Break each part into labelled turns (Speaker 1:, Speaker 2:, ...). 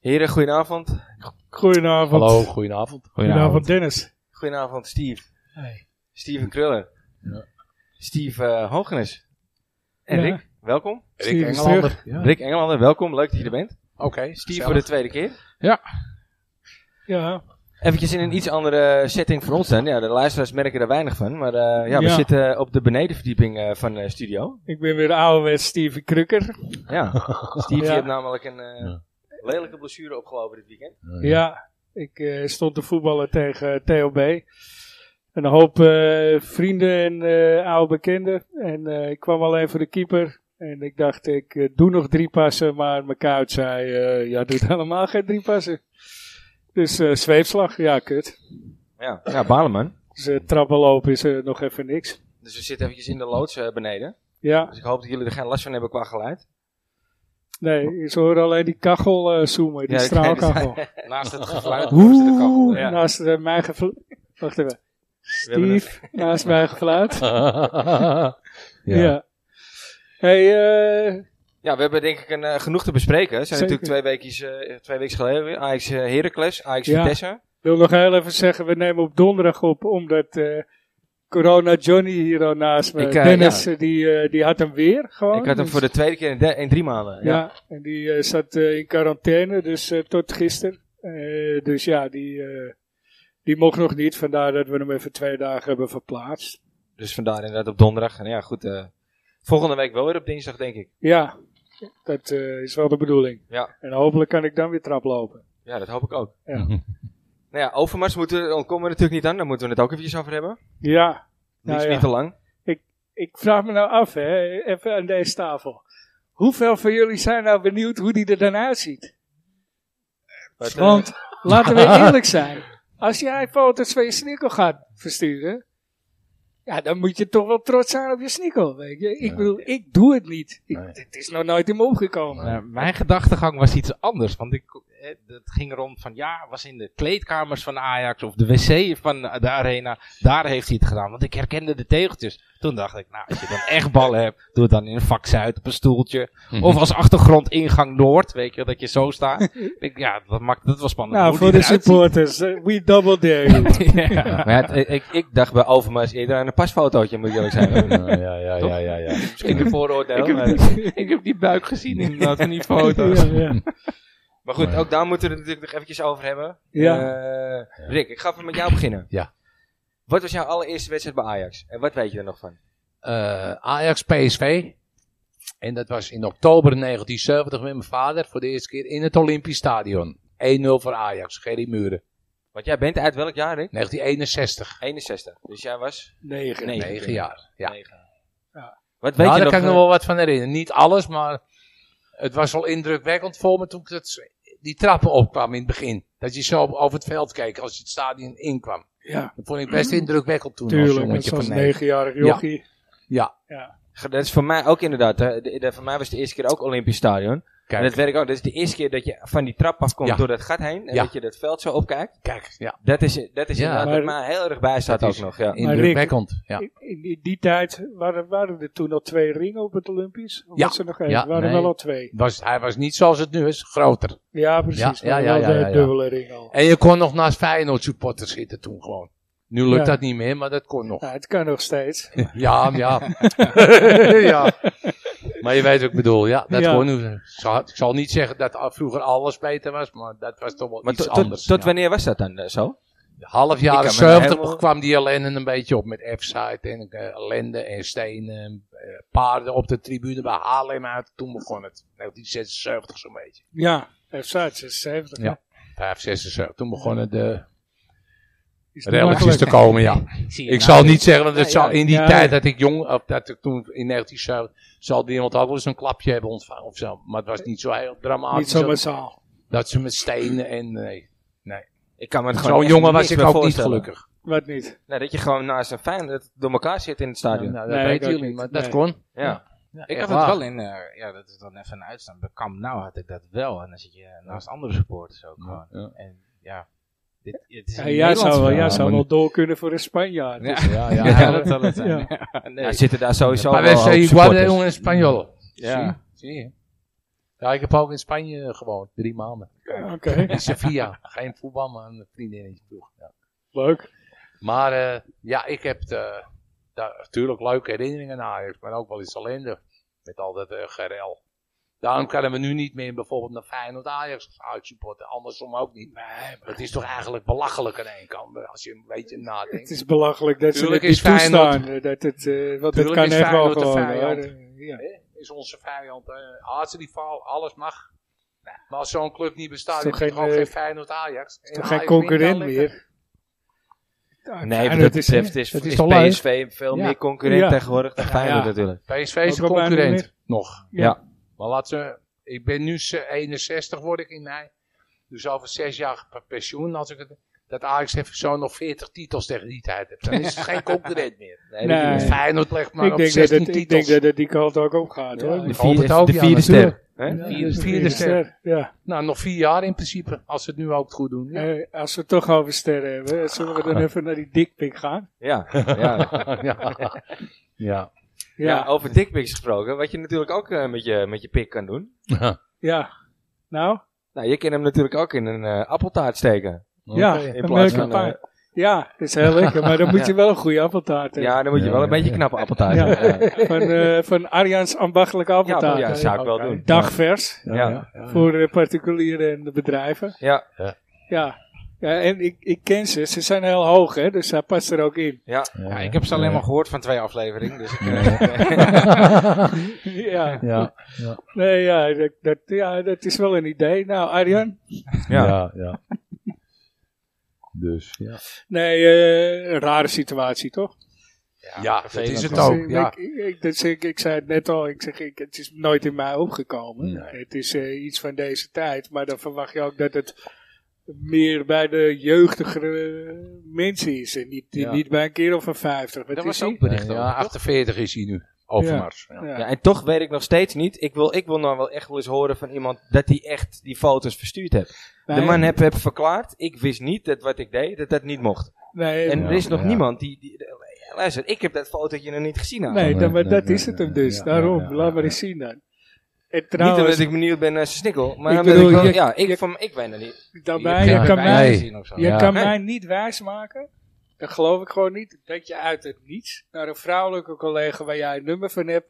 Speaker 1: Heren, goedenavond.
Speaker 2: Goedenavond.
Speaker 3: Hallo, goedenavond.
Speaker 2: Goedenavond, Dennis.
Speaker 1: Goedenavond, Steve.
Speaker 2: Hey.
Speaker 1: Steven Krullen.
Speaker 3: Ja.
Speaker 1: Steve eh, Hoogenes. En
Speaker 2: Ja.
Speaker 1: Rick, welkom.
Speaker 2: Steven
Speaker 3: Rick
Speaker 2: is
Speaker 3: Engelander. Ja.
Speaker 1: Rick Engelander, welkom. Leuk dat je er bent.
Speaker 3: Oké,
Speaker 1: Steve
Speaker 3: gezellig.
Speaker 1: voor de tweede keer.
Speaker 2: Ja,
Speaker 1: Eventjes in een iets andere eh, setting voor ons dan. Ja, de luisteraars merken er weinig van. Maar eh, ja, we
Speaker 2: Ja.
Speaker 1: zitten op de benedenverdieping eh, van de studio.
Speaker 2: ik ben weer ouderwets Steven Krukker.
Speaker 1: Ja. Steve die
Speaker 2: Ja.
Speaker 1: heeft namelijk een eh,
Speaker 3: Ja.
Speaker 1: lelijke blessure opgelopen dit weekend.
Speaker 2: Ja, ik eh, stond te voetballen tegen TOB. Een hoop eh, vrienden en eh, oude bekenden. En eh, ik kwam alleen voor de keeper. En ik dacht, ik eh, doe nog drie passen. Maar mijn koud zei, eh, ja, doet helemaal geen drie passen. Dus eh, zweepslag, ja, kut.
Speaker 1: Ja, ja Baleman.
Speaker 2: Dus eh, trappenlopen is eh, nog even niks.
Speaker 1: Dus we zitten eventjes in de loods eh, beneden.
Speaker 2: Ja,
Speaker 1: Dus ik hoop dat jullie er geen last van hebben qua geluid.
Speaker 2: nee, ze horen alleen die kachel eh zoomen, die
Speaker 1: Ja, ik-
Speaker 2: straalkachel.
Speaker 1: Naast het geluid.
Speaker 2: Oeh,
Speaker 1: Ja.
Speaker 2: naast eh, mijn gefluit. Wacht even.
Speaker 1: hebben het.
Speaker 2: Steve, naast mijn gefluit. Ja.
Speaker 3: ja.
Speaker 2: Hey, eh,
Speaker 1: Ja, we hebben denk ik een, eh, genoeg te bespreken. Het zijn
Speaker 2: Zeker.
Speaker 1: natuurlijk twee weekjes, eh, twee weken geleden weer. Ajax eh, Heracles, Ajax
Speaker 2: Ja.
Speaker 1: Vitesse.
Speaker 2: ik wil nog heel even zeggen, we nemen op donderdag op, omdat eh, Corona Johnny hier al naast me,
Speaker 1: Ik, eh,
Speaker 2: Dennis, eh, die, eh, die had hem weer gewoon.
Speaker 1: Ik had hem
Speaker 2: Dus-
Speaker 1: voor de tweede keer in, de- in drie maanden.
Speaker 2: Ja,
Speaker 1: Ja.
Speaker 2: en die eh, zat eh, in quarantaine, dus eh, tot gisteren. Eh, dus ja, die, eh, die mocht nog niet, vandaar dat we hem even twee dagen hebben verplaatst.
Speaker 1: Dus vandaar inderdaad op donderdag. En ja, goed. eh, volgende week wel weer op dinsdag, denk ik.
Speaker 2: Ja, dat eh, is wel de bedoeling.
Speaker 1: Ja.
Speaker 2: En hopelijk kan ik dan weer traplopen.
Speaker 1: Ja, dat hoop ik ook.
Speaker 2: Ja.
Speaker 1: Nou ja, Overmars moeten, we- ontkomen we natuurlijk niet aan. Daar moeten we het ook eventjes over hebben.
Speaker 2: Ja,
Speaker 1: Niet,
Speaker 2: Nou ja.
Speaker 1: niet te lang.
Speaker 2: ik vraag me nou af, hè, even aan deze tafel. Hoeveel van jullie zijn nou benieuwd hoe die er dan uitziet?
Speaker 1: Maar het, eh,
Speaker 2: Want laten we eerlijk zijn. Als jij foto's van je snikkel gaat versturen. Ja, dan moet je toch wel trots zijn op je snikkel. Weet je? Ik
Speaker 3: Ja.
Speaker 2: bedoel, ik doe het niet. Ik-
Speaker 3: Nee.
Speaker 2: Het is nog nooit in me opgekomen.
Speaker 4: Nou, mijn gedachtegang was iets anders. Want ik, eh, het ging rond van ja, was in de kleedkamers van Ajax of de wc van de arena. Daar heeft hij het gedaan. Want ik herkende de tegeltjes. Toen dacht ik, nou, als je dan echt ballen hebt, doe het dan in een vak Zuid op een stoeltje.
Speaker 3: Mhm.
Speaker 1: Mhm.
Speaker 4: Of als achtergrond ingang Noord, weet je, wel, dat je zo staat. Ik denk, ja, dat, maakt, dat was spannend.
Speaker 2: Nou,
Speaker 4: Hoe
Speaker 2: voor
Speaker 4: die
Speaker 2: de
Speaker 4: eruit
Speaker 2: supporters, eh, we double dare you.
Speaker 4: ziet. ja.
Speaker 1: maar ja, het- ik, ik dacht bij Overmars eerder aan een pasfotootje, moet ik eerlijk zijn.
Speaker 3: Ja, ja, ja, ja, ja.
Speaker 1: Misschien een vooroordeel.
Speaker 4: Ik heb,
Speaker 1: maar-
Speaker 4: die, ik heb die buik gezien inderdaad in die foto's.
Speaker 2: Ja, ja.
Speaker 1: Maar goed,
Speaker 3: Nee.
Speaker 1: ook daar moeten we het natuurlijk nog eventjes over hebben.
Speaker 2: Ja.
Speaker 1: Eh, Rick, ik ga even met jou beginnen.
Speaker 3: Ja.
Speaker 1: Wat was jouw allereerste wedstrijd bij Ajax? En wat weet je er nog van?
Speaker 3: Eh, Ajax PSV. En dat was in oktober 1970 met mijn vader voor de eerste keer in het Olympisch Stadion. 1-0 voor Ajax, Gerry Muren.
Speaker 1: Want jij bent uit welk jaar, Rick?
Speaker 3: 1961,
Speaker 1: 61. Dus jij was
Speaker 2: Negen.
Speaker 1: Nee.
Speaker 3: 9 jaar. Ja.
Speaker 1: 9.
Speaker 2: Ja.
Speaker 1: Wat weet
Speaker 3: Nou,
Speaker 1: je nog?
Speaker 3: daar kan ik nog
Speaker 1: eh,
Speaker 3: wel wat van herinneren. Niet alles, maar het was wel indrukwekkend voor me toen ik dat, die trappen opkwam in het begin. Dat je zo over het veld keek als je het stadion inkwam.
Speaker 2: Ja,
Speaker 3: Dat vond ik best indrukwekkend toen als
Speaker 2: tuurlijk. Dat
Speaker 3: jongetje
Speaker 2: was
Speaker 3: van
Speaker 2: een
Speaker 3: negen.
Speaker 2: negenjarig jochie.
Speaker 3: Ja,
Speaker 1: Dat is voor mij ook inderdaad. hè. De- de- voor mij was het de eerste keer ook Olympisch Stadion. En dat
Speaker 3: kijk,
Speaker 1: weet ik ook. Dat is de eerste keer dat je van die trap afkomt
Speaker 3: Ja.
Speaker 1: door dat gat heen. En
Speaker 3: Ja.
Speaker 1: dat je dat veld zo opkijkt.
Speaker 3: kijk, ja,
Speaker 1: Dat is, dat is
Speaker 3: Ja.
Speaker 1: inderdaad wat
Speaker 2: Maar-
Speaker 1: mij heel erg bij staat
Speaker 3: Dat
Speaker 1: ook
Speaker 3: is-
Speaker 1: nog. Ja.
Speaker 3: indrukwekkend. Ja.
Speaker 2: In, in- in die tijd waren, waren er toen al twee ringen op het Olympisch. Of
Speaker 3: Ja.
Speaker 2: was er nog één?
Speaker 3: Ja,
Speaker 2: Er waren
Speaker 3: nee.
Speaker 2: wel al twee.
Speaker 3: Was, hij was niet zoals het nu is, groter.
Speaker 2: Ja, precies.
Speaker 3: Ja, ja,
Speaker 2: maar
Speaker 3: ja,
Speaker 2: wel
Speaker 3: ja, ja,
Speaker 2: de
Speaker 3: ja.
Speaker 2: dubbele ring al.
Speaker 3: En je kon nog naast Feyenoord supporters zitten toen gewoon. Nu lukt
Speaker 2: Ja.
Speaker 3: dat niet meer, maar dat kon nog.
Speaker 2: Nou, het kan nog steeds.
Speaker 3: Ja, ja. ja. Maar je weet wat ik bedoel, ja. Dat
Speaker 2: Ja.
Speaker 3: Kon, ik, zal, ik zal niet zeggen dat al- vroeger alles beter was, maar dat was toch wel
Speaker 1: Maar
Speaker 3: iets
Speaker 1: tot-
Speaker 3: anders.
Speaker 1: tot, tot
Speaker 3: ja.
Speaker 1: wanneer was dat dan eh, zo?
Speaker 3: Half
Speaker 1: Ik
Speaker 3: jaren
Speaker 1: kan me nog
Speaker 3: 70
Speaker 1: helemaal-
Speaker 3: kwam die ellende een beetje op met F-site en eh, ellende en stenen, eh, paarden op de tribune bij Haarlem uit. Toen begon het, 1976 zo'n beetje.
Speaker 2: Ja, F-Zuid 76.
Speaker 3: Ja. 5, 76, toen begonnen de
Speaker 2: Is niet
Speaker 3: relletjes
Speaker 2: makkelijk.
Speaker 3: te komen, ja.
Speaker 4: zie je
Speaker 3: Ik
Speaker 4: nou.
Speaker 3: zal niet zeggen, want het
Speaker 1: Ja, ja.
Speaker 3: zal in die
Speaker 2: Ja,
Speaker 3: tijd
Speaker 2: ja.
Speaker 3: dat ik jong, of dat ik toen in 1970, zal die iemand ook wel eens een klapje hebben ontvangen of zo. Maar het was niet zo heel dramatisch.
Speaker 2: Niet zo
Speaker 3: dat-
Speaker 2: massaal.
Speaker 3: Dat ze met stenen en nee.
Speaker 1: Ik kan me het gewoon
Speaker 3: Zo'n
Speaker 1: echt
Speaker 3: jongen was
Speaker 1: niks
Speaker 3: ik
Speaker 1: meer
Speaker 3: ook niet
Speaker 1: voorstellen.
Speaker 3: gelukkig.
Speaker 2: Wat niet.
Speaker 1: Nee, Nou, dat je gewoon naast een Feyenoord door elkaar zit in het
Speaker 3: Nou,
Speaker 1: stadion.
Speaker 3: dat
Speaker 2: Nee, ik
Speaker 3: weten
Speaker 2: ook
Speaker 3: jullie,
Speaker 2: niet.
Speaker 3: maar dat
Speaker 2: Nee.
Speaker 3: kon.
Speaker 1: Ja.
Speaker 4: Ik had
Speaker 3: Echt
Speaker 4: het
Speaker 3: waar.
Speaker 4: wel in, eh, ja, dat is dan even een uitstand. Bij Camp Nou had ik dat wel. En dan zit je naast andere supporters ook gewoon.
Speaker 3: Ja.
Speaker 4: En ja, dit, het is
Speaker 2: Ja,
Speaker 4: een
Speaker 2: jij zou,
Speaker 4: Nederlands
Speaker 2: wel,
Speaker 4: verhaal.
Speaker 2: jij zou
Speaker 3: maar
Speaker 2: wel door kunnen voor een Spanjaard.
Speaker 4: Ja.
Speaker 3: Ja, ja.
Speaker 4: Ja, dat zal het zijn.
Speaker 2: Ja.
Speaker 4: Ja, nee.
Speaker 1: Ja, zitten daar sowieso
Speaker 3: Maar
Speaker 1: wel
Speaker 3: wij zijn
Speaker 1: hoop
Speaker 3: Iguarda
Speaker 1: supporters.
Speaker 3: en Spanjol.
Speaker 4: Ja.
Speaker 3: Zie je? Ja, ik heb ook in Spanje gewoond, drie maanden.
Speaker 2: Oké,
Speaker 3: In Sevilla. Geen voetbal, maar een vriendinnetje vroeg. Ja.
Speaker 2: leuk.
Speaker 3: Maar eh, ja, ik heb de- daar natuurlijk leuke herinneringen aan Ajax, maar ook wel iets ellende. Met al dat eh, gerel.
Speaker 2: Oh.
Speaker 3: Daarom kunnen we nu niet meer bijvoorbeeld naar Feyenoord Ajax als uitsupporten. Andersom ook niet. Het is toch eigenlijk belachelijk aan één kant, eh, als je een beetje nadenkt.
Speaker 2: Het is belachelijk dat ze
Speaker 3: Tuurlijk
Speaker 2: dit
Speaker 3: is
Speaker 2: niet toestaan.
Speaker 3: Feyenoord-
Speaker 2: eh, Dat het, eh want het
Speaker 3: Tuurlijk
Speaker 2: kan
Speaker 3: is
Speaker 2: echt wel
Speaker 3: Feyenoord de
Speaker 2: gewoon.
Speaker 3: vijand.
Speaker 2: hoor. Ja.
Speaker 3: Hè, Is onze vijand, eh aardsrivaal, alles mag. Maar als zo'n club niet
Speaker 2: Is
Speaker 3: bestaat,
Speaker 2: toch
Speaker 3: heb je
Speaker 2: geen,
Speaker 3: gewoon
Speaker 2: eh,
Speaker 3: geen Feyenoord Ajax. En
Speaker 2: Toch geen
Speaker 3: Ajax wint
Speaker 2: concurrent
Speaker 3: dan
Speaker 2: meer.
Speaker 1: Nee,
Speaker 2: en
Speaker 1: wat dat
Speaker 2: het is-
Speaker 1: betreft is,
Speaker 2: het
Speaker 1: is,
Speaker 2: is toch leuk?
Speaker 1: PSV veel
Speaker 3: Ja.
Speaker 1: meer concurrent
Speaker 2: Ja.
Speaker 1: tegenwoordig dan Feyenoord
Speaker 2: ja.
Speaker 1: natuurlijk.
Speaker 3: lekker. PSV is de
Speaker 2: Ook al bijna niet
Speaker 3: concurrent. Nog.
Speaker 2: Ja.
Speaker 1: Ja.
Speaker 3: Maar laat ze, ik ben nu ze- 61 word ik in mei. Dus over zes jaar per pensioen. Als ik het, dat Ajax heeft zo nog 40 titels tegen die tijd. heeft. Dan is het geen concurrent meer.
Speaker 1: Nee,
Speaker 2: Nee.
Speaker 1: natuurlijk.
Speaker 3: Feyenoord legt maar
Speaker 2: ik,
Speaker 3: op
Speaker 2: denk dat
Speaker 3: 16
Speaker 2: het, ik denk
Speaker 3: titels.
Speaker 2: dat het die kant ook op gaat
Speaker 3: Ja,
Speaker 2: hoor.
Speaker 1: De,
Speaker 3: ik hoop
Speaker 1: vier-
Speaker 3: het ook,
Speaker 1: de
Speaker 3: ja,
Speaker 1: vierde
Speaker 3: natuurlijk.
Speaker 1: ster. hè?
Speaker 3: Ja,
Speaker 2: Vierde-
Speaker 3: vierde ster.
Speaker 2: ster. Ja.
Speaker 3: Nou, nog vier jaar in principe. Als ze het nu ook goed doen. Ja.
Speaker 2: Eh, als we het toch over sterren hebben, zullen we dan even naar die dikpik gaan?
Speaker 1: Ja, ja.
Speaker 3: ja. ja.
Speaker 2: Ja,
Speaker 1: Ja,
Speaker 2: ja.
Speaker 1: over dickpics gesproken. Wat je natuurlijk ook eh, met, je, met je pik kan doen.
Speaker 2: Nou,
Speaker 1: Nou, je kan hem natuurlijk ook in een eh, appeltaart steken.
Speaker 2: ja,
Speaker 3: Oké.
Speaker 2: een
Speaker 1: plaats
Speaker 2: leuke
Speaker 1: van,
Speaker 2: paar. Ja, dat is heel lekker, maar dan moet je wel een goede appeltaart hebben.
Speaker 1: Ja, dan moet je
Speaker 3: Ja,
Speaker 1: wel een
Speaker 3: ja,
Speaker 1: beetje
Speaker 3: ja.
Speaker 1: knappe appeltaart
Speaker 2: Ja.
Speaker 1: hebben. Ja.
Speaker 2: Van, eh van Arjaans ambachtelijke
Speaker 1: Ja, maar
Speaker 2: appeltaart.
Speaker 1: ja, zou ik wel
Speaker 3: Oké.
Speaker 1: doen.
Speaker 2: Dagvers
Speaker 1: Ja.
Speaker 2: voor eh, particulieren en de bedrijven.
Speaker 1: Ja,
Speaker 2: Ja, ja en ik, ik ken ze. Ze zijn heel hoog, hè, dus hij past er ook in.
Speaker 1: ja.
Speaker 4: Ja, ik heb ze alleen maar gehoord van twee afleveringen. Dus ik, eh,
Speaker 2: ja.
Speaker 3: Ja.
Speaker 2: Nee, ja, dat, dat, ja, dat is wel een idee. Nou, Arjan,
Speaker 1: Ja.
Speaker 3: ja. Dus, ja.
Speaker 2: nee, eh een rare situatie, toch?
Speaker 3: Ja, dat
Speaker 4: vervelend.
Speaker 3: is het
Speaker 2: Dus
Speaker 3: ook.
Speaker 2: ik-
Speaker 3: ja.
Speaker 2: Ik, ik, dus ik, ik zei het net al, ik zeg, ik, het is nooit in mij opgekomen.
Speaker 3: Nee.
Speaker 2: Het is eh, iets van deze tijd, maar dan verwacht je ook dat het meer bij de jeugdigere mensen is. En niet,
Speaker 3: Ja.
Speaker 2: niet bij een kerel van 50. Wat
Speaker 4: Dat
Speaker 2: is
Speaker 4: was
Speaker 2: hij?
Speaker 4: ook bericht over,
Speaker 3: Ja,
Speaker 4: toch?
Speaker 3: 48 is hij nu. Overmars. Ja.
Speaker 2: Ja.
Speaker 1: Ja, en toch weet ik nog steeds niet. Ik wil, ik wil nou wel echt wel eens horen van iemand dat hij echt die foto's verstuurd heeft. De
Speaker 2: Nee,
Speaker 1: man heeft heb verklaard, ik wist niet dat wat ik deed, dat dat niet mocht.
Speaker 2: nee,
Speaker 1: En
Speaker 3: Ja,
Speaker 1: er is nog
Speaker 3: ja.
Speaker 1: niemand die, die- eh, Luister, ik heb dat fotootje nog niet gezien. Nou.
Speaker 2: nee,
Speaker 3: Nee,
Speaker 2: dan- maar
Speaker 3: nee,
Speaker 2: dat
Speaker 3: nee,
Speaker 2: is het
Speaker 3: nee,
Speaker 2: hem dus.
Speaker 3: ja,
Speaker 2: Daarom,
Speaker 3: ja, ja,
Speaker 2: laat
Speaker 3: ja.
Speaker 2: maar eens zien dan. En
Speaker 1: niet
Speaker 2: trouwens,
Speaker 1: omdat ik benieuwd ben naar zijn snikkel, maar
Speaker 2: Ik
Speaker 1: omdat
Speaker 2: bedoel,
Speaker 1: ik wel-
Speaker 2: je-
Speaker 1: ja, ik,
Speaker 2: je-
Speaker 1: van, ik weet het niet.
Speaker 2: daarbij,
Speaker 4: hebt
Speaker 2: je
Speaker 4: geen
Speaker 2: kan,
Speaker 4: bewijs
Speaker 2: mij,
Speaker 3: mij-
Speaker 4: zien of zo.
Speaker 2: je
Speaker 3: Ja.
Speaker 2: kan
Speaker 1: Nee.
Speaker 2: mij niet wijsmaken, dat geloof ik gewoon niet, dat je uit het niets naar een vrouwelijke collega waar jij een nummer van hebt,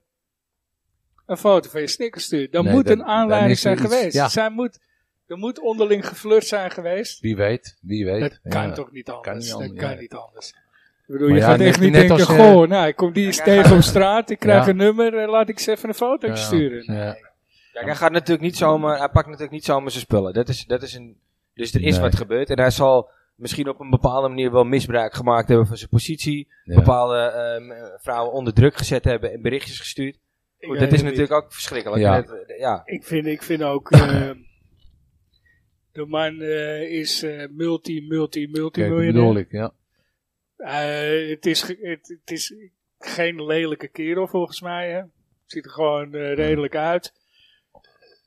Speaker 2: een foto van je snikker stuurt. Dan
Speaker 3: Nee,
Speaker 2: moet
Speaker 3: dan-
Speaker 2: een
Speaker 3: dan
Speaker 2: aanleiding
Speaker 3: is er
Speaker 2: zijn
Speaker 3: iets,
Speaker 2: geweest.
Speaker 3: ja.
Speaker 2: Zij moet, er moet onderling geflirt zijn geweest.
Speaker 3: Wie weet, wie weet.
Speaker 2: Dat kan
Speaker 3: Ja.
Speaker 2: toch niet anders?
Speaker 3: niet
Speaker 2: dat
Speaker 3: anders,
Speaker 2: kan
Speaker 3: ja.
Speaker 2: niet anders. Ik bedoel,
Speaker 3: Maar
Speaker 2: je
Speaker 3: ja,
Speaker 2: gaat
Speaker 3: net-
Speaker 2: echt niet
Speaker 3: net
Speaker 2: denken,
Speaker 3: als, eh,
Speaker 2: goh, nou, ik kom die eens tegen op straat, ik krijg
Speaker 3: Ja.
Speaker 2: een nummer, eh, laat ik eens even een foto
Speaker 3: Ja.
Speaker 2: sturen.
Speaker 3: Ja.
Speaker 1: Kijk, hij gaat natuurlijk niet zomaar, hij pakt natuurlijk niet zomaar zijn spullen. Dat is, dat is een, dus er is
Speaker 3: Nee.
Speaker 1: wat gebeurd en hij zal misschien op een bepaalde manier wel misbruik gemaakt hebben van zijn positie.
Speaker 3: Ja.
Speaker 1: Bepaalde ehm, vrouwen onder druk gezet hebben en berichtjes gestuurd.
Speaker 2: Ik
Speaker 1: Goed,
Speaker 2: weet
Speaker 1: dat is
Speaker 2: het niet.
Speaker 1: natuurlijk ook verschrikkelijk.
Speaker 3: Ja.
Speaker 1: En dat, eh, ja.
Speaker 2: Ik vind, ik vind ook. eh, de man eh, is eh, multi, multi, multi
Speaker 3: Kijk, dat bedoel
Speaker 2: miljonair. Eh,
Speaker 3: ik, ja.
Speaker 2: het, is, ge- het, het is geen lelijke kerel volgens mij. Hè. Ziet er gewoon eh, redelijk uit.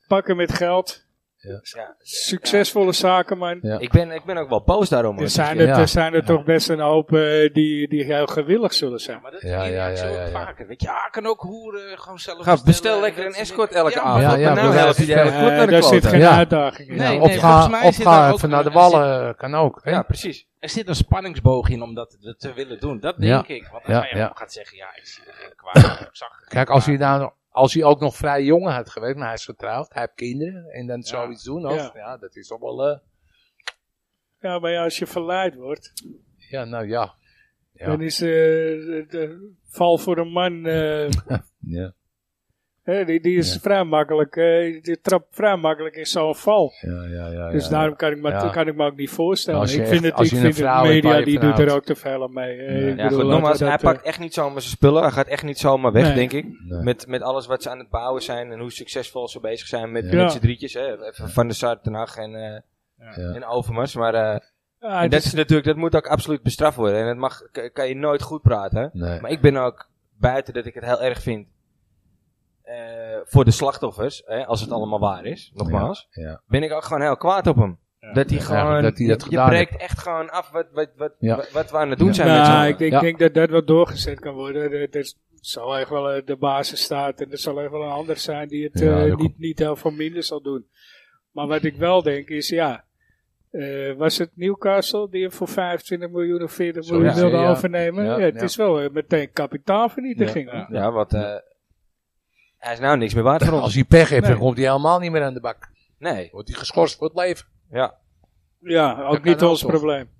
Speaker 2: Pakken met geld.
Speaker 3: Ja.
Speaker 1: Ja.
Speaker 2: Succesvolle zakenman.
Speaker 3: Ja.
Speaker 1: Ik, ben, ik ben ook wel boos daarom. hoor.
Speaker 2: Er zijn,
Speaker 3: ja.
Speaker 2: er, er zijn er toch best een hoop eh, die, die heel gewillig zullen zijn.
Speaker 4: Maar dat
Speaker 3: Ja,
Speaker 4: zie je
Speaker 3: ja,
Speaker 4: echt
Speaker 3: ja,
Speaker 4: zo
Speaker 3: ja, ja.
Speaker 4: vaker. Weet je, ja, kan ook hoeren gewoon zelf
Speaker 1: Ga, bestel
Speaker 4: bestellen.
Speaker 1: lekker een
Speaker 4: Dat-
Speaker 1: escort elke
Speaker 4: Ja,
Speaker 1: avond.
Speaker 3: ja,
Speaker 1: Ja,
Speaker 3: ja,
Speaker 1: nou
Speaker 3: precies.
Speaker 1: helpt hij de hele
Speaker 2: Eh,
Speaker 1: club naar de
Speaker 2: daar zit
Speaker 1: kloten.
Speaker 2: geen
Speaker 3: Ja.
Speaker 2: uitdaging in.
Speaker 4: Nee,
Speaker 3: Ja,
Speaker 4: nee,
Speaker 3: of
Speaker 4: volgens mij
Speaker 3: ga, of
Speaker 4: zit daar
Speaker 3: ga
Speaker 4: ook
Speaker 3: even
Speaker 4: een-
Speaker 3: naar de
Speaker 4: er zit-
Speaker 3: wallen, eh, kan ook. Hè?
Speaker 1: Ja, precies.
Speaker 4: Er zit een spanningsboog in om dat te- te willen doen. Dat denk
Speaker 3: Ja.
Speaker 4: ik. Want
Speaker 3: Ja,
Speaker 4: als hij
Speaker 3: ja.
Speaker 4: ook gaat zeggen, ja, ik zie er geen kwaad. Ik zag er
Speaker 3: Kijk,
Speaker 4: geen
Speaker 3: als
Speaker 4: kwaad.
Speaker 3: hij, nou, als hij ook nog vrij jong had geweest, maar hij is getrouwd, hij heeft kinderen, en dan zoiets doen, of,
Speaker 2: Ja.
Speaker 3: ja. dat is toch wel, eh,
Speaker 2: Ja, maar ja, als je verleid wordt,
Speaker 3: ja, nou ja. Ja.
Speaker 2: dan is eh, de, de val voor een man eh,
Speaker 3: Ja,
Speaker 2: Hè, die, die is
Speaker 3: Ja.
Speaker 2: vrij makkelijk, eh, die trapt vrij makkelijk in zo'n val.
Speaker 3: ja, ja. ja,
Speaker 2: dus
Speaker 3: ja.
Speaker 2: daarom kan ik, me,
Speaker 3: Ja.
Speaker 2: kan ik me ook niet voorstellen.
Speaker 3: Als je
Speaker 2: Ik vind
Speaker 3: echt-
Speaker 2: het,
Speaker 3: als
Speaker 2: ik
Speaker 3: je een
Speaker 2: vind de
Speaker 3: vrouw hebt waar
Speaker 2: media
Speaker 3: je
Speaker 2: die
Speaker 3: van
Speaker 2: doet er
Speaker 3: houdt.
Speaker 2: ook te veel aan mee. Eh,
Speaker 3: Ja,
Speaker 2: ik
Speaker 1: Ja,
Speaker 2: bedoel,
Speaker 1: goed,
Speaker 2: laten
Speaker 1: nogmaals,
Speaker 2: we dat,
Speaker 1: hij
Speaker 2: eh,
Speaker 1: pakt echt niet zomaar zijn spullen. Hij gaat echt niet zomaar weg,
Speaker 2: Nee.
Speaker 1: denk ik.
Speaker 3: Nee.
Speaker 1: Met, met alles wat ze aan het bouwen zijn en hoe succesvol ze bezig zijn met,
Speaker 2: Ja.
Speaker 1: met z'n drietjes. Hè. Even Van der Sar, Ten Hag en, eh,
Speaker 3: Ja.
Speaker 1: en Overmars. Maar eh,
Speaker 2: ah,
Speaker 1: en
Speaker 2: het
Speaker 1: dat,
Speaker 2: is-
Speaker 1: is natuurlijk, dat moet ook absoluut bestraft worden. En dat mag, k- kan je nooit goed praten. hè.
Speaker 3: Nee.
Speaker 1: Maar ik ben ook, buiten dat ik het heel erg vind, eh, voor de slachtoffers, hè, als het allemaal waar is, nogmaals.
Speaker 3: Ja,
Speaker 1: ben ik ook gewoon heel kwaad op hem. Dat hij
Speaker 3: Ja,
Speaker 1: gewoon,
Speaker 3: dat hij dat
Speaker 1: je, je
Speaker 3: gedaan
Speaker 1: breekt echt gewoon af wat, wat, wat,
Speaker 3: Ja.
Speaker 1: wat, wat we aan het doen
Speaker 3: Ja.
Speaker 1: zijn met z'n
Speaker 2: nou,
Speaker 1: allen.
Speaker 2: ik, ik
Speaker 3: Ja.
Speaker 2: denk dat dat wel doorgezet kan worden. Dat, dat zal echt wel eh, de basis staat en er zal echt wel een ander zijn die het
Speaker 5: Ja,
Speaker 2: eh,
Speaker 5: dat
Speaker 2: niet, niet heel veel minder zal doen. Maar wat ik wel denk is, ja, eh, was het Newcastle die hem voor 25 miljoen of 40 miljoen
Speaker 3: ja,
Speaker 2: wilde
Speaker 3: ja.
Speaker 2: overnemen?
Speaker 3: Ja,
Speaker 2: Ja, het
Speaker 3: ja.
Speaker 2: is wel eh, meteen kapitaalvernietiging. hoor.
Speaker 1: Ja, want eh, hij is nou niks meer waard voor
Speaker 3: Als
Speaker 1: ons.
Speaker 3: hij pech heeft, dan
Speaker 2: Nee.
Speaker 3: komt hij helemaal niet meer aan de bak.
Speaker 1: Nee,
Speaker 3: Wordt hij geschorst voor het leven.
Speaker 1: ja.
Speaker 2: Ja, ook
Speaker 3: kan
Speaker 2: niet
Speaker 3: ook
Speaker 2: ons
Speaker 3: toch.
Speaker 2: probleem.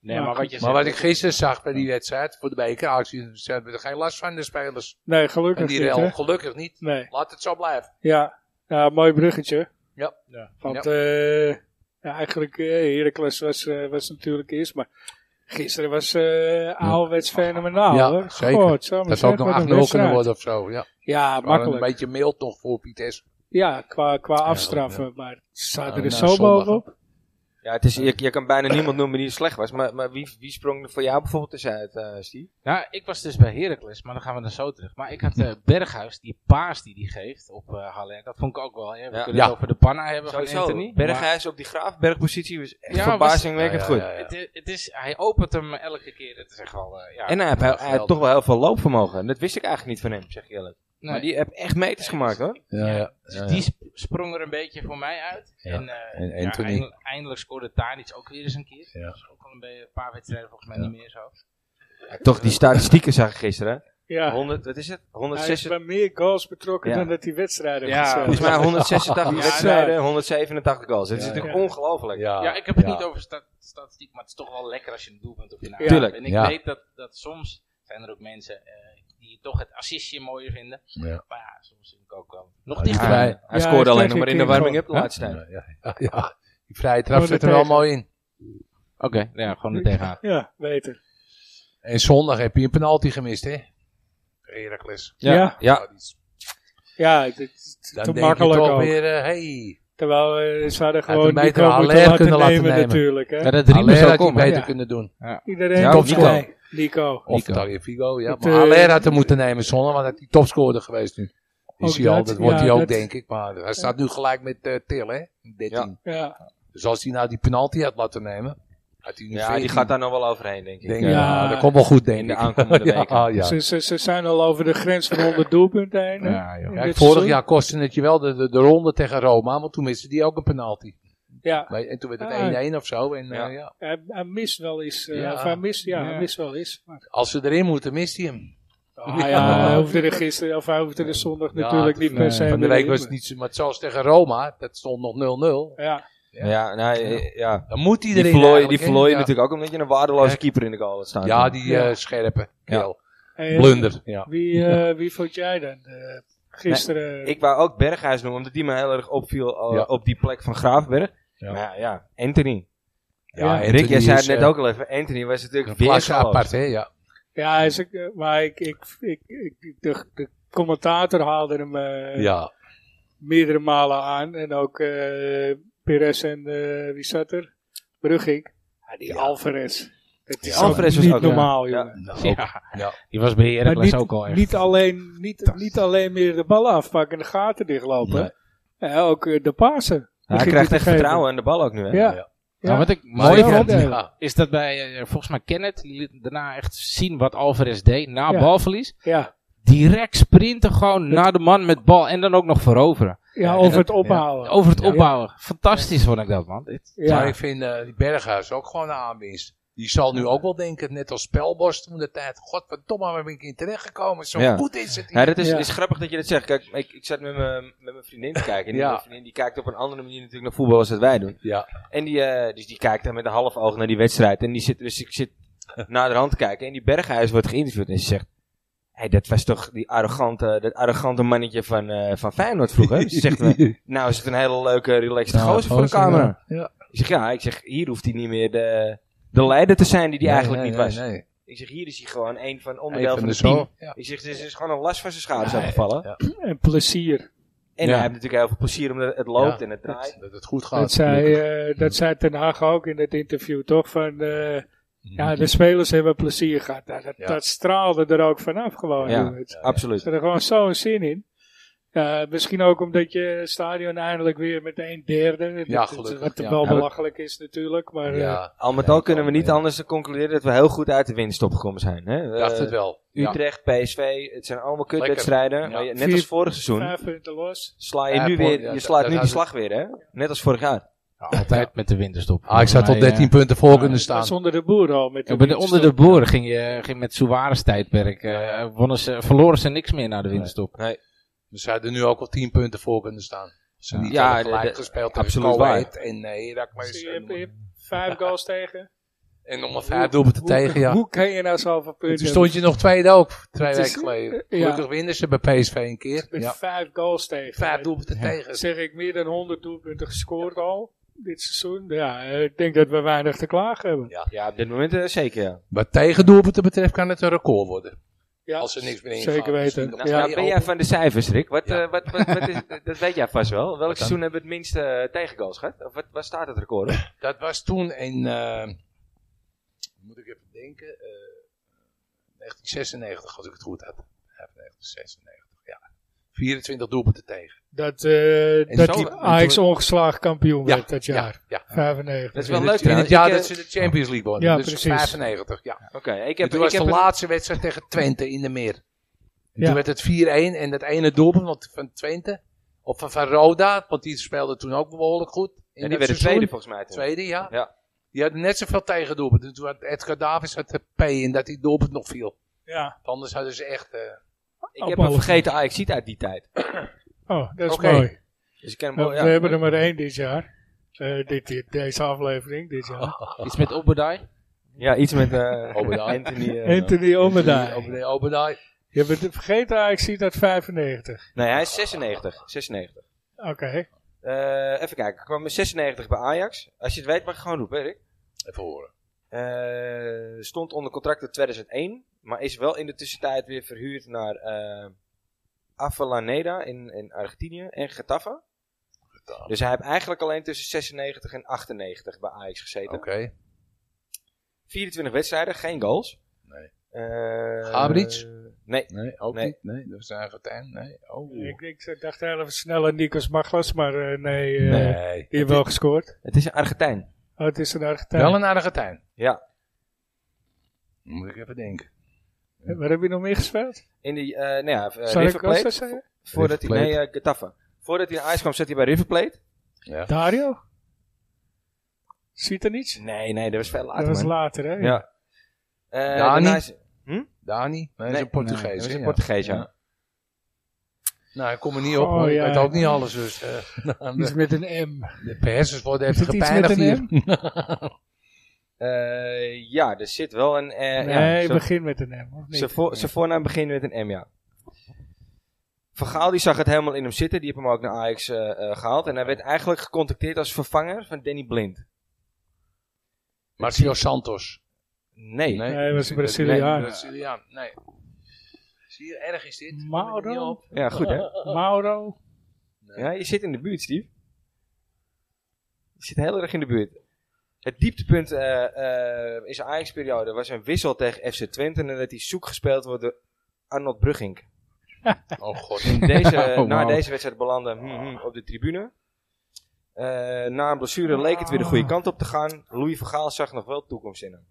Speaker 4: Nee,
Speaker 2: Ja,
Speaker 4: maar wat je
Speaker 3: Maar
Speaker 4: zegt.
Speaker 3: wat ik gisteren zag bij die wedstrijd, voor de bekeractie, ze hebben er geen last van de spelers.
Speaker 2: Nee,
Speaker 3: En
Speaker 2: gelukkig
Speaker 3: die
Speaker 2: niet. hè?
Speaker 3: rel, gelukkig niet.
Speaker 2: Nee.
Speaker 3: Laat het zo blijven.
Speaker 2: Ja, ja mooi bruggetje.
Speaker 3: Ja.
Speaker 4: Ja.
Speaker 2: Want eh, ja, eigenlijk, eh, Heracles was, eh, was natuurlijk eerst, maar gisteren was eh Aalwets fenomenaal.
Speaker 3: Ja,
Speaker 2: hoor.
Speaker 3: zeker.
Speaker 2: God, zo maar zeg,
Speaker 3: Dat zou ook
Speaker 2: wat
Speaker 3: nog 8-0
Speaker 2: een
Speaker 3: kunnen
Speaker 2: wedstrijd.
Speaker 3: worden of zo. Ja.
Speaker 2: Ja,
Speaker 3: Maar een
Speaker 2: makkelijk.
Speaker 3: beetje mild nog voor Pietes.
Speaker 2: Ja, qua, qua afstraffen, maar zaten
Speaker 3: Nou,
Speaker 2: er zo
Speaker 3: nou, zondag,
Speaker 2: bovenop.
Speaker 1: ja het is, je, je kan bijna niemand noemen die slecht was. Maar, maar wie, wie sprong er voor jou bijvoorbeeld tussenuit, eh Steve?
Speaker 4: Nou, ik was dus bij Heracles, maar dan gaan we naar zo terug. Maar ik had eh, Berghuis, die paas die die geeft op eh Haller. Dat vond ik ook wel. Hè. We
Speaker 1: Ja.
Speaker 4: kunnen
Speaker 3: Ja.
Speaker 4: het over de panna hebben van Anthony. maar
Speaker 1: Berghuis op die graafbergpositie was echt
Speaker 4: Ja, was-
Speaker 1: verbazingwekkend
Speaker 3: Ja, ja,
Speaker 1: goed.
Speaker 3: ja, ja.
Speaker 4: het, i- het is, hij opent hem elke keer. Het is echt wel, eh, ja.
Speaker 1: En hij heeft, hij heeft
Speaker 4: Geweldig.
Speaker 1: toch wel heel veel loopvermogen. En dat wist ik eigenlijk niet van hem, zeg ik eerlijk.
Speaker 4: Nee.
Speaker 1: Maar die heeft echt meters gemaakt hoor.
Speaker 4: Ja, ja.
Speaker 3: Dus
Speaker 4: Dus
Speaker 3: die-
Speaker 4: die sp- sprong er een beetje voor mij uit.
Speaker 3: Ja.
Speaker 4: En, eh,
Speaker 3: En
Speaker 4: ja,
Speaker 3: Anthony.
Speaker 4: eindelijk, eindelijk scoorde Tadic ook weer eens een keer.
Speaker 3: Ja.
Speaker 4: Dat is ook al een, beetje, een paar wedstrijden volgens mij
Speaker 3: Ja.
Speaker 4: niet meer zo.
Speaker 1: toch die statistieken zag ik gisteren. hè.
Speaker 2: Ja,
Speaker 1: 100, wat is het?
Speaker 2: hij is
Speaker 1: 186.
Speaker 2: bij meer goals betrokken
Speaker 1: Ja.
Speaker 2: dan dat hij wedstrijden
Speaker 4: Ja,
Speaker 2: heeft gespeeld.
Speaker 1: Volgens mij 186
Speaker 2: Ja,
Speaker 1: wedstrijden, 187 goals. Dat is
Speaker 3: Ja,
Speaker 1: natuurlijk
Speaker 2: ja.
Speaker 1: ongelooflijk.
Speaker 3: Ja,
Speaker 4: Ja, ik heb het
Speaker 3: Ah, ja.
Speaker 4: niet over sta- statistiek, maar het is toch wel lekker als je een doelpunt op je naam
Speaker 2: Ja.
Speaker 1: Tuurlijk,
Speaker 4: hebt. En ik
Speaker 3: ja.
Speaker 4: weet dat, dat soms zijn er ook mensen eh, die toch het assistje mooier vinden.
Speaker 3: Ja.
Speaker 4: Maar ja, soms vind ik ook wel nog
Speaker 3: Ja,
Speaker 4: dichterbij.
Speaker 3: ja.
Speaker 1: Hij,
Speaker 3: Ja,
Speaker 1: hij
Speaker 2: hij
Speaker 1: scoorde
Speaker 2: kreeg
Speaker 1: alleen nog maar
Speaker 2: een
Speaker 1: in de
Speaker 2: keer een
Speaker 1: warming-up
Speaker 2: goal.
Speaker 1: laatst. tijd.
Speaker 3: Ja, ja, ja, ja. Die vrije trap
Speaker 2: Gewoon
Speaker 3: zit
Speaker 2: er
Speaker 3: er wel
Speaker 2: tegen.
Speaker 3: mooi in.
Speaker 4: Oké, ja, gewoon er tegenaan.
Speaker 2: Ja, beter.
Speaker 3: En zondag heb je een penalty gemist, hè? Heracles.
Speaker 2: Ja.
Speaker 1: Ja. Ja.
Speaker 3: Nou, die-
Speaker 2: Ja, het is
Speaker 3: Dan
Speaker 2: te
Speaker 3: denk je
Speaker 2: makkelijk
Speaker 3: toch
Speaker 2: ook.
Speaker 3: weer, eh, hey.
Speaker 2: Terwijl eh, ze hadden gewoon
Speaker 3: hem
Speaker 2: die
Speaker 3: beter
Speaker 2: goal
Speaker 3: aan
Speaker 2: moeten
Speaker 3: Haller
Speaker 2: laten,
Speaker 3: kunnen laten
Speaker 2: nemen,
Speaker 3: nemen.
Speaker 2: natuurlijk. Hè?
Speaker 4: Ja, dat
Speaker 3: Haller
Speaker 4: Riemers
Speaker 3: had
Speaker 4: zou
Speaker 3: hij
Speaker 4: komen.
Speaker 3: beter
Speaker 2: Ja.
Speaker 3: kunnen doen.
Speaker 2: Iedereen
Speaker 1: Ja,
Speaker 2: ja,
Speaker 1: of Nico.
Speaker 2: Nico.
Speaker 3: Of Talia Figo, ja.
Speaker 2: Het,
Speaker 3: Maar
Speaker 2: eh,
Speaker 3: Haller had hem moeten nemen zonder, want hij is topscorer geweest nu. Is
Speaker 2: Ook
Speaker 3: hij al,
Speaker 2: dat,
Speaker 3: dat wordt
Speaker 2: ja,
Speaker 3: hij ook,
Speaker 2: dat-
Speaker 3: denk ik. Maar hij staat nu gelijk met eh Til, hè? 13.
Speaker 2: Ja,
Speaker 3: Dus als hij nou die penalty had laten nemen, had hij nu
Speaker 1: Ja, die
Speaker 3: 14.
Speaker 1: gaat daar nog wel overheen, denk ik.
Speaker 3: Denk,
Speaker 2: Ja.
Speaker 3: ja. dat komt wel goed, denk ik.
Speaker 1: In de aankomende
Speaker 3: ja,
Speaker 1: weken.
Speaker 3: ah, ja.
Speaker 2: Ze, ze, ze zijn al over de grens van 100 doelpunten heen. hè?
Speaker 4: Ja, joh.
Speaker 2: In
Speaker 3: Kijk,
Speaker 2: dit
Speaker 3: vorig
Speaker 2: seizoen.
Speaker 3: jaar kostte het je wel de, de, de ronde tegen Roma, want toen miste die ook een penalty.
Speaker 2: Ja,
Speaker 3: Weet je, En toen werd het
Speaker 2: Ah.
Speaker 3: 1-1 of zo. En,
Speaker 1: Ja.
Speaker 3: eh, ja.
Speaker 2: hij, hij mist wel eens. eh,
Speaker 3: Ja.
Speaker 2: Of hij mist, ja,
Speaker 4: Ja.
Speaker 2: hij mist wel eens. Maar,
Speaker 3: Als ze erin moeten, mist hij hem.
Speaker 2: ah, ja, hij hoefde er gisteren, of hij hoefde er zondag
Speaker 3: Ja,
Speaker 2: natuurlijk
Speaker 3: het- eh,
Speaker 2: niet per se.
Speaker 3: Van de
Speaker 2: meer
Speaker 3: week
Speaker 2: in,
Speaker 3: was het niet zo, maar zoals tegen Roma, dat stond nog 0-0.
Speaker 2: maar- Ja,
Speaker 1: Ja, nou, eh, ja.
Speaker 3: Dan moet hij
Speaker 1: Die
Speaker 3: erin.
Speaker 1: verloor je, die
Speaker 3: eigenlijk, hè?
Speaker 1: verloor je
Speaker 3: Ja.
Speaker 1: natuurlijk ook omdat je een waardeloze
Speaker 3: Kijk.
Speaker 1: keeper in de goal had staan.
Speaker 3: Ja, die eh
Speaker 2: Ja.
Speaker 3: scherpe. kerel.
Speaker 2: En
Speaker 3: Blunder. Ja.
Speaker 2: Wie, eh, wie vond jij dan eh, gisteren?
Speaker 1: Ik wou ook Berghuis noemen, omdat die me heel erg opviel eh,
Speaker 3: Ja.
Speaker 1: op die plek van Graafberg.
Speaker 3: Ja.
Speaker 1: Maar ja, Anthony.
Speaker 2: Ja,
Speaker 1: Rick, jij zei het
Speaker 3: is,
Speaker 1: net
Speaker 3: eh,
Speaker 1: ook al even. Anthony was
Speaker 3: Een
Speaker 1: natuurlijk weer
Speaker 3: klasse
Speaker 1: zo apart.
Speaker 3: apart, hè? Ja.
Speaker 2: ja, hij is, ook, eh, maar ik, ik, ik, ik- de, de commentator haalde hem eh,
Speaker 3: ja.
Speaker 2: meerdere malen aan. En ook eh Perez en eh, wie zat er? Brugging. Ja, die Alvarez. Dat is
Speaker 1: Ja, Alvarez
Speaker 2: ook
Speaker 1: was
Speaker 2: niet
Speaker 1: ook, ja.
Speaker 2: normaal,
Speaker 1: Ja.
Speaker 2: jongen.
Speaker 4: Ja,
Speaker 3: Ja.
Speaker 4: die was bij
Speaker 2: Maar
Speaker 4: Heracles
Speaker 2: niet,
Speaker 4: ook al echt.
Speaker 2: niet, alleen, niet, niet alleen meer de ballen afpakken en de gaten dichtlopen. Ja, ook eh, de Pasen.
Speaker 1: Hij krijgt echt vertrouwen aan de bal ook nu, hè?
Speaker 2: Ja.
Speaker 3: Ja.
Speaker 4: Nou, wat ik
Speaker 3: Maar
Speaker 4: mooi
Speaker 2: ja,
Speaker 4: vond,
Speaker 2: ja.
Speaker 3: ja.
Speaker 4: is dat bij, eh, volgens mij Kenneth, die liet daarna echt zien wat Alvarez deed na
Speaker 2: Ja.
Speaker 4: balverlies.
Speaker 2: Ja,
Speaker 4: Direct sprinten gewoon naar de man met bal en dan ook nog veroveren.
Speaker 2: ja over het ophalen.
Speaker 4: Over het
Speaker 2: Ja.
Speaker 4: opbouwen. Fantastisch vond ik dat, man.
Speaker 2: Ja.
Speaker 3: Maar ik vind eh, die Berghuis ook gewoon een aanwinst. Die zal nu ook wel denken, net als Spelbos toen de tijd. Godverdomme, waar ben ik in terechtgekomen? Zo
Speaker 1: Ja.
Speaker 3: goed is het hier.
Speaker 1: Ja, Nou, dat is,
Speaker 2: Ja.
Speaker 1: is grappig dat je dat zegt. Kijk, ik, ik zat met mijn met mijn vriendin te kijken. En die-
Speaker 3: Ja.
Speaker 1: mijn vriendin die kijkt op een andere manier natuurlijk naar voetbal als dat wij doen.
Speaker 3: Ja.
Speaker 1: En die, eh, dus die kijkt dan met een half oog naar die wedstrijd. En die zit, dus ik zit naar de hand te kijken. En die Berghuis wordt geïnterviewd. En ze zegt, hey, dat was toch die arrogante, dat arrogante mannetje van, eh, van Feyenoord vroeger. ze zegt, nou is het een hele leuke, relaxed
Speaker 3: Ja,
Speaker 1: gozer voor de
Speaker 3: gozer,
Speaker 1: camera.
Speaker 3: ja.
Speaker 1: Ik zeg, ja, ik zeg, hier hoeft hij niet meer de, de leider te zijn die hij
Speaker 3: Nee,
Speaker 1: eigenlijk
Speaker 3: nee,
Speaker 1: niet
Speaker 3: nee,
Speaker 1: was.
Speaker 3: nee.
Speaker 1: Ik zeg, hier is hij gewoon een van
Speaker 3: Even
Speaker 1: onderdeel van
Speaker 3: de
Speaker 1: het team.
Speaker 3: zo. Ja.
Speaker 1: Ik zeg, er is, er is gewoon een last van zijn schouders afgevallen.
Speaker 3: ja.
Speaker 2: En plezier.
Speaker 1: En
Speaker 3: Ja.
Speaker 1: hij heeft natuurlijk heel veel plezier omdat het loopt
Speaker 3: Ja.
Speaker 1: en het draait.
Speaker 3: Dat het goed gaat.
Speaker 2: Dat zei,
Speaker 3: gelukkig.
Speaker 2: eh, dat zei Ten Hag ook in het interview, toch? Van, eh, ja, de spelers hebben plezier gehad. Nou, dat,
Speaker 3: Ja.
Speaker 2: dat straalde er ook vanaf gewoon.
Speaker 1: Ja.
Speaker 2: jongen.
Speaker 1: Absoluut.
Speaker 2: Ze hadden gewoon zo'n zin in. Ja, misschien ook omdat je het stadion eindelijk weer met een derde.
Speaker 3: Ja,
Speaker 2: dat-
Speaker 3: gelukkig,
Speaker 2: Wat
Speaker 3: ja.
Speaker 2: wel
Speaker 1: Ja, dat-
Speaker 2: belachelijk is natuurlijk. Maar eh,
Speaker 3: Ja,
Speaker 1: Al met
Speaker 3: Nee,
Speaker 1: al kunnen we
Speaker 3: kan,
Speaker 1: niet
Speaker 3: nee.
Speaker 1: anders dan concluderen dat we heel goed uit de winst opgekomen zijn. Hè?
Speaker 3: ik dacht
Speaker 1: Eh,
Speaker 3: het wel. Ja.
Speaker 1: Utrecht, PSV, het zijn allemaal kutwedstrijden.
Speaker 3: Lekker.
Speaker 1: maar je-
Speaker 2: Ja.
Speaker 1: Net als
Speaker 2: Vier-
Speaker 1: vorig seizoen
Speaker 2: vijf punten los.
Speaker 1: sla je
Speaker 3: Ja,
Speaker 1: nu
Speaker 3: mooi,
Speaker 1: weer,
Speaker 3: ja,
Speaker 1: je
Speaker 3: dat-
Speaker 1: slaat
Speaker 3: dat
Speaker 1: nu die
Speaker 3: had-
Speaker 1: slag weer hè. Net als vorig jaar.
Speaker 4: Nou, Altijd met de winterstop.
Speaker 3: Ah, ik zou tot
Speaker 4: Maar, eh,
Speaker 3: 13 punten voor kunnen
Speaker 2: Dat
Speaker 3: staan.
Speaker 2: is onder de boer al. Met de
Speaker 4: ja, bij de-
Speaker 2: winst
Speaker 4: onder de
Speaker 2: op.
Speaker 4: boeren ging, je, ging met Suarez tijdperk. eh, wonnen ze, verloren ze niks meer na de winterstop.
Speaker 3: We zouden nu ook al 10 punten voor kunnen staan. Als Ze niet
Speaker 1: Ja,
Speaker 3: ja,
Speaker 1: de-
Speaker 3: gelijk
Speaker 1: de-
Speaker 3: gespeeld tegen
Speaker 1: absoluut waar.
Speaker 3: Coët en eh, Heracles.
Speaker 2: Dus je, hebt, je
Speaker 3: en-
Speaker 2: hebt vijf goals tegen.
Speaker 3: En nog maar 5 doelpunten
Speaker 2: Hoe-
Speaker 3: tegen, ja.
Speaker 2: Hoe kan je nou zoveel punten
Speaker 3: Toen stond je nog tweede ook, twee
Speaker 2: Het is-
Speaker 3: weken geleden.
Speaker 2: eh, ja.
Speaker 3: Gelukkig winnen ze bij PSV een keer.
Speaker 2: met
Speaker 3: Ja.
Speaker 2: vijf goals tegen?
Speaker 3: Vijf doelpunten
Speaker 2: Dan
Speaker 3: tegen.
Speaker 2: zeg ik meer dan 100 doelpunten gescoord al dit seizoen. Ja, eh, ik denk dat we weinig te klagen hebben.
Speaker 1: Ja, op dit moment eh, zeker ja.
Speaker 3: Wat tegendoelpunten betreft kan het een record worden.
Speaker 2: Ja,
Speaker 3: Als er niks meer in
Speaker 2: Zeker weten.
Speaker 1: Nou,
Speaker 2: Ja,
Speaker 1: nou, ben jij van de cijfers, Rick? Wat,
Speaker 3: Ja.
Speaker 1: eh, wat, wat, wat is, dat weet jij vast wel. Welk
Speaker 3: dan?
Speaker 1: seizoen hebben we het minste eh, tegengoals gehad? Of wat, waar staat het record? op?
Speaker 3: Dat was toen in, eh, moet ik even denken, eh, 1996 als ik het goed heb. Ja, 1996, ja. 24 doelpunten tegen.
Speaker 2: Dat, eh
Speaker 3: En
Speaker 2: dat
Speaker 3: zo-
Speaker 2: die
Speaker 3: en toen-
Speaker 2: Ajax ongeslagen kampioen
Speaker 3: Ja,
Speaker 2: werd dat jaar.
Speaker 3: Ja, ja.
Speaker 2: 95.
Speaker 1: Dat is wel
Speaker 3: In
Speaker 1: leuk
Speaker 3: het, in het
Speaker 1: trouwens.
Speaker 3: jaar
Speaker 1: Ik,
Speaker 3: dat
Speaker 1: eh,
Speaker 3: ze de Champions League wonnen.
Speaker 2: Ja,
Speaker 3: dus
Speaker 2: precies.
Speaker 3: 95, ja.
Speaker 1: Oké, ik
Speaker 3: En
Speaker 1: heb,
Speaker 3: toen
Speaker 1: ik
Speaker 3: was
Speaker 1: heb
Speaker 3: de
Speaker 1: een-
Speaker 3: laatste wedstrijd tegen Twente in de meer. En
Speaker 2: Ja.
Speaker 3: toen werd het 4-1 en dat ene doelpunt want van Twente, of van, van Roda, want die speelde toen ook behoorlijk goed. In
Speaker 1: ja, die
Speaker 3: dat
Speaker 1: werden
Speaker 3: seizoen.
Speaker 1: tweede volgens mij. toen.
Speaker 3: Tweede, ja.
Speaker 1: Ja.
Speaker 3: Die hadden net zoveel tegendoelpunten. Dus Toen had Edgar Davis had de P in dat die doelpunt nog viel.
Speaker 2: Ja.
Speaker 3: Want Anders hadden ze echt... eh,
Speaker 1: Ik heb een
Speaker 2: Appallig.
Speaker 1: vergeten Ajax uit die tijd.
Speaker 2: Oh, dat is
Speaker 1: Oké.
Speaker 2: mooi.
Speaker 1: Dus ik ken hem
Speaker 2: Nou,
Speaker 3: Oh,
Speaker 1: wel, ja.
Speaker 2: We hebben er maar één dit jaar. Eh, dit, dit- deze aflevering dit
Speaker 3: Oh.
Speaker 2: jaar.
Speaker 4: Iets met Obadai.
Speaker 1: Ja, iets met eh
Speaker 3: Obadai.
Speaker 1: Anthony. eh,
Speaker 2: Anthony Omeda.
Speaker 3: Obadai, Obadai.
Speaker 2: Je bent het vergeten, Ajax ziet uit 95.
Speaker 1: nee, hij is 96. 96.
Speaker 2: Oké.
Speaker 1: Eh, even kijken, ik kwam in 96 bij Ajax. Als je het weet mag je gewoon roepen, Rick.
Speaker 3: Even horen.
Speaker 1: Eh, stond onder contract tot 2001, maar is wel in de tussentijd weer verhuurd naar eh Avellaneda in, in Argentinië en Getafe.
Speaker 3: Getafe.
Speaker 1: Dus hij heeft eigenlijk alleen tussen 96 en 98 bij Ajax gezeten.
Speaker 3: Oké.
Speaker 1: 24 wedstrijden, geen goals.
Speaker 3: Nee.
Speaker 1: Eh,
Speaker 3: Gabrits?
Speaker 1: Nee.
Speaker 3: Nee, ook
Speaker 1: Nee.
Speaker 3: niet. Nee, dat is eigenlijk het eind. Nee. Oh.
Speaker 2: Ik, ik dacht heel even snel aan Nikos Maglas, maar eh, nee, eh,
Speaker 3: nee.
Speaker 2: die heeft wel gescoord.
Speaker 1: Het is een Argentijn.
Speaker 2: Oh, het is een Argentijn.
Speaker 3: Wel een Argentijn.
Speaker 1: Ja.
Speaker 3: Moet ik even denken.
Speaker 2: Eh, Waar heb je nog meer gespeeld?
Speaker 1: In die, eh nou ja, eh,
Speaker 2: Zou
Speaker 1: River
Speaker 2: ik Costa
Speaker 1: Plate.
Speaker 2: zeggen?
Speaker 1: Voordat hij,
Speaker 3: River
Speaker 1: nee,
Speaker 3: Plate.
Speaker 1: eh, Getafe. Voordat hij naar Ajax kwam, zat hij bij River Plate.
Speaker 3: Ja.
Speaker 2: Dario? Ziet er niets?
Speaker 1: Nee, nee, dat was veel later.
Speaker 2: dat was
Speaker 1: man.
Speaker 2: later, hè?
Speaker 1: Ja. Eh,
Speaker 3: Dani?
Speaker 1: daarna is-
Speaker 3: Dani? Nee, dat is
Speaker 1: Nee,
Speaker 3: een Portugees.
Speaker 1: dat is
Speaker 3: hè,
Speaker 1: een
Speaker 3: ja.
Speaker 1: Portugees, ja.
Speaker 3: Nou, ik kom er niet op.
Speaker 2: Oh,
Speaker 3: want
Speaker 2: ja.
Speaker 3: Ik weet ook niet alles. Dus, eh,
Speaker 2: Iets met een M.
Speaker 3: de persers worden
Speaker 2: Is
Speaker 3: even
Speaker 2: het iets met
Speaker 3: gepijnigd hier.
Speaker 2: een M?
Speaker 1: Eh, ja, er zit wel een... eh, ja,
Speaker 2: nee,
Speaker 1: zo-
Speaker 2: begin met een M. Of niet?
Speaker 1: Zijn, voor, zijn voornaam begint met een M, ja. Van Gaal die zag het helemaal in hem zitten. Die heeft hem ook naar Ajax eh, eh, gehaald. En hij werd eigenlijk gecontacteerd als vervanger van Danny Blind.
Speaker 3: Marcio Santos.
Speaker 1: Nee.
Speaker 2: Nee, hij was een
Speaker 3: dat-
Speaker 2: Braziliaan.
Speaker 3: Nee, Braziliaan, nee. Zie je, erg is dit. Kom er niet
Speaker 2: Mauro?
Speaker 3: op.
Speaker 1: Ja, goed hè.
Speaker 2: Mauro?
Speaker 1: Ja, je zit in de buurt, Steve. Je zit heel erg in de buurt. Het dieptepunt eh, eh, in zijn Ajax-periode was een wissel tegen FC Twente. En dat hij zoek gespeeld wordt door Arnold Brugging.
Speaker 3: Oh god.
Speaker 1: Deze,
Speaker 3: Oh,
Speaker 1: Na
Speaker 3: wauw.
Speaker 1: deze wedstrijd belandde hmm, hmm, op de tribune. Eh, na een blessure leek het weer de goede
Speaker 2: Ah.
Speaker 1: kant op te gaan. Louis van Gaal zag nog wel toekomst in hem.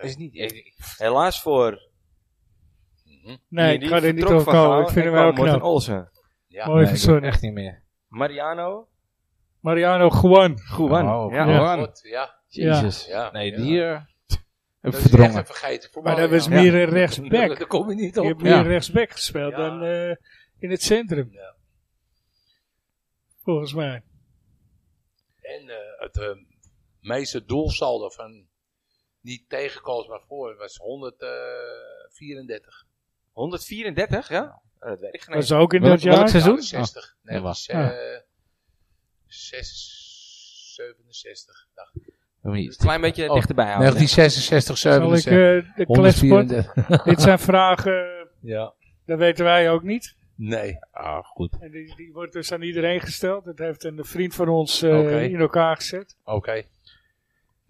Speaker 4: Is niet, ik-
Speaker 1: Helaas voor...
Speaker 2: Nee,
Speaker 1: die
Speaker 2: ik ga er niet
Speaker 1: vertrok
Speaker 2: over
Speaker 1: Van Gaal
Speaker 2: komen. Ik vind
Speaker 1: en
Speaker 2: hem wel
Speaker 1: kwam Morten
Speaker 2: knap.
Speaker 1: Olsen.
Speaker 2: Mooi
Speaker 3: Ja.
Speaker 4: nee, ik doe het
Speaker 2: verzonnen.
Speaker 4: echt niet meer.
Speaker 1: Mariano.
Speaker 2: Ah, Mariano Juan.
Speaker 1: Guan.
Speaker 4: Oh,
Speaker 1: ja.
Speaker 4: ja.
Speaker 3: God, ja.
Speaker 4: Jezus.
Speaker 3: Ja.
Speaker 4: Nee,
Speaker 3: Ja.
Speaker 4: die eh, heb
Speaker 3: Dat
Speaker 4: ik
Speaker 3: is echt
Speaker 4: verdrongen.
Speaker 3: een vergeten. voetbal,
Speaker 2: Maar dat was
Speaker 3: ja.
Speaker 2: meer een
Speaker 3: Ja,
Speaker 2: rechtsback.
Speaker 3: Daar kom je niet
Speaker 2: Je
Speaker 3: op.
Speaker 2: hebt meer
Speaker 4: Ja.
Speaker 2: rechtsback gespeeld
Speaker 3: Ja.
Speaker 2: dan eh, in het centrum.
Speaker 3: Ja.
Speaker 2: Volgens mij.
Speaker 3: En eh, het eh, meeste doelsaldo van niet tegenkoos maar voor was eh, 134.
Speaker 1: 134, ja? Oh, dat weet ik geen
Speaker 2: Dat
Speaker 1: eens.
Speaker 2: was ook in
Speaker 4: Welk-
Speaker 2: dat jaar.
Speaker 4: welk seizoen?
Speaker 3: Nou, 60.
Speaker 4: Oh, ja,
Speaker 3: Nee, eh,
Speaker 4: wacht.
Speaker 2: Ja.
Speaker 3: 6, 67. dacht ik.
Speaker 1: Een klein beetje
Speaker 3: Oh,
Speaker 1: dichterbij houden.
Speaker 3: 1966,
Speaker 2: Zal ik
Speaker 3: 67.
Speaker 2: eh, de kletspot?
Speaker 3: 134.
Speaker 2: Dit zijn vragen,
Speaker 3: Ja.
Speaker 2: dat weten wij ook niet.
Speaker 3: Nee.
Speaker 4: Ah, goed.
Speaker 2: En die, die wordt dus aan iedereen gesteld. Dat heeft een vriend van ons eh,
Speaker 3: Oké.
Speaker 2: in elkaar gezet.
Speaker 3: Oké. Ik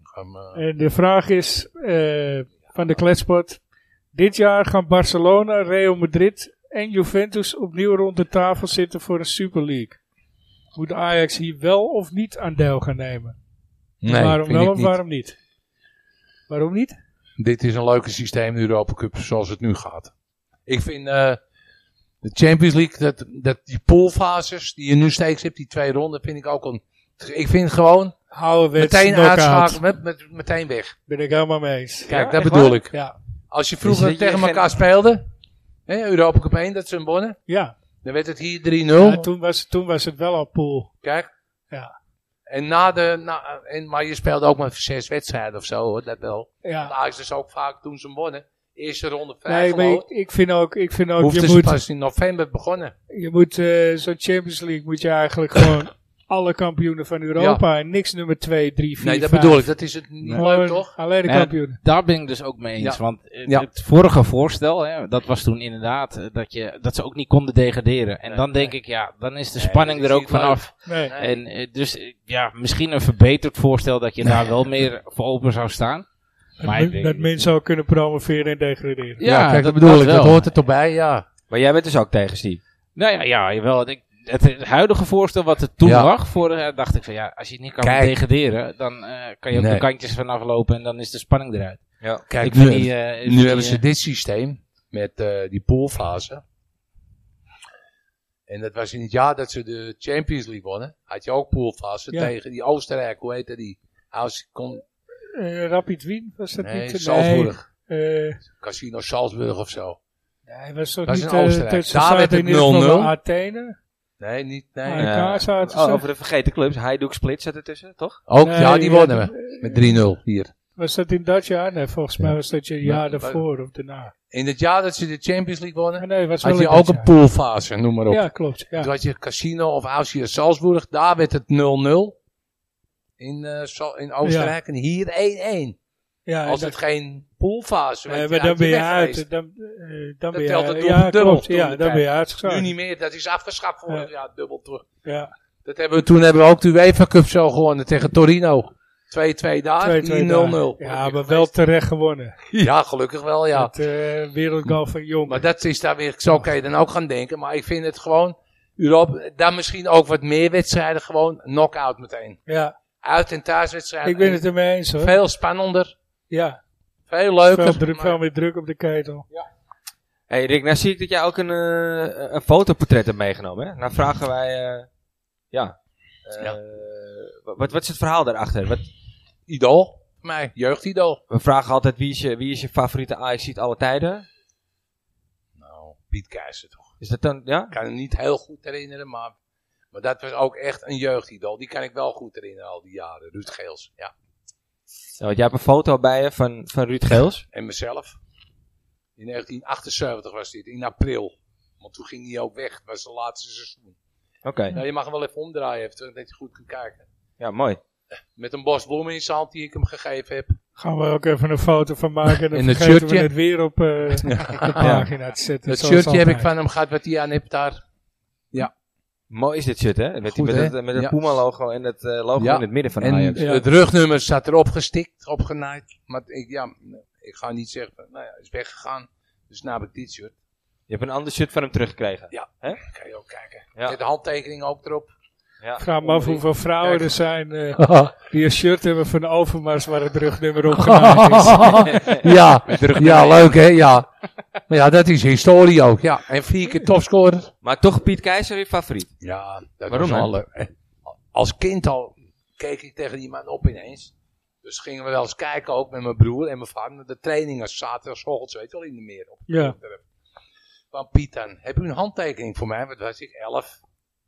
Speaker 3: ga hem, eh,
Speaker 2: En de vraag is eh, van de kletspot. Dit jaar gaan Barcelona, Real Madrid en Juventus opnieuw rond de tafel zitten voor een Super League. Moet Ajax hier wel of niet aan deel gaan nemen?
Speaker 3: Nee,
Speaker 2: waarom
Speaker 3: vind
Speaker 2: wel
Speaker 3: ik
Speaker 2: of
Speaker 3: niet.
Speaker 2: waarom niet? Waarom niet?
Speaker 3: Dit is een leuke systeem, de Europa Cup, zoals het nu gaat. Ik vind eh, de Champions League, dat, dat die poolfases die je nu steeds hebt, die twee ronden, vind ik ook een... Ik vind gewoon
Speaker 2: Ouderwets
Speaker 3: meteen
Speaker 2: knock-out.
Speaker 3: uitschakelen, met, met, meteen weg.
Speaker 2: Ben ik helemaal mee eens.
Speaker 3: Kijk,
Speaker 1: Ja,
Speaker 3: dat
Speaker 1: echt
Speaker 3: bedoel
Speaker 1: waar?
Speaker 3: ik.
Speaker 2: Ja,
Speaker 3: Als je
Speaker 1: Dus
Speaker 3: vroeger
Speaker 1: dat je
Speaker 3: tegen
Speaker 1: geen-
Speaker 3: elkaar speelde, hè, Europa Cup 1, dat ze hem wonnen,
Speaker 2: ja.
Speaker 3: dan werd het hier 3-0.
Speaker 2: ja toen, was, toen was het wel al pool.
Speaker 3: Kijk.
Speaker 2: Ja.
Speaker 3: En na de, na, en, maar je speelde ook maar zes wedstrijden of zo, hoor, dat wel. Want
Speaker 2: Ja.
Speaker 3: Ajax is ook vaak toen ze hem wonnen. Eerste ronde
Speaker 2: Nee,
Speaker 3: vijf
Speaker 2: maar ik, ik vind ook, ik vind ook je
Speaker 3: Hoefde ze
Speaker 2: moet,
Speaker 3: dus pas in november begonnen.
Speaker 2: Je moet eh, zo'n Champions League moet je eigenlijk gewoon alle kampioenen van Europa en niks nummer 2, 3, 4.
Speaker 3: Nee, dat bedoel ik. Dat is het niet leuk, toch?
Speaker 2: Alleen de
Speaker 4: Ja.
Speaker 2: kampioenen.
Speaker 4: Daar ben ik dus ook mee eens.
Speaker 3: Ja.
Speaker 4: Want eh,
Speaker 3: Ja.
Speaker 4: het vorige voorstel, hè, dat was toen inderdaad eh, dat, je, dat ze ook niet konden degraderen. En
Speaker 3: Nee,
Speaker 4: dan denk ik, ja, dan is de
Speaker 3: Nee,
Speaker 4: spanning
Speaker 3: dat is
Speaker 4: er ook
Speaker 3: niet leuk.
Speaker 4: vanaf.
Speaker 2: Nee.
Speaker 3: Nee.
Speaker 4: En eh, dus eh, ja, misschien een verbeterd voorstel dat je daar wel meer voor open zou staan. Maar ik
Speaker 2: Dat, men-
Speaker 4: denk-
Speaker 2: dat mensen ook kunnen promoveren en degraderen.
Speaker 4: Ja, dat- dat wel.
Speaker 3: er toch bij, ja.
Speaker 1: Maar jij bent dus ook tegen Steve.
Speaker 4: Nou ja, ja jawel. Ik, het, het huidige voorstel wat er toen
Speaker 3: Ja.
Speaker 4: lag, vorig jaar, dacht ik van ja, als je het niet kan
Speaker 3: Kijk.
Speaker 4: degraderen, dan eh, kan je ook
Speaker 3: Nee.
Speaker 4: de kantjes vanaf lopen en dan is de spanning eruit.
Speaker 1: Ja.
Speaker 3: Kijk,
Speaker 4: ik
Speaker 3: nu,
Speaker 4: vind die, eh,
Speaker 3: nu
Speaker 4: vind die,
Speaker 3: hebben
Speaker 4: eh,
Speaker 3: ze dit systeem met eh, die poolfase. En dat was in het jaar dat ze de Champions League wonnen. Had je ook poolfase
Speaker 2: Ja.
Speaker 3: tegen die Oostenrijk, hoe heette die? Aus- kon-
Speaker 2: Eh, Rapid Wien was dat
Speaker 3: nee,
Speaker 2: niet?
Speaker 3: Salzburg.
Speaker 2: Nee, eh,
Speaker 3: Casino Salzburg of zo.
Speaker 2: nee, was dat
Speaker 3: Dat is
Speaker 2: niet
Speaker 3: in
Speaker 2: eh,
Speaker 3: Oostenrijk.
Speaker 2: dat ze
Speaker 3: Daar
Speaker 2: zaten
Speaker 3: werd het
Speaker 2: in ieder geval
Speaker 3: 0-0.
Speaker 2: bij Athene?
Speaker 3: Nee, niet. Nee.
Speaker 2: Nee. elkaar zaten ze.
Speaker 1: Oh, over de vergeten clubs. Hajduk Split zat ertussen, toch?
Speaker 3: Ook,
Speaker 2: Nee,
Speaker 3: ja, die
Speaker 2: ja,
Speaker 3: wonnen
Speaker 2: dat-
Speaker 3: we. Met 3-0 hier.
Speaker 2: Was dat in dat jaar? Nee, volgens mij was dat je jaar
Speaker 3: Nee,
Speaker 2: daarvoor of daarna. Ah,
Speaker 3: In het jaar dat ze de Champions League wonnen,
Speaker 2: Nee, was wel
Speaker 3: had je
Speaker 2: in dat
Speaker 3: ook een
Speaker 2: jaar.
Speaker 3: poolfase, noem maar op.
Speaker 2: Ja, klopt. Ja.
Speaker 3: Toen had je Casino of Austria Salzburg, daar werd het 0-0. In, eh, Sal- in Oostenrijk en hier 1-1.
Speaker 2: Ja, en
Speaker 3: Als
Speaker 2: dat-
Speaker 3: het geen poolfase
Speaker 2: nee,
Speaker 3: werd,
Speaker 2: Eh, maar dan ben je
Speaker 3: weg
Speaker 2: uit.
Speaker 3: geweest.
Speaker 2: Dan, eh, dan
Speaker 3: Dat
Speaker 2: ben je
Speaker 3: telt het
Speaker 2: uit.
Speaker 3: doel
Speaker 2: Ja,
Speaker 3: dubbel
Speaker 2: klopt.
Speaker 3: toen
Speaker 2: Ja,
Speaker 3: de
Speaker 2: dan ben je
Speaker 3: tijd.
Speaker 2: uitgeschakeld.
Speaker 3: Nu niet meer, dat is afgeschaft vorig
Speaker 2: Ja.
Speaker 3: jaar, dubbel terug.
Speaker 2: Ja,
Speaker 3: Dat hebben we, toen hebben we ook de UEFA Cup zo gewonnen tegen Torino. 2-2 daar,
Speaker 2: 2-2
Speaker 3: hier 0-0.
Speaker 2: Ja, maar wel terecht gewonnen.
Speaker 3: Ja, gelukkig wel, ja.
Speaker 2: Het eh wereldgoal van Jong.
Speaker 3: Maar dat is daar weer, zo kan je dan ook gaan denken. Maar ik vind het gewoon, Europa, daar misschien ook wat meer wedstrijden, gewoon knock-out meteen.
Speaker 2: ja,
Speaker 3: Uit- en thuiswedstrijden.
Speaker 2: ik ben het ermee eens hoor.
Speaker 3: Veel spannender,
Speaker 2: ja,
Speaker 3: veel
Speaker 2: veel,
Speaker 3: leuker.
Speaker 2: druk,
Speaker 3: maar-
Speaker 2: veel meer druk op de ketel.
Speaker 1: Hé hey Rick, nou zie ik dat jij ook een, eh, een fotoportret hebt meegenomen. Hè? Nou vragen wij, eh, ja, eh,
Speaker 3: Ja.
Speaker 1: wa- Wat, wat is het verhaal daarachter? Wat,
Speaker 3: Idool, voor mij, jeugdidool.
Speaker 1: we vragen altijd wie is je, wie is je favoriete ajax alle tijden?
Speaker 3: Nou, Piet Keizer toch.
Speaker 1: Is dat dan, ja?
Speaker 3: Ik kan hem niet heel goed herinneren, maar, maar dat was ook echt een jeugdidool. Die kan ik wel goed herinneren al die jaren. Ruud Geels, ja.
Speaker 1: Ja, want jij hebt een foto bij je van, van Ruud Geels.
Speaker 3: En mezelf. In 1978 was dit, in april. Want toen ging hij ook weg. Het was het laatste seizoen.
Speaker 1: Oké,
Speaker 3: Nou, je mag hem wel even omdraaien, even, zodat je goed kunt kijken.
Speaker 1: ja mooi.
Speaker 3: Met een bos bloemen in zijn hand die ik hem gegeven heb.
Speaker 2: Gaan we ook even een foto van maken en dan
Speaker 3: En het
Speaker 2: vergeten we
Speaker 3: shirtje.
Speaker 2: het weer op eh, de pagina te zetten.
Speaker 3: Dat
Speaker 2: zoals
Speaker 3: shirtje heb ik
Speaker 2: altijd.
Speaker 3: van hem gehad, wat hij aan heeft daar.
Speaker 1: Mooi is dit shirt, hè? Met, die-
Speaker 3: Goed,
Speaker 1: met,
Speaker 3: hè?
Speaker 1: Het, met het
Speaker 3: Ja.
Speaker 1: Puma-logo en het eh, logo
Speaker 3: Ja.
Speaker 1: in het midden van
Speaker 3: En
Speaker 1: Ajax.
Speaker 2: Ja.
Speaker 3: het rugnummer staat erop gestikt, opgenaaid. Maar ik, ja, ik ga niet zeggen, van, nou ja, is weggegaan. Dus nu heb ik dit shirt.
Speaker 1: Je hebt een ander shirt van hem teruggekregen.
Speaker 3: Dan kan je ook kijken.
Speaker 1: Ja.
Speaker 3: Met de handtekening ook erop.
Speaker 1: Ja.
Speaker 2: Ik vraag me af hoeveel vrouwen er zijn eh, die een shirt hebben van Overmars waar het rugnummer op genaaid is.
Speaker 3: ja, ja, leuk hè, ja. Maar ja, dat is historie ook, ja. En vier keer topscorer.
Speaker 1: Maar toch Piet Keizer je favoriet.
Speaker 3: Ja, dat
Speaker 1: Waarom,
Speaker 3: was
Speaker 1: hè?
Speaker 3: wel leuk. hè. Als kind al keek ik tegen die man op ineens. Dus gingen we wel eens kijken, ook met mijn broer en mijn vader. De trainingen zaterdagochtends, weet je wel, in de meer. Op
Speaker 2: Ja.
Speaker 3: Van Piet dan, heb u een handtekening voor mij? Wat was ik, elf?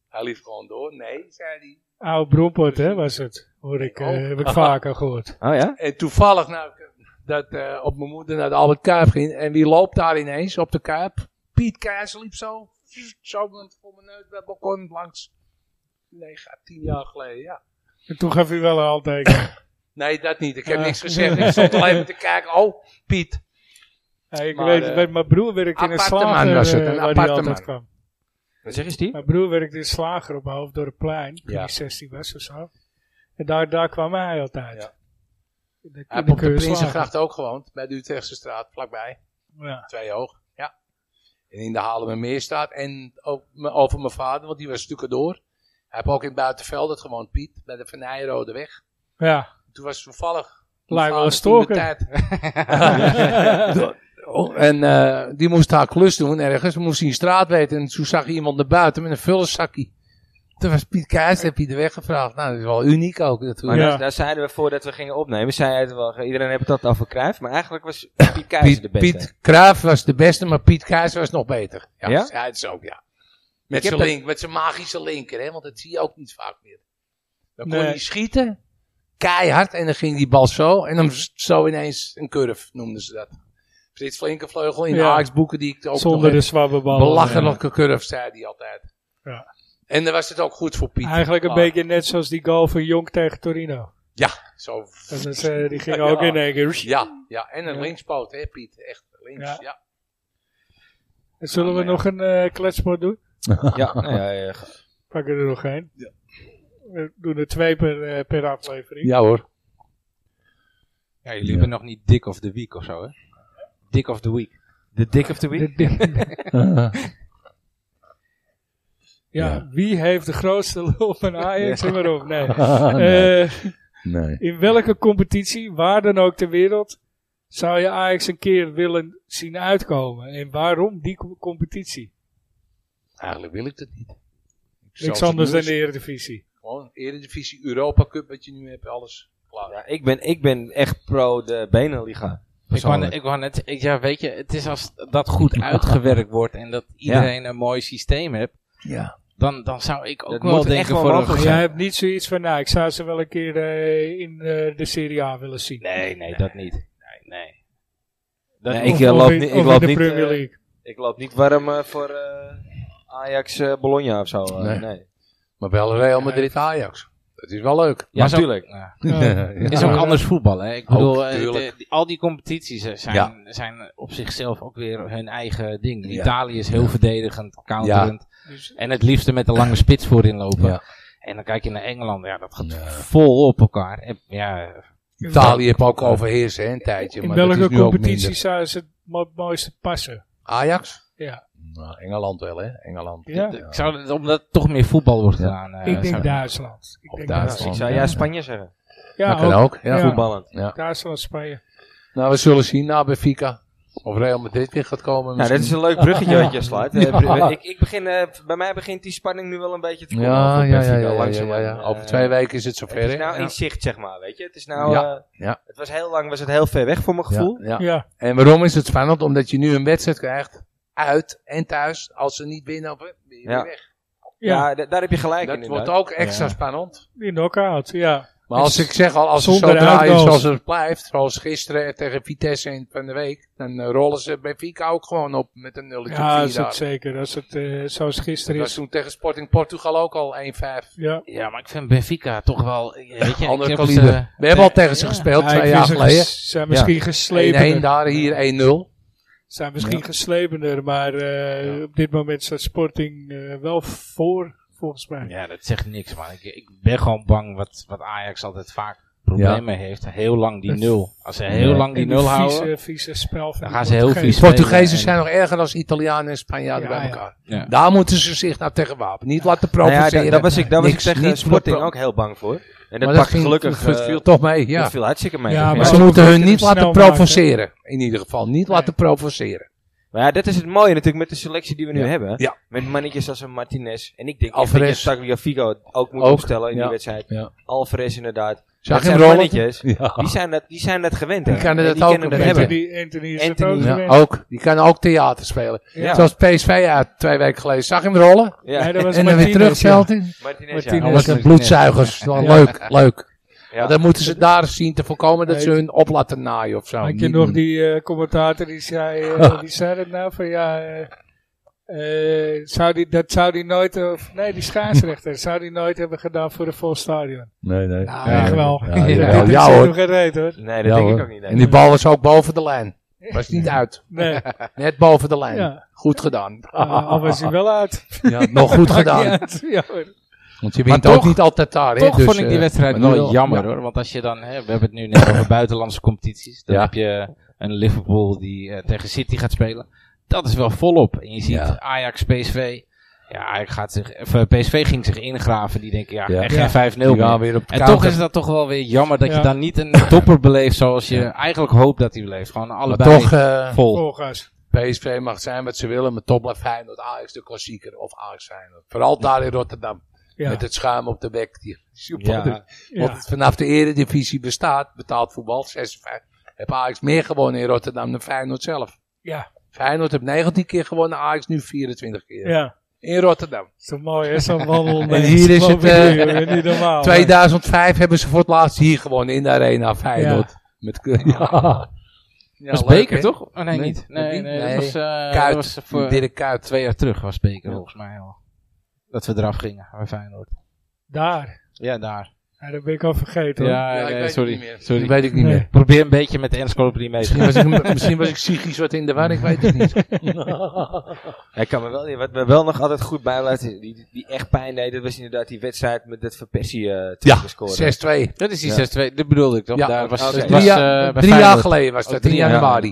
Speaker 3: Hij liep gewoon door. Nee, zei hij.
Speaker 2: Oude bronpot hè, was het. Hoor ik, eh, heb ik vaker gehoord.
Speaker 1: Oh ja?
Speaker 3: En toevallig nou, dat eh, op mijn moeder naar de Albert Kuip ging. En wie loopt daar ineens op de Kuip? Piet Keizer liep zo, zo voor mijn neus bij het balkon langs. Negen, tien jaar geleden, ja.
Speaker 2: En toen gaf u wel een handtekening.
Speaker 3: Nee, dat niet. Ik heb
Speaker 2: Ah.
Speaker 3: niks gezegd. Ik stond alleen maar te kijken. Oh, Piet.
Speaker 2: Ja, ik
Speaker 3: Maar,
Speaker 2: weet,
Speaker 3: eh,
Speaker 2: bij mijn broer werkte in een
Speaker 3: aparte man
Speaker 2: slager
Speaker 3: was het,
Speaker 2: eh,
Speaker 3: een
Speaker 2: waar hij
Speaker 3: aparte
Speaker 2: altijd
Speaker 3: man.
Speaker 2: kwam.
Speaker 1: Wat zeg je, Steve?
Speaker 2: Mijn broer werkte in slager op Hoofddorpplein, toen
Speaker 3: Ja.
Speaker 2: hij 16 was of zo. En daar, daar kwam hij altijd.
Speaker 3: Ja.
Speaker 2: In de-
Speaker 3: Hij
Speaker 2: in
Speaker 3: heeft op de
Speaker 2: keurswagen.
Speaker 3: Prinsengracht ook gewoond. Bij de Utrechtse straat, vlakbij.
Speaker 2: Ja.
Speaker 3: Twee hoog. Ja. En in de Haarlemmermeerstraat. En ook me- over mijn vader, want die was door. Hij heeft ook in het buitenveld het gewoon Piet, bij de Van Nijrode weg.
Speaker 2: Ja.
Speaker 3: Toen was toevallig...
Speaker 2: Lijkt wel een stalker.
Speaker 3: stalker. en eh, die moest haar klus doen ergens. Moest hij een straat weten. En toen zag hij iemand naar buiten met een vullenszakje. Toen was Piet Keijs, heb je de weg gevraagd. Nou, dat is wel uniek ook
Speaker 1: Maar
Speaker 3: natuurlijk.
Speaker 2: Ja.
Speaker 1: daar, daar zeiden we voordat we gingen opnemen, zei het wel, iedereen heeft het over Cruijff, maar eigenlijk was Piet Keizer de
Speaker 3: Piet,
Speaker 1: beste.
Speaker 3: Piet Kruijff was de beste, maar Piet Keijs was nog beter. Ja,
Speaker 1: Ja?
Speaker 3: hij is ook, ja. Met
Speaker 1: Ik
Speaker 3: zijn
Speaker 1: heb
Speaker 3: link, met zijn magische linker, hè, want dat zie je ook niet vaak meer. Dan kon
Speaker 2: Nee.
Speaker 3: hij schieten, keihard, en dan ging die bal zo, en dan z- zo ineens een curve, noemden ze dat. Frits flinke vleugel in de
Speaker 2: Ja.
Speaker 3: Ajax-boeken die ik ook
Speaker 2: Zonder de
Speaker 3: nog
Speaker 2: zwabbeballen.
Speaker 3: Belachelijke curve, zei hij altijd.
Speaker 2: Ja.
Speaker 3: En dan was het ook goed voor Piet.
Speaker 2: Eigenlijk een
Speaker 3: Ah,
Speaker 2: beetje net zoals die goal van Jonk tegen Torino.
Speaker 3: Ja, zo.
Speaker 2: Dat is, eh, die ging
Speaker 3: Ja.
Speaker 2: ook in één keer.
Speaker 3: Ja, ja, en een
Speaker 2: Ja.
Speaker 3: linkspoot, hè, Piet. Echt links,
Speaker 2: Ja.
Speaker 3: ja.
Speaker 2: Zullen we
Speaker 3: Ja,
Speaker 2: nog een eh kletspot doen?
Speaker 1: Ja, nou ja, ja,
Speaker 2: Pakken er nog één. We doen er twee per, eh, per aflevering.
Speaker 3: Ja hoor.
Speaker 4: Ja, jullie hebben nog niet Dick of the Week of zo, hè? Dick of the Week. De Dick of the Week?
Speaker 2: De- de- ja, wie heeft de grootste lul van Ajax en waarom? Nee. Eh,
Speaker 5: Nee.
Speaker 2: in welke competitie, waar dan ook ter wereld, zou je Ajax een keer willen zien uitkomen? En waarom die co- competitie?
Speaker 3: Eigenlijk wil ik dat niet.
Speaker 2: Niks anders dan
Speaker 3: dan
Speaker 2: de Eredivisie.
Speaker 3: Gewoon Eredivisie, Europa Cup, wat je nu hebt, alles klaar.
Speaker 1: Ja, ik, ben, ik ben echt pro de Benenliga.
Speaker 4: Ik wou,
Speaker 1: persoonlijk.
Speaker 4: net- ik wou net, ik, ja, weet je, het is als dat goed uitgewerkt wordt en dat iedereen een mooi systeem hebt,
Speaker 5: Ja.
Speaker 4: dan, dan zou ik ook
Speaker 1: Dat
Speaker 4: wel
Speaker 1: moet
Speaker 4: denken
Speaker 1: echt wel
Speaker 4: voor een...
Speaker 1: mogelijk
Speaker 2: Jij
Speaker 1: zijn.
Speaker 2: hebt niet zoiets van, nou, ik zou ze wel een keer eh, in eh, de Serie A willen zien.
Speaker 4: Nee, nee, dat niet. Nee, nee. Dat
Speaker 1: Nee, ik,
Speaker 2: Of-
Speaker 1: eh,
Speaker 2: of
Speaker 1: loop
Speaker 2: in-
Speaker 1: niet-
Speaker 2: of
Speaker 1: ik
Speaker 2: in
Speaker 1: loop
Speaker 2: de
Speaker 1: niet,
Speaker 2: Premier
Speaker 1: eh,
Speaker 2: League.
Speaker 1: Ik loop niet warm eh, voor eh, Ajax eh, Bologna of zo. eh,
Speaker 3: Nee.
Speaker 1: nee.
Speaker 3: Maar wel Real Madrid Ajax. Dat is wel leuk.
Speaker 1: Ja,
Speaker 4: Maar zo-
Speaker 1: tuurlijk.
Speaker 4: Ja.
Speaker 2: Ja.
Speaker 4: is ook anders voetbal, hè? Ik
Speaker 3: Ook,
Speaker 4: bedoel, eh,
Speaker 3: tuurlijk.
Speaker 4: de- die- al die competities eh, zijn,
Speaker 3: Ja.
Speaker 4: zijn op zichzelf ook weer hun eigen ding.
Speaker 3: Ja.
Speaker 4: Italië is heel verdedigend, counterend.
Speaker 2: Dus
Speaker 4: En het liefste met de lange spits voorin lopen.
Speaker 3: Ja.
Speaker 4: En dan kijk je naar Engeland, ja, dat gaat vol op elkaar. En, ja,
Speaker 3: Italië heb ook overheerst hè, een tijdje.
Speaker 2: In
Speaker 3: maar dat
Speaker 2: welke
Speaker 3: is nu ook
Speaker 2: competitie
Speaker 3: minder.
Speaker 2: zou ze het mo- mooiste passen?
Speaker 3: Ajax?
Speaker 2: Ja.
Speaker 3: Nou, Engeland wel, hè? Engeland.
Speaker 2: Ja.
Speaker 4: Ik zou, het- omdat het toch meer voetbal wordt gedaan. eh,
Speaker 2: ik denk
Speaker 4: zou-
Speaker 2: Duitsland. Ik
Speaker 3: Of
Speaker 2: denk
Speaker 1: Ja,
Speaker 3: Duitsland.
Speaker 1: ik zou ja Spanje zeggen.
Speaker 2: Ja,
Speaker 3: dat kan
Speaker 2: ook.
Speaker 3: ook. Ja.
Speaker 2: Ja.
Speaker 1: Voetballend.
Speaker 2: Duitsland, Spanje.
Speaker 3: Nou, we zullen zien na Benfica. Of Real Madrid weer gaat komen.
Speaker 1: Nou, dat is
Speaker 3: misschien.
Speaker 1: een leuk bruggetje wat je slaat. Eh, br- ik, ik begin, eh, bij mij begint die spanning nu wel een beetje te komen. over
Speaker 3: ja, ja, ja,
Speaker 1: Benfica,
Speaker 3: ja, ja,
Speaker 1: langzaam,
Speaker 3: ja, ja.
Speaker 1: eh,
Speaker 3: Over twee weken is het zover.
Speaker 1: Het is
Speaker 3: hè?
Speaker 1: nou
Speaker 3: ja.
Speaker 1: in zicht, zeg maar, weet je. Het is nou...
Speaker 3: Ja,
Speaker 1: eh,
Speaker 3: ja.
Speaker 1: Het was heel lang, was het heel ver weg voor mijn gevoel.
Speaker 3: Ja, ja.
Speaker 2: Ja.
Speaker 3: En waarom is het spannend? Omdat je nu een wedstrijd krijgt. Uit en thuis. Als ze niet winnen, ben je weer
Speaker 1: Ja.
Speaker 3: weg.
Speaker 2: Ja,
Speaker 1: Ja, d- daar heb je gelijk in.
Speaker 3: Dat wordt ook extra spannend.
Speaker 2: die knock-out. Ja.
Speaker 3: Maar als ik zeg al, als ze zo
Speaker 2: Zonder
Speaker 3: draaien
Speaker 2: uitgoals.
Speaker 3: zoals het blijft, zoals gisteren tegen Vitesse in van de week, dan eh, rollen ze bij Fika ook gewoon op met een nulletje
Speaker 2: Ja,
Speaker 3: vier
Speaker 2: is
Speaker 3: daar.
Speaker 2: het zeker. Als het eh, zoals
Speaker 3: Dat
Speaker 2: gisteren
Speaker 3: was
Speaker 2: is.
Speaker 3: toen tegen Sporting Portugal ook al 1-5.
Speaker 2: Ja.
Speaker 4: Ja, maar ik vind Benfica toch wel... eh, Weet je,
Speaker 3: Ander
Speaker 4: ik heb
Speaker 3: kaliber.
Speaker 4: ze-
Speaker 3: We hebben al tegen ze
Speaker 4: ja.
Speaker 3: gespeeld,
Speaker 2: Ja,
Speaker 3: twee
Speaker 2: ik
Speaker 3: jaar
Speaker 2: vind ze
Speaker 3: geleden.
Speaker 2: ges- zijn misschien
Speaker 3: 1-1
Speaker 2: geslepener.
Speaker 3: daar, hier 1-0.
Speaker 2: Zijn misschien geslepener, maar eh, op dit moment staat Sporting eh, wel voor, volgens mij.
Speaker 4: Ja, dat zegt niks, man. Ik, ik ben gewoon bang wat, wat Ajax altijd vaak problemen heeft. Heel lang die
Speaker 2: Dat-
Speaker 4: nul. Als ze heel
Speaker 5: Ja.
Speaker 4: lang die
Speaker 2: En die
Speaker 4: nul
Speaker 2: vieze,
Speaker 4: houden...
Speaker 2: vieze spel van
Speaker 4: Dan
Speaker 2: die
Speaker 4: gaan ze heel
Speaker 2: Portugezen.
Speaker 4: vies.
Speaker 3: Portugezen
Speaker 4: en-
Speaker 3: zijn nog erger dan Italianen en Spanjaarden
Speaker 2: Ja,
Speaker 3: bij
Speaker 2: ja.
Speaker 3: elkaar.
Speaker 4: Ja.
Speaker 3: Daar moeten ze zich nou tegen wapen. Niet laten
Speaker 1: Nou ja,
Speaker 3: provoceren.
Speaker 1: da- daar was ik, daar was
Speaker 3: Niks,
Speaker 1: ik tegen
Speaker 3: niet
Speaker 1: Sporting
Speaker 3: pro-
Speaker 1: ook heel bang voor. En dat
Speaker 3: Maar
Speaker 1: pakt
Speaker 3: ging-
Speaker 1: gelukkig...
Speaker 3: dat
Speaker 1: eh,
Speaker 3: viel toch mee, ja.
Speaker 1: Dat viel hartstikke mee.
Speaker 2: Ja,
Speaker 1: Ja,
Speaker 3: Maar
Speaker 1: maar,
Speaker 3: ze
Speaker 2: Ook
Speaker 3: moeten
Speaker 2: dat
Speaker 3: hun
Speaker 2: je
Speaker 3: niet
Speaker 2: hem
Speaker 3: laten
Speaker 2: snel maakt, hè?
Speaker 3: provoceren. In ieder geval. Niet laten provoceren.
Speaker 1: ja, dat is het mooie natuurlijk met de selectie die we nu
Speaker 3: Ja.
Speaker 1: hebben.
Speaker 3: Ja.
Speaker 1: Met mannetjes als een Martinez. En ik denk echt dat je
Speaker 3: Alvarez.
Speaker 1: Tagliafico ook moet
Speaker 3: Ook,
Speaker 1: opstellen in
Speaker 3: ja.
Speaker 1: die wedstrijd.
Speaker 3: Ja.
Speaker 1: Alvarez inderdaad.
Speaker 3: Zag
Speaker 1: dat
Speaker 3: je hem
Speaker 1: zijn
Speaker 3: rollen?
Speaker 1: mannetjes.
Speaker 3: Ja.
Speaker 1: Die zijn dat, die zijn dat gewend. hè.
Speaker 3: Die kunnen
Speaker 1: En
Speaker 3: dat ook
Speaker 1: kennen
Speaker 3: een beetje.
Speaker 1: hebben.
Speaker 2: Anthony, Anthony is het
Speaker 1: Anthony,
Speaker 2: ook
Speaker 3: Ja,
Speaker 2: gewend.
Speaker 3: ook. Die kan ook theater spelen.
Speaker 1: Ja.
Speaker 3: Zoals PSV uit twee weken geleden. Zag hem rollen.
Speaker 1: Ja.
Speaker 2: Nee, dat was
Speaker 3: en dan weer
Speaker 2: Martinez,
Speaker 3: terug
Speaker 2: ja.
Speaker 3: veld in.
Speaker 1: Martinez, ja.
Speaker 2: Martinez.
Speaker 3: Dat
Speaker 2: was
Speaker 3: was een bloedzuigers. Wel
Speaker 2: Ja.
Speaker 3: Leuk, leuk.
Speaker 1: Ja.
Speaker 3: Maar dan moeten ze daar zien te voorkomen dat
Speaker 2: Nee.
Speaker 3: ze hun op laten naaien of zo.
Speaker 2: Maar ik ken
Speaker 3: Niet
Speaker 2: nog
Speaker 3: doen.
Speaker 2: die eh, commentator die zei, eh, die zei dat nou van ja, eh, eh, zou die, dat zou die nooit, eh, of, nee die schaarsrechter, zou die nooit hebben gedaan voor een vol stadion.
Speaker 5: Nee, nee.
Speaker 2: Nou, echt wel.
Speaker 5: Ja, ja,
Speaker 3: Ja,
Speaker 2: Dit is
Speaker 3: ja,
Speaker 2: echt
Speaker 3: hoor.
Speaker 2: nog geen reet, hoor.
Speaker 1: Nee, dat
Speaker 5: Ja,
Speaker 1: denk
Speaker 5: hoor.
Speaker 1: ik ook niet. nee.
Speaker 3: En die bal was ook boven de lijn. Was niet uit.
Speaker 2: Nee,
Speaker 3: Net boven de lijn.
Speaker 2: Ja.
Speaker 3: Goed gedaan.
Speaker 2: Ah, al was hij wel uit.
Speaker 3: Ja, nog goed gedaan.
Speaker 2: Ja, ja, hoor.
Speaker 3: Want je wint
Speaker 4: Maar
Speaker 3: ook
Speaker 4: toch-
Speaker 3: niet altijd daar. hè,
Speaker 4: Toch
Speaker 3: dus,
Speaker 4: vond ik die
Speaker 3: eh,
Speaker 4: wedstrijd
Speaker 3: maar nu
Speaker 4: wel jammer
Speaker 3: Ja.
Speaker 4: hoor. Want als je dan, hè, we hebben het nu net over buitenlandse competities. Dan
Speaker 3: Ja.
Speaker 4: heb je een Liverpool die eh, tegen eh, City gaat spelen. dat is wel volop. En je ziet
Speaker 5: Ja.
Speaker 4: Ajax, PSV. Ja, Ajax gaat zich, of, eh, PSV ging zich ingraven. Die denken, ja,
Speaker 5: Ja.
Speaker 4: echt
Speaker 2: Ja.
Speaker 4: geen 5-0
Speaker 5: Die
Speaker 4: meer.
Speaker 5: gaan weer op de
Speaker 4: En
Speaker 5: counter.
Speaker 4: toch is dat toch wel weer jammer dat
Speaker 2: Ja.
Speaker 4: je dan niet een topper beleeft zoals je eigenlijk hoopt dat hij beleeft. Gewoon
Speaker 3: Maar
Speaker 4: allebei
Speaker 3: toch, eh,
Speaker 4: vol.
Speaker 2: Volgas.
Speaker 3: PSV mag zijn wat ze willen, maar toch blijft Feyenoord Ajax de klassieker. Of Ajax Feyenoord. Vooral daar in Rotterdam.
Speaker 2: Ja.
Speaker 3: Met het schuim op de bek. Die supporters.
Speaker 1: Ja.
Speaker 2: ja.
Speaker 3: Want vanaf de eredivisie bestaat, betaald voetbal, 56, heb Ajax meer gewonnen in Rotterdam dan Feyenoord zelf.
Speaker 2: Ja.
Speaker 3: Feyenoord heeft 19 keer gewonnen, Ajax nu 24 keer.
Speaker 2: ja.
Speaker 3: In Rotterdam.
Speaker 2: Is toch mooi, hè? Zo'n wandel.
Speaker 3: En hier is het, eh,
Speaker 2: niet normaal.
Speaker 4: Oh,
Speaker 3: 2005 hebben ze voor het laatst hier gewonnen, in de Arena, Feyenoord. Met, ja. ja,
Speaker 4: Dat was
Speaker 3: leuk,
Speaker 4: Beker,
Speaker 3: hè?
Speaker 4: toch? Oh, nee,
Speaker 3: Nee,
Speaker 4: niet. Nee,
Speaker 3: niet?
Speaker 4: nee,
Speaker 3: Nee.
Speaker 4: dat was, eh,
Speaker 3: Kuit.
Speaker 4: dat was voor
Speaker 3: Dirk Kuyt.
Speaker 4: twee jaar terug was Beker
Speaker 3: Ja.
Speaker 4: volgens mij al. Dat we eraf gingen bij Feyenoord.
Speaker 2: Daar.
Speaker 4: Ja, daar.
Speaker 2: Ja, dat ben ik al vergeten. hoor.
Speaker 4: Ja,
Speaker 3: Ja, ik
Speaker 4: nee,
Speaker 3: weet het niet
Speaker 4: sorry.
Speaker 3: meer.
Speaker 4: sorry.
Speaker 3: Dat weet ik niet
Speaker 2: Nee.
Speaker 3: meer.
Speaker 4: Probeer een beetje met de encyclopedie mee te gaan.
Speaker 3: Misschien was, ik, misschien was ik psychisch wat in de war, ik weet het niet.
Speaker 1: Hij kan me wel, wat me wel nog altijd goed bijblijft, die, die, die echt pijn deed, dat was inderdaad die wedstrijd met dat Van Persie eh tegenscoren.
Speaker 3: 6-2.
Speaker 4: Dat is die
Speaker 1: Ja.
Speaker 4: 6-2, dat bedoelde ik toch?
Speaker 3: Ja,
Speaker 4: daar was,
Speaker 1: oké.
Speaker 4: het
Speaker 1: Drie
Speaker 4: was,
Speaker 3: Drie,
Speaker 4: eh,
Speaker 3: jaar,
Speaker 4: bij
Speaker 3: drie jaar
Speaker 4: Feyenoord.
Speaker 3: geleden was
Speaker 1: Oh,
Speaker 3: dat,
Speaker 1: drie
Speaker 3: 3
Speaker 1: jaar.
Speaker 3: januari.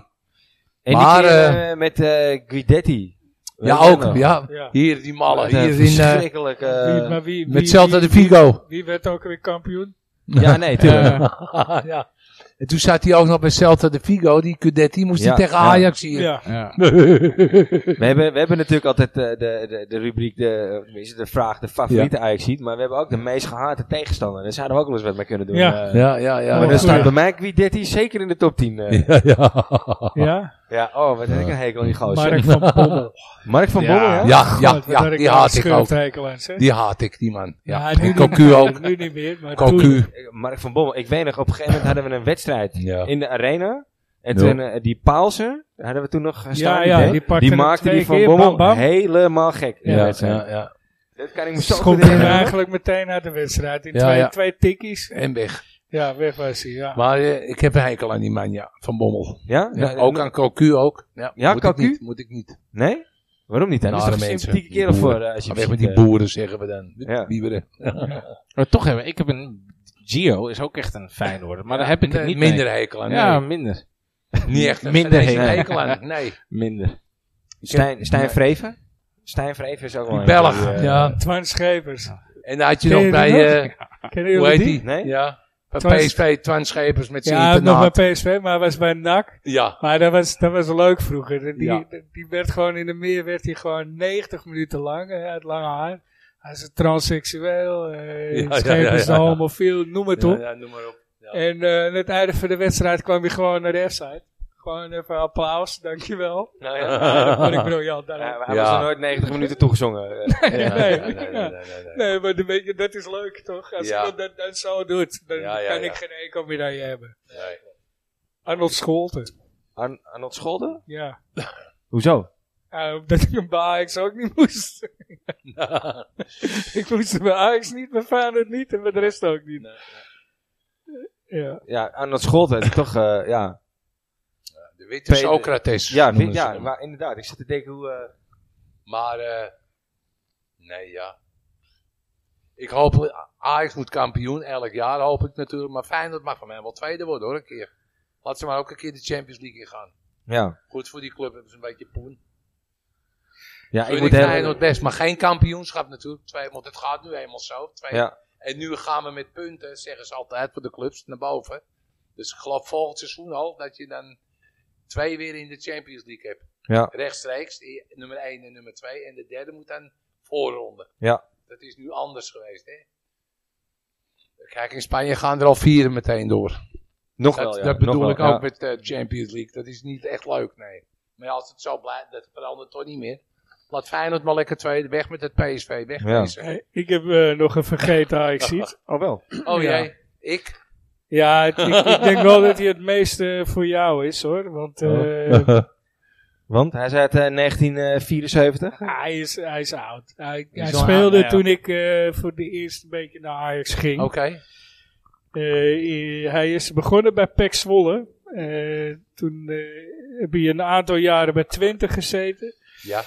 Speaker 1: En die
Speaker 3: Maar,
Speaker 1: keer
Speaker 3: eh,
Speaker 1: eh, met eh Guidetti. Weet
Speaker 3: Ja,
Speaker 1: je dat
Speaker 3: ook.
Speaker 1: nog?
Speaker 3: Ja.
Speaker 2: Ja.
Speaker 3: Hier, die malle.
Speaker 1: Wat een
Speaker 3: Hier in, eh,
Speaker 1: verschrikkelijk...
Speaker 2: Wie-
Speaker 1: eh,
Speaker 2: maar wie, wie,
Speaker 3: met Celta
Speaker 2: wie-
Speaker 3: de Vigo.
Speaker 2: Wie werd ook weer kampioen?
Speaker 1: ja, nee, tuurlijk.
Speaker 4: Eh,
Speaker 3: ja. En toen zat hij ook nog bij Celta de Vigo. Die Cudetti moest
Speaker 1: Ja,
Speaker 3: hij tegen
Speaker 1: ja.
Speaker 3: Ajax hier.
Speaker 2: Ja.
Speaker 4: ja.
Speaker 1: We hebben, we hebben natuurlijk altijd eh, de, de, de rubriek, de, of tenminste, de vraag, de favoriete Ajax ziet. Maar we hebben ook de meest gehate tegenstander. Daar zouden we ook wel eens wat mee kunnen doen.
Speaker 2: Ja.
Speaker 1: eh.
Speaker 3: Ja, ja, ja.
Speaker 1: Maar
Speaker 2: Oh,
Speaker 1: dan
Speaker 3: Dat-
Speaker 1: staat
Speaker 2: goeie.
Speaker 1: bij mij Guidetti zeker in de top 10. eh.
Speaker 5: Ja, ja.
Speaker 2: Ja.
Speaker 1: Ja, oh, wat heb ik een hekel aan die gozer.
Speaker 2: Mark van Pommel.
Speaker 1: Mark van Bommel, hè?
Speaker 3: ja, Oh, ja,
Speaker 2: God, wat
Speaker 3: ja,
Speaker 2: had
Speaker 3: die
Speaker 2: daar
Speaker 3: haat
Speaker 2: een
Speaker 3: ik ook.
Speaker 2: schurfthekel aan, zeg.
Speaker 3: Die haat ik, die man. Ja.
Speaker 2: nu
Speaker 3: en
Speaker 2: niet
Speaker 3: Cocu
Speaker 2: meer,
Speaker 3: ook.
Speaker 2: Nu niet meer, maar toen.
Speaker 3: Cocu.
Speaker 1: Eh, Mark van Bommel, ik weet nog, op een gegeven moment hadden we een wedstrijd
Speaker 5: Ja.
Speaker 1: in de arena. En
Speaker 5: Ja.
Speaker 1: toen, eh, die Paalse, hadden we toen nog eh, staan.
Speaker 2: Ja, ja,
Speaker 1: idee.
Speaker 2: die pakte
Speaker 1: die
Speaker 2: hem
Speaker 1: maakte
Speaker 2: twee
Speaker 1: die van
Speaker 2: keer,
Speaker 1: Bommel
Speaker 2: bam, bam.
Speaker 1: helemaal gek. in de
Speaker 5: Ja,
Speaker 1: wedstrijd.
Speaker 5: ja, ja.
Speaker 1: Dat kan ik me zo goed
Speaker 2: Schopte hem
Speaker 1: herinneren.
Speaker 2: eigenlijk meteen uit de wedstrijd. In
Speaker 3: Ja,
Speaker 2: twee,
Speaker 3: ja.
Speaker 2: twee tikkies.
Speaker 3: En weg.
Speaker 2: Ja, weg was hij. Ja.
Speaker 3: Maar eh, ik heb een hekel aan die man, ja. Van Bommel.
Speaker 1: Ja?
Speaker 3: Ja,
Speaker 1: Nou,
Speaker 3: ook aan Cocu ook. Ja,
Speaker 1: Ja,
Speaker 3: moet
Speaker 1: Cocu?
Speaker 3: Ik niet, moet ik niet.
Speaker 1: Nee? Waarom niet? Hij is
Speaker 3: Nare
Speaker 1: toch een
Speaker 3: mensen,
Speaker 1: sympathieke
Speaker 3: die
Speaker 1: kerel voor
Speaker 3: boeren.
Speaker 1: eh, als je
Speaker 3: Weg
Speaker 1: hem
Speaker 3: met
Speaker 1: ziet,
Speaker 3: die
Speaker 1: eh.
Speaker 3: boeren, zeggen we dan.
Speaker 1: Ja.
Speaker 3: Bieberen.
Speaker 4: Maar toch hebben ik heb een... Gio is ook echt een Feyenoorder, maar daar heb ik het
Speaker 3: Nee,
Speaker 4: niet
Speaker 3: minder
Speaker 4: mee.
Speaker 3: hekel aan.
Speaker 4: Ja,
Speaker 3: nee.
Speaker 4: minder.
Speaker 3: niet echt.
Speaker 4: minder
Speaker 3: Nee,
Speaker 4: hekel.
Speaker 3: hekel aan. Nee.
Speaker 4: Minder.
Speaker 1: Stijn, Stijn Vreven? Stijn Vreven is ook wel
Speaker 3: Die
Speaker 1: een
Speaker 3: Belg.
Speaker 1: van die, eh,
Speaker 3: Ja.
Speaker 2: Twan Schepers.
Speaker 3: En dan had je
Speaker 2: Ken
Speaker 3: nog
Speaker 2: je
Speaker 3: bij,
Speaker 2: die nog?
Speaker 3: eh,
Speaker 2: Kennen
Speaker 3: hoe
Speaker 2: jullie
Speaker 3: heet
Speaker 2: die?
Speaker 3: die?
Speaker 1: Nee?
Speaker 3: Ja. Bij
Speaker 2: Twan-
Speaker 3: PSV, Twan Schepers met zijn
Speaker 2: Ja, nog
Speaker 3: internaat.
Speaker 2: bij PSV, maar hij was bij NAC.
Speaker 3: Ja.
Speaker 2: Maar dat was, dat was leuk vroeger. Die,
Speaker 3: Ja.
Speaker 2: die werd gewoon in de meer werd hij gewoon 90 minuten lang. Hij had lange haar. Hij is een transseksueel, eh,
Speaker 3: Ja, ja,
Speaker 2: schepen is
Speaker 3: ja, ja, ja.
Speaker 2: homofiel, noem het
Speaker 3: Ja,
Speaker 2: op.
Speaker 3: ja, noem maar op. ja.
Speaker 2: En eh, aan het einde van de wedstrijd kwam hij gewoon naar de F-site. Gewoon even applaus, dankjewel.
Speaker 1: Nou ja.
Speaker 2: Dat vond ik briljant. daarom.
Speaker 1: Hij- Hij
Speaker 3: Ja.
Speaker 1: was er nooit 90 minuten toegezongen. eh.
Speaker 3: Ja, ja,
Speaker 2: nee,
Speaker 3: ja,
Speaker 2: nee,
Speaker 3: nee,
Speaker 2: ja.
Speaker 3: nee, nee, nee.
Speaker 2: Nee, maar een beetje, dat is leuk toch? Als
Speaker 3: Ja.
Speaker 2: iemand dat, dat zo doet, dan
Speaker 3: Ja, ja,
Speaker 2: kan
Speaker 3: ja.
Speaker 2: ik geen enkel medaille hebben.
Speaker 3: Nee.
Speaker 2: Arnold Scholten,
Speaker 1: Ar- Arnold Scholden?
Speaker 2: ja.
Speaker 1: Hoezo?
Speaker 2: Ja, omdat ik hem bij Ajax ook niet moest. ik moest hem bij Ajax niet, bij Feyenoord niet en bij de rest ook niet. Ja.
Speaker 1: Ja, Arnold Scholden. die Toch, eh, ja.
Speaker 3: De witte
Speaker 1: Tweede-
Speaker 3: Socrates.
Speaker 1: Ja,
Speaker 3: noemen
Speaker 1: vind,
Speaker 3: ze
Speaker 1: ja
Speaker 3: hem.
Speaker 1: maar inderdaad. Ik zat te denken hoe... eh,
Speaker 3: Maar, eh, nee, ja. Ik hoop, Ajax moet kampioen elk jaar, hoop ik natuurlijk. Maar Feyenoord mag van mij wel tweede worden, hoor, een keer. Laat ze maar ook een keer de Champions League in gaan.
Speaker 1: ja.
Speaker 3: Goed voor die club, hebben ze een beetje poen.
Speaker 1: Ja,
Speaker 3: Ik
Speaker 1: ik
Speaker 3: vind
Speaker 1: moet
Speaker 3: Feyenoord
Speaker 1: heel...
Speaker 3: best, maar geen kampioenschap natuurlijk. Twee, want het gaat nu eenmaal zo. Twee.
Speaker 1: Ja.
Speaker 3: En nu gaan we met punten, zeggen ze altijd, voor de clubs naar boven. Dus ik geloof volgend seizoen al dat je dan twee weer in de Champions League hebt.
Speaker 1: Ja.
Speaker 3: Rechtstreeks, i- nummer 1 en nummer 2. En de derde moet dan voorronden.
Speaker 1: Ja.
Speaker 3: Dat is nu anders geweest, hè. Kijk, in Spanje gaan er al vier meteen door.
Speaker 1: Nog
Speaker 3: Dat,
Speaker 1: wel, ja.
Speaker 3: dat
Speaker 1: nog
Speaker 3: bedoel
Speaker 1: wel,
Speaker 3: ik
Speaker 1: ja.
Speaker 3: ook met de Champions League. Dat is niet echt leuk, nee. Maar ja, als het zo blijft, dat verandert toch niet meer. Laat Feyenoord maar lekker tweede. Weg met het PSV, weg
Speaker 1: Ja.
Speaker 3: met ze.
Speaker 2: Hey, Ik heb eh, nog een vergeten ajax
Speaker 1: Oh, wel.
Speaker 2: Ja.
Speaker 3: Oh jij, ik?
Speaker 2: Ja, het- ik, ik denk wel dat hij het meeste voor jou is hoor. Want eh,
Speaker 3: Oh.
Speaker 1: Want hij is uit eh, 1974.
Speaker 2: Nou, hij, is, hij is oud. Hij, hij
Speaker 3: is wel
Speaker 2: speelde
Speaker 3: oud, ja.
Speaker 2: toen ik eh, voor de eerste beetje naar Ajax ging.
Speaker 3: Oké.
Speaker 2: Eh, hij is begonnen bij PEC Zwolle. Eh, toen eh, heb hij een aantal jaren bij Twente gezeten.
Speaker 3: Ja,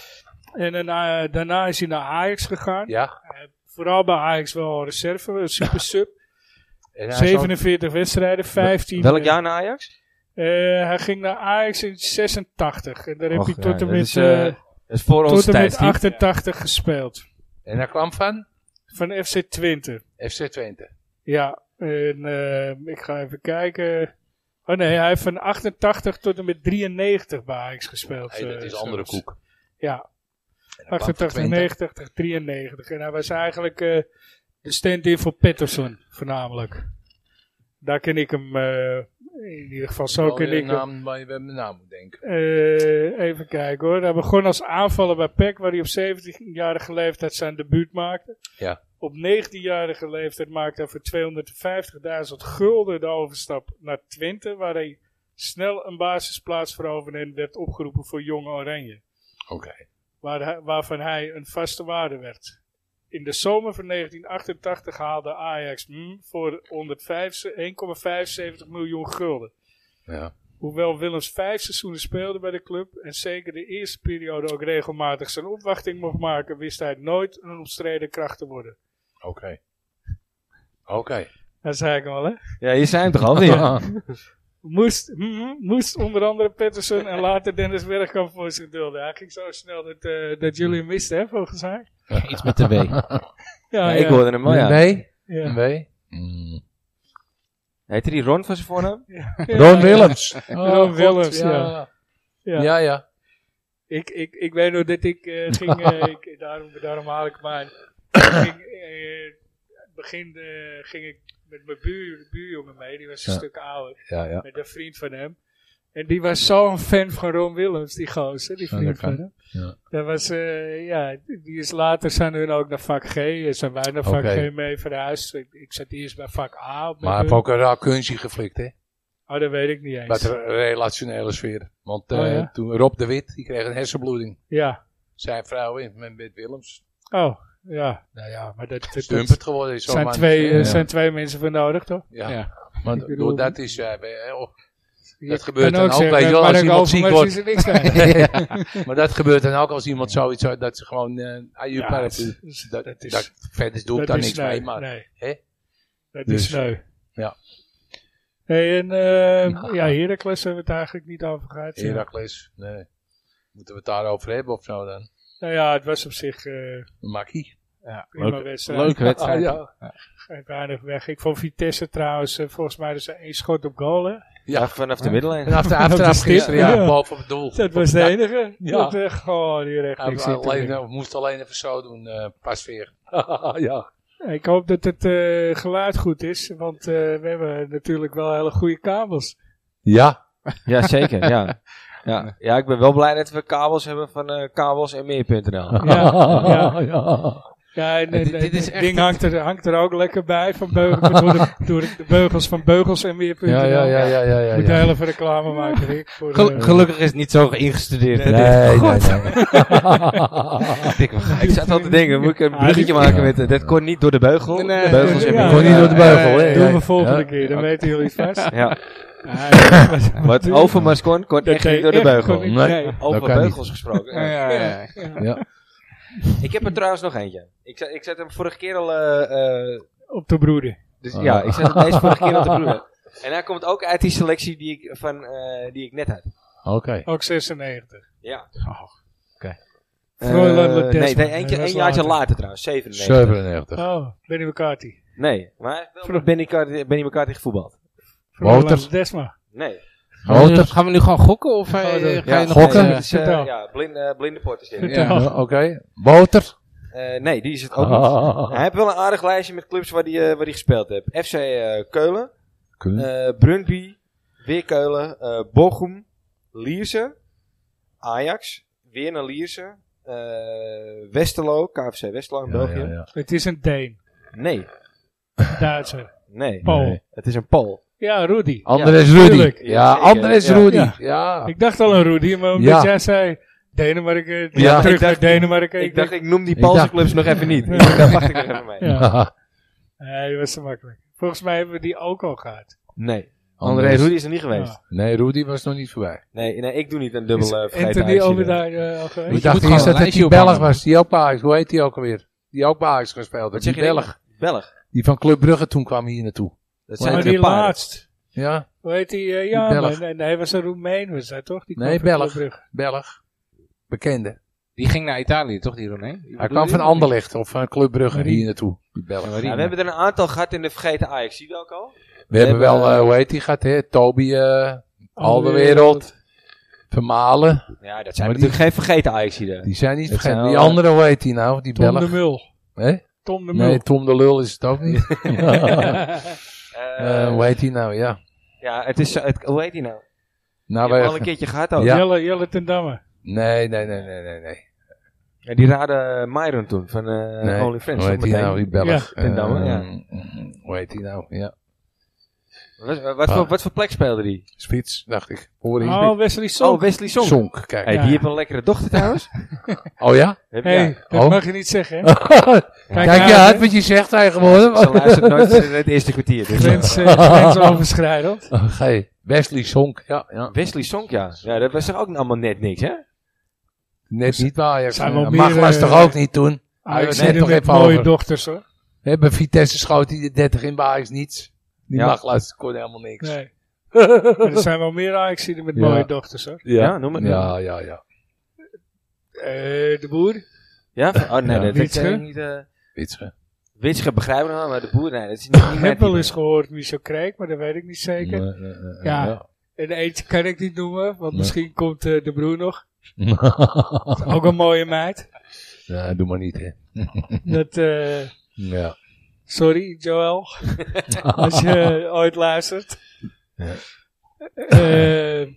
Speaker 2: En dan, eh, daarna is hij naar Ajax gegaan.
Speaker 3: ja.
Speaker 2: Vooral bij Ajax wel reserve, een super sub.
Speaker 3: En hij is ook-
Speaker 2: 47 wedstrijden, 15.
Speaker 1: Welk
Speaker 2: eh,
Speaker 1: jaar na Ajax?
Speaker 2: Eh, hij ging naar Ajax in 86. En daar heb
Speaker 1: Och,
Speaker 2: hij tot
Speaker 1: ja,
Speaker 2: en
Speaker 1: dat
Speaker 2: met,
Speaker 1: is, eh,
Speaker 2: eh,
Speaker 1: Dat is voor ons
Speaker 2: tot en
Speaker 1: tijd,
Speaker 2: met
Speaker 1: Steve.
Speaker 2: 88 gespeeld.
Speaker 3: En daar kwam van
Speaker 2: Van FC Twente.
Speaker 3: FC Twente.
Speaker 2: Ja, en eh, ik ga even kijken. Oh nee, hij heeft van 88 tot en met 93 bij Ajax gespeeld.
Speaker 3: Nee, dat
Speaker 2: eh,
Speaker 3: is andere
Speaker 2: zelfs.
Speaker 3: koek.
Speaker 2: Ja,
Speaker 3: En dan kwam van
Speaker 2: 88,
Speaker 3: Twente.
Speaker 2: 90, 93. En hij was eigenlijk eh, de stand-in voor Patterson, voornamelijk. Daar ken ik hem, eh, in ieder geval zo
Speaker 3: Wel
Speaker 2: ken
Speaker 3: weer
Speaker 2: ik
Speaker 3: een
Speaker 2: hem.
Speaker 3: naam waar je bij mijn naam moet denken.
Speaker 2: Eh, even kijken hoor. Hij begon als aanvaller bij PEC, waar hij op 17-jarige leeftijd zijn debuut maakte.
Speaker 3: Ja.
Speaker 2: Op 19-jarige leeftijd maakte hij voor 250.000 gulden de overstap naar Twente, waar hij snel een basisplaats veroverde en werd opgeroepen voor Jong Oranje,
Speaker 3: Oké.
Speaker 2: waar hij- waarvan hij een vaste waarde werd. In de zomer van 1988 haalde Ajax hem voor 105 1,75 miljoen gulden.
Speaker 3: Ja.
Speaker 2: Hoewel Willems vijf seizoenen speelde bij de club en zeker de eerste periode ook regelmatig zijn opwachting mocht maken, wist hij nooit een omstreden kracht te worden.
Speaker 3: Oké. Oké.
Speaker 2: Dat zei ik al, hè?
Speaker 1: Ja, je zijn toch al, ja.
Speaker 2: Moest, mhm, moest onder andere Patterson en later Dennis Bergkamp voor zich dulden. Hij ging zo snel dat, eh, dat jullie hem misten, hè, volgens mij?
Speaker 4: Iets met de W.
Speaker 2: Ja,
Speaker 1: Ja, Ik hoorde hem al, ja.
Speaker 3: Nee?
Speaker 2: ja.
Speaker 3: Nee? Mm.
Speaker 1: Heette die Ron van zijn voornaam?
Speaker 2: Ja,
Speaker 3: Ron
Speaker 2: ja,
Speaker 3: Willems.
Speaker 2: Ron
Speaker 3: God,
Speaker 2: Willems, Oh, ja.
Speaker 3: ja.
Speaker 2: ja.
Speaker 3: Ja, ja. ja.
Speaker 2: Ik, ik, ik weet nog dat ik eh, ging, eh, ik, daarom, daarom haal ik hem aan. Ik ging, eh, begin eh, ging ik met mijn buur, buurjongen mee, die was een
Speaker 3: Ja.
Speaker 2: stuk ouder,
Speaker 3: ja,
Speaker 2: met een vriend van hem. En die was zo'n fan van Ron Willems, die gozer, die
Speaker 3: Ja,
Speaker 2: vriend
Speaker 3: dat kan.
Speaker 2: van hem.
Speaker 3: Ja.
Speaker 2: Dat was, eh, ja, die is later zijn hun ook naar vak G, eh, zijn wij naar vak
Speaker 3: Oké.
Speaker 2: G mee verhuisd. Ik, ik zat eerst bij vak A. op mijn
Speaker 3: Maar hij heeft
Speaker 2: beurt.
Speaker 3: ook een rakunstje geflikt, hè?
Speaker 2: Oh, dat weet ik niet eens.
Speaker 3: Met de relationele sfeer. Want eh,
Speaker 2: Oh, ja?
Speaker 3: toen Rob de Wit, die kreeg een hersenbloeding.
Speaker 2: Ja.
Speaker 3: Zijn vrouw in met met Willems.
Speaker 2: Oh, ja. Nou ja, maar dat, dat, dat
Speaker 3: Stumpert geworden. Zo
Speaker 2: zijn,
Speaker 3: maar-
Speaker 2: twee, eh,
Speaker 3: Ja.
Speaker 2: zijn twee mensen voor nodig, toch?
Speaker 3: Ja.
Speaker 4: Ja.
Speaker 3: Maar
Speaker 2: Ik bedoel-
Speaker 3: doordat is hij... eh, oh,
Speaker 2: Je
Speaker 3: Dat
Speaker 2: kan
Speaker 3: gebeurt dan ook, weet je wel,
Speaker 2: maar
Speaker 3: als
Speaker 2: ik
Speaker 3: iemand
Speaker 2: overmars
Speaker 3: ziek wordt.
Speaker 2: is er niks aan.
Speaker 3: maar dat gebeurt dan ook als iemand zoiets zou- dat ze gewoon eh aan je
Speaker 2: Ja,
Speaker 3: paraplu.
Speaker 2: dat is-
Speaker 3: Dat,
Speaker 2: dat
Speaker 3: dat
Speaker 2: is-
Speaker 3: verder doe
Speaker 2: Dat
Speaker 3: ik daar
Speaker 2: is
Speaker 3: niks
Speaker 2: sneu,
Speaker 3: mee. Maar
Speaker 2: nee.
Speaker 3: hè?
Speaker 2: Dat
Speaker 3: Dus,
Speaker 2: is sneu.
Speaker 3: ja.
Speaker 2: Hey, en eh ja, Heracles hebben we het eigenlijk niet over gehad. ja.
Speaker 3: Herakles, nee. Moeten we het daarover hebben of zo dan?
Speaker 2: Nou ja, het was op zich eh
Speaker 3: Makkie.
Speaker 2: prima
Speaker 4: Leuk-
Speaker 2: wedstrijd.
Speaker 4: Leuke wedstrijd.
Speaker 3: Ah, ja.
Speaker 2: Geeft weinig weg. Ik vond Vitesse trouwens, eh, volgens mij is er één schot op goal. Hè?
Speaker 1: Ja,
Speaker 3: ja.
Speaker 1: vanaf de middellijn.
Speaker 3: En af de aftrap
Speaker 2: stip,
Speaker 3: gisteren, ja,
Speaker 2: ja.
Speaker 3: boven het doel.
Speaker 2: Dat was de enige.
Speaker 3: Ja.
Speaker 2: Dat, eh, goh, die recht
Speaker 3: Hij
Speaker 2: niks in te
Speaker 3: alleen,
Speaker 2: doen.
Speaker 3: hij moest alleen even zo doen, eh pas weer. ja.
Speaker 2: Ik hoop dat het eh, geluid goed is, want eh, we hebben natuurlijk wel hele goede kabels.
Speaker 3: Ja.
Speaker 1: Ja, zeker, ja. ja. Ja, ik ben wel blij dat we kabels hebben van eh kabels en meer.nl.
Speaker 2: Ja, ja.
Speaker 3: ja.
Speaker 2: Ja, en, en-
Speaker 4: dit- dit
Speaker 2: en
Speaker 4: is
Speaker 2: het
Speaker 4: echt
Speaker 2: ding hangt er, hangt er ook lekker bij. Van beugels, door, de, door de beugels van beugels en weer.
Speaker 3: Ja, ja, ja, ja, ja, ja.
Speaker 2: Moet heel even reclame maken, Rick. Voor,
Speaker 4: Gel-
Speaker 2: eh,
Speaker 4: gelukkig is het niet zo ingestudeerd.
Speaker 1: É,
Speaker 3: Nee, nee, nee.
Speaker 4: Ik denk,
Speaker 1: Ik zat al te denken, moet ik een bruggetje maken met... eh, dat kon niet door de beugel.
Speaker 2: Nee, nee,
Speaker 1: beugels
Speaker 2: eh,
Speaker 1: en
Speaker 2: ja, ja,
Speaker 1: meer.
Speaker 3: Kon niet door de beugel,
Speaker 2: eh,
Speaker 3: hè?
Speaker 2: Doen
Speaker 3: Ja,
Speaker 2: we volgende
Speaker 3: ja.
Speaker 2: keer, dan
Speaker 1: Oké.
Speaker 2: weten jullie het vast.
Speaker 1: Ja,
Speaker 2: Ah, ja, wat-
Speaker 1: wat Overmars kon, kon
Speaker 2: Dat
Speaker 1: echt niet
Speaker 2: deed
Speaker 1: door de
Speaker 2: echt
Speaker 1: beugel.
Speaker 2: kon niet.
Speaker 3: Nee.
Speaker 2: Nee.
Speaker 1: Over
Speaker 3: Dat kan
Speaker 1: beugels gesproken.
Speaker 4: Ja, ja, ja.
Speaker 1: Ik heb er trouwens nog eentje. Ik zet, ik zet hem vorige keer al... eh, eh,
Speaker 2: Op de broeder.
Speaker 1: dus, Ja, ik zet hem deze vorige keer al te broeden. En hij komt ook uit die selectie die ik, van, eh, die ik net had.
Speaker 3: Oké.
Speaker 2: Ook 96.
Speaker 1: Ja.
Speaker 4: Oh,
Speaker 1: Eh,
Speaker 2: Froilan Ledesma.
Speaker 1: nee, nee, eentje,
Speaker 2: Dat was
Speaker 1: een jaartje
Speaker 2: later.
Speaker 1: later, trouwens. 97.
Speaker 3: 97.
Speaker 2: Oh, Benny McCarthy.
Speaker 1: Nee, maar hij heeft wel
Speaker 2: Vro-
Speaker 1: met Benny, Car- Benny McCarthy gevoetbald.
Speaker 2: Roland
Speaker 3: Wouters.
Speaker 2: Desma.
Speaker 1: Nee.
Speaker 4: Gaan, we nu,
Speaker 3: Grote-
Speaker 4: gaan we nu gewoon gokken? Of eh,
Speaker 2: Oh, dat-
Speaker 4: ga je
Speaker 1: Ja,
Speaker 4: nog
Speaker 3: gokken?
Speaker 4: eh,
Speaker 1: Het is, eh,
Speaker 2: Vertel.
Speaker 1: ja, blinde, eh, blinde port is dit.
Speaker 2: Ja.
Speaker 4: ja.
Speaker 3: Ja, Oké. Boter.
Speaker 1: Eh, nee, die is het ook niet. Hij heeft wel een aardig lijstje met clubs waar hij, eh, waar hij gespeeld heeft. FC eh, Keulen,
Speaker 3: Kunnen.
Speaker 1: eh Brøndby, weer Keulen, eh, Bochum, Lierse, Ajax, weer naar Lierse, eh, Westerlo, KFC Westerlo in België.
Speaker 2: Het is een Deen.
Speaker 1: Nee,
Speaker 2: Duitser.
Speaker 1: nee,
Speaker 2: Paul.
Speaker 3: Nee.
Speaker 1: het is een Pool.
Speaker 2: Ja, Rudy.
Speaker 3: Andres
Speaker 2: Ja,
Speaker 3: Rudy.
Speaker 2: tuurlijk.
Speaker 1: Ja,
Speaker 3: Ja, Andres
Speaker 1: zeker.
Speaker 3: Rudy.
Speaker 2: Ja.
Speaker 3: Ja.
Speaker 2: Ik dacht al aan Rudy, maar omdat
Speaker 3: Ja.
Speaker 2: jij zei Denemarken,
Speaker 3: Ja,
Speaker 2: terug
Speaker 1: ik dacht-
Speaker 2: naar Denemarken.
Speaker 1: Ik dacht, ik noem die
Speaker 3: Ik
Speaker 1: Poolse
Speaker 3: dacht-
Speaker 1: clubs nog even niet. Daar wacht ik nog even mee.
Speaker 2: Ja.
Speaker 3: Haha.
Speaker 2: Nee, dat was te makkelijk. Volgens mij hebben we die ook al gehad.
Speaker 1: Nee, André
Speaker 3: Andres
Speaker 1: Rudy is er niet geweest.
Speaker 2: Ja.
Speaker 3: Nee, Rudy was nog niet voorbij.
Speaker 1: Nee, nee, ik doe niet een dubbel eh vergeten
Speaker 2: Anthony
Speaker 1: uitzien.
Speaker 2: Obeda eh, al geweest?
Speaker 3: Ik
Speaker 4: moet
Speaker 3: dacht
Speaker 4: gewoon
Speaker 3: eerst
Speaker 4: een
Speaker 3: dat het die
Speaker 4: lijstje
Speaker 3: Belg
Speaker 4: ophangen.
Speaker 3: was. Die ook bij Ajax. Hoe heet die ook alweer? Die ook bij Ajax gespeeld heeft. Die Belg.
Speaker 1: Belg.
Speaker 3: Die van Club Brugge toen kwam hier naartoe.
Speaker 1: Dat
Speaker 3: Maar
Speaker 1: zijn
Speaker 2: maar
Speaker 1: er een
Speaker 2: die
Speaker 1: paar.
Speaker 2: laatst.
Speaker 3: Ja.
Speaker 2: Hoe heet die? eh, ja,
Speaker 3: Belg.
Speaker 2: maar nee, nee, was een Roemeen, was hij toch? Die kwam
Speaker 3: Nee,
Speaker 2: van Club
Speaker 3: Belg.
Speaker 2: Brugge.
Speaker 3: Belg. Bekende.
Speaker 4: Die ging naar Italië, toch, die Roné?
Speaker 3: Hij kwam van Anderlecht of van Club Brugge hier naartoe. Die Belg.
Speaker 4: Ja,
Speaker 1: Ja, we hebben er een aantal gehad in de vergeten Ajax. Zie je welke al?
Speaker 3: We hebben
Speaker 1: hebben,
Speaker 3: wel, eh,
Speaker 1: eh,
Speaker 3: hoe heet die gaat, hè? Toby, eh
Speaker 2: Oh, Alderwereld.
Speaker 3: Alderwereld, Vermalen.
Speaker 1: Ja, dat zijn
Speaker 3: Maar
Speaker 1: natuurlijk geen vergeten Ajax hier.
Speaker 3: Die zijn niet
Speaker 1: Het
Speaker 3: vergeten.
Speaker 1: zijn
Speaker 3: Die
Speaker 1: wel,
Speaker 3: andere, hoe heet die nou? Die
Speaker 2: Tom de
Speaker 3: Belg.
Speaker 2: Mul.
Speaker 3: Hè?
Speaker 2: Tom de Mul.
Speaker 3: Nee, Tom de Lul is het ook niet. Eh, hoe heet die nou? Ja.
Speaker 1: ja, het is, zo- het, hoe heet die nou?
Speaker 3: Nou,
Speaker 1: Die hebben we al
Speaker 3: wij,
Speaker 1: een keertje gehad ook.
Speaker 3: Ja.
Speaker 2: Jelle, Jelle ten Damme.
Speaker 3: nee, nee, nee, nee, nee. nee.
Speaker 1: En die raadde uh, Myron toen van eh
Speaker 3: Nee.
Speaker 1: Only Friends.
Speaker 3: Hoe heet
Speaker 1: toch
Speaker 3: die
Speaker 1: meteen?
Speaker 3: nou? Die Belg.
Speaker 2: Ja,
Speaker 1: Ten Damme,
Speaker 3: Eh,
Speaker 1: ja.
Speaker 3: mm, Hoe heet die nou? Ja.
Speaker 1: Wat, wat, voor,
Speaker 3: Ah.
Speaker 1: wat voor plek speelde die?
Speaker 3: Spits, dacht ik. Hoor je?
Speaker 2: Oh, Wesley Song.
Speaker 1: Oh, Wesley Song.
Speaker 3: Zonk, kijk.
Speaker 1: Hey,
Speaker 2: Ja.
Speaker 1: Die heeft een lekkere dochter trouwens.
Speaker 3: Oh ja?
Speaker 1: Heb-
Speaker 2: hey,
Speaker 1: ja.
Speaker 2: dat
Speaker 3: Oh.
Speaker 2: mag je niet zeggen, hè?
Speaker 3: Kijk je
Speaker 2: uit,
Speaker 3: uit
Speaker 2: hè.
Speaker 3: wat je zegt
Speaker 1: Ze
Speaker 3: tegenwoordig.
Speaker 1: luistert nooit in het eerste kwartier. Dus.
Speaker 2: Grens, eh, Grensoverschrijdend.
Speaker 3: Oké, Oh, Wesley Zonk. Ja, ja.
Speaker 1: Wesley Song, ja. ja. Dat was toch ook allemaal net niks, hè?
Speaker 3: Net niet waar. Ajax.
Speaker 2: Zijn wel
Speaker 3: Eh,
Speaker 2: meer,
Speaker 3: Maglas
Speaker 2: eh,
Speaker 3: toch ook niet toen?
Speaker 2: Ajax
Speaker 3: net
Speaker 2: zit
Speaker 3: toch
Speaker 2: toch met
Speaker 3: even
Speaker 2: mooie
Speaker 3: over.
Speaker 2: dochters, hoor.
Speaker 3: We hebben Vitesse schoot die de 30 in bij Ajax niets. Die
Speaker 1: Ja.
Speaker 3: Maglas kon helemaal niks.
Speaker 2: Nee. Maar er zijn wel meer Ajax met
Speaker 3: Ja.
Speaker 2: mooie dochters, hoor.
Speaker 1: Ja, noem het. Ja,
Speaker 3: Ja, ja, ja.
Speaker 2: Eh, de boer.
Speaker 1: ja? Oh, nee, dat
Speaker 3: Ja.
Speaker 1: dat
Speaker 2: Witsche.
Speaker 1: kan ik niet. eh
Speaker 3: Witsche.
Speaker 1: Witsche begrijpen we nog, maar de boer, nee, dat is niet, niet
Speaker 2: Ik
Speaker 1: mijn
Speaker 2: heb wel
Speaker 1: type.
Speaker 2: eens gehoord wie zo kreeg, maar dat weet ik niet zeker.
Speaker 3: Nee, nee, nee,
Speaker 2: Ja.
Speaker 3: ja.
Speaker 2: En eentje kan ik niet noemen, want
Speaker 3: Nee.
Speaker 2: misschien komt eh, de broer nog. Ook een mooie meid.
Speaker 3: Nee, doe maar niet, hè.
Speaker 2: Dat, eh,
Speaker 3: Ja.
Speaker 2: sorry, Joël. als je ooit luistert.
Speaker 3: Ja.
Speaker 2: Eh,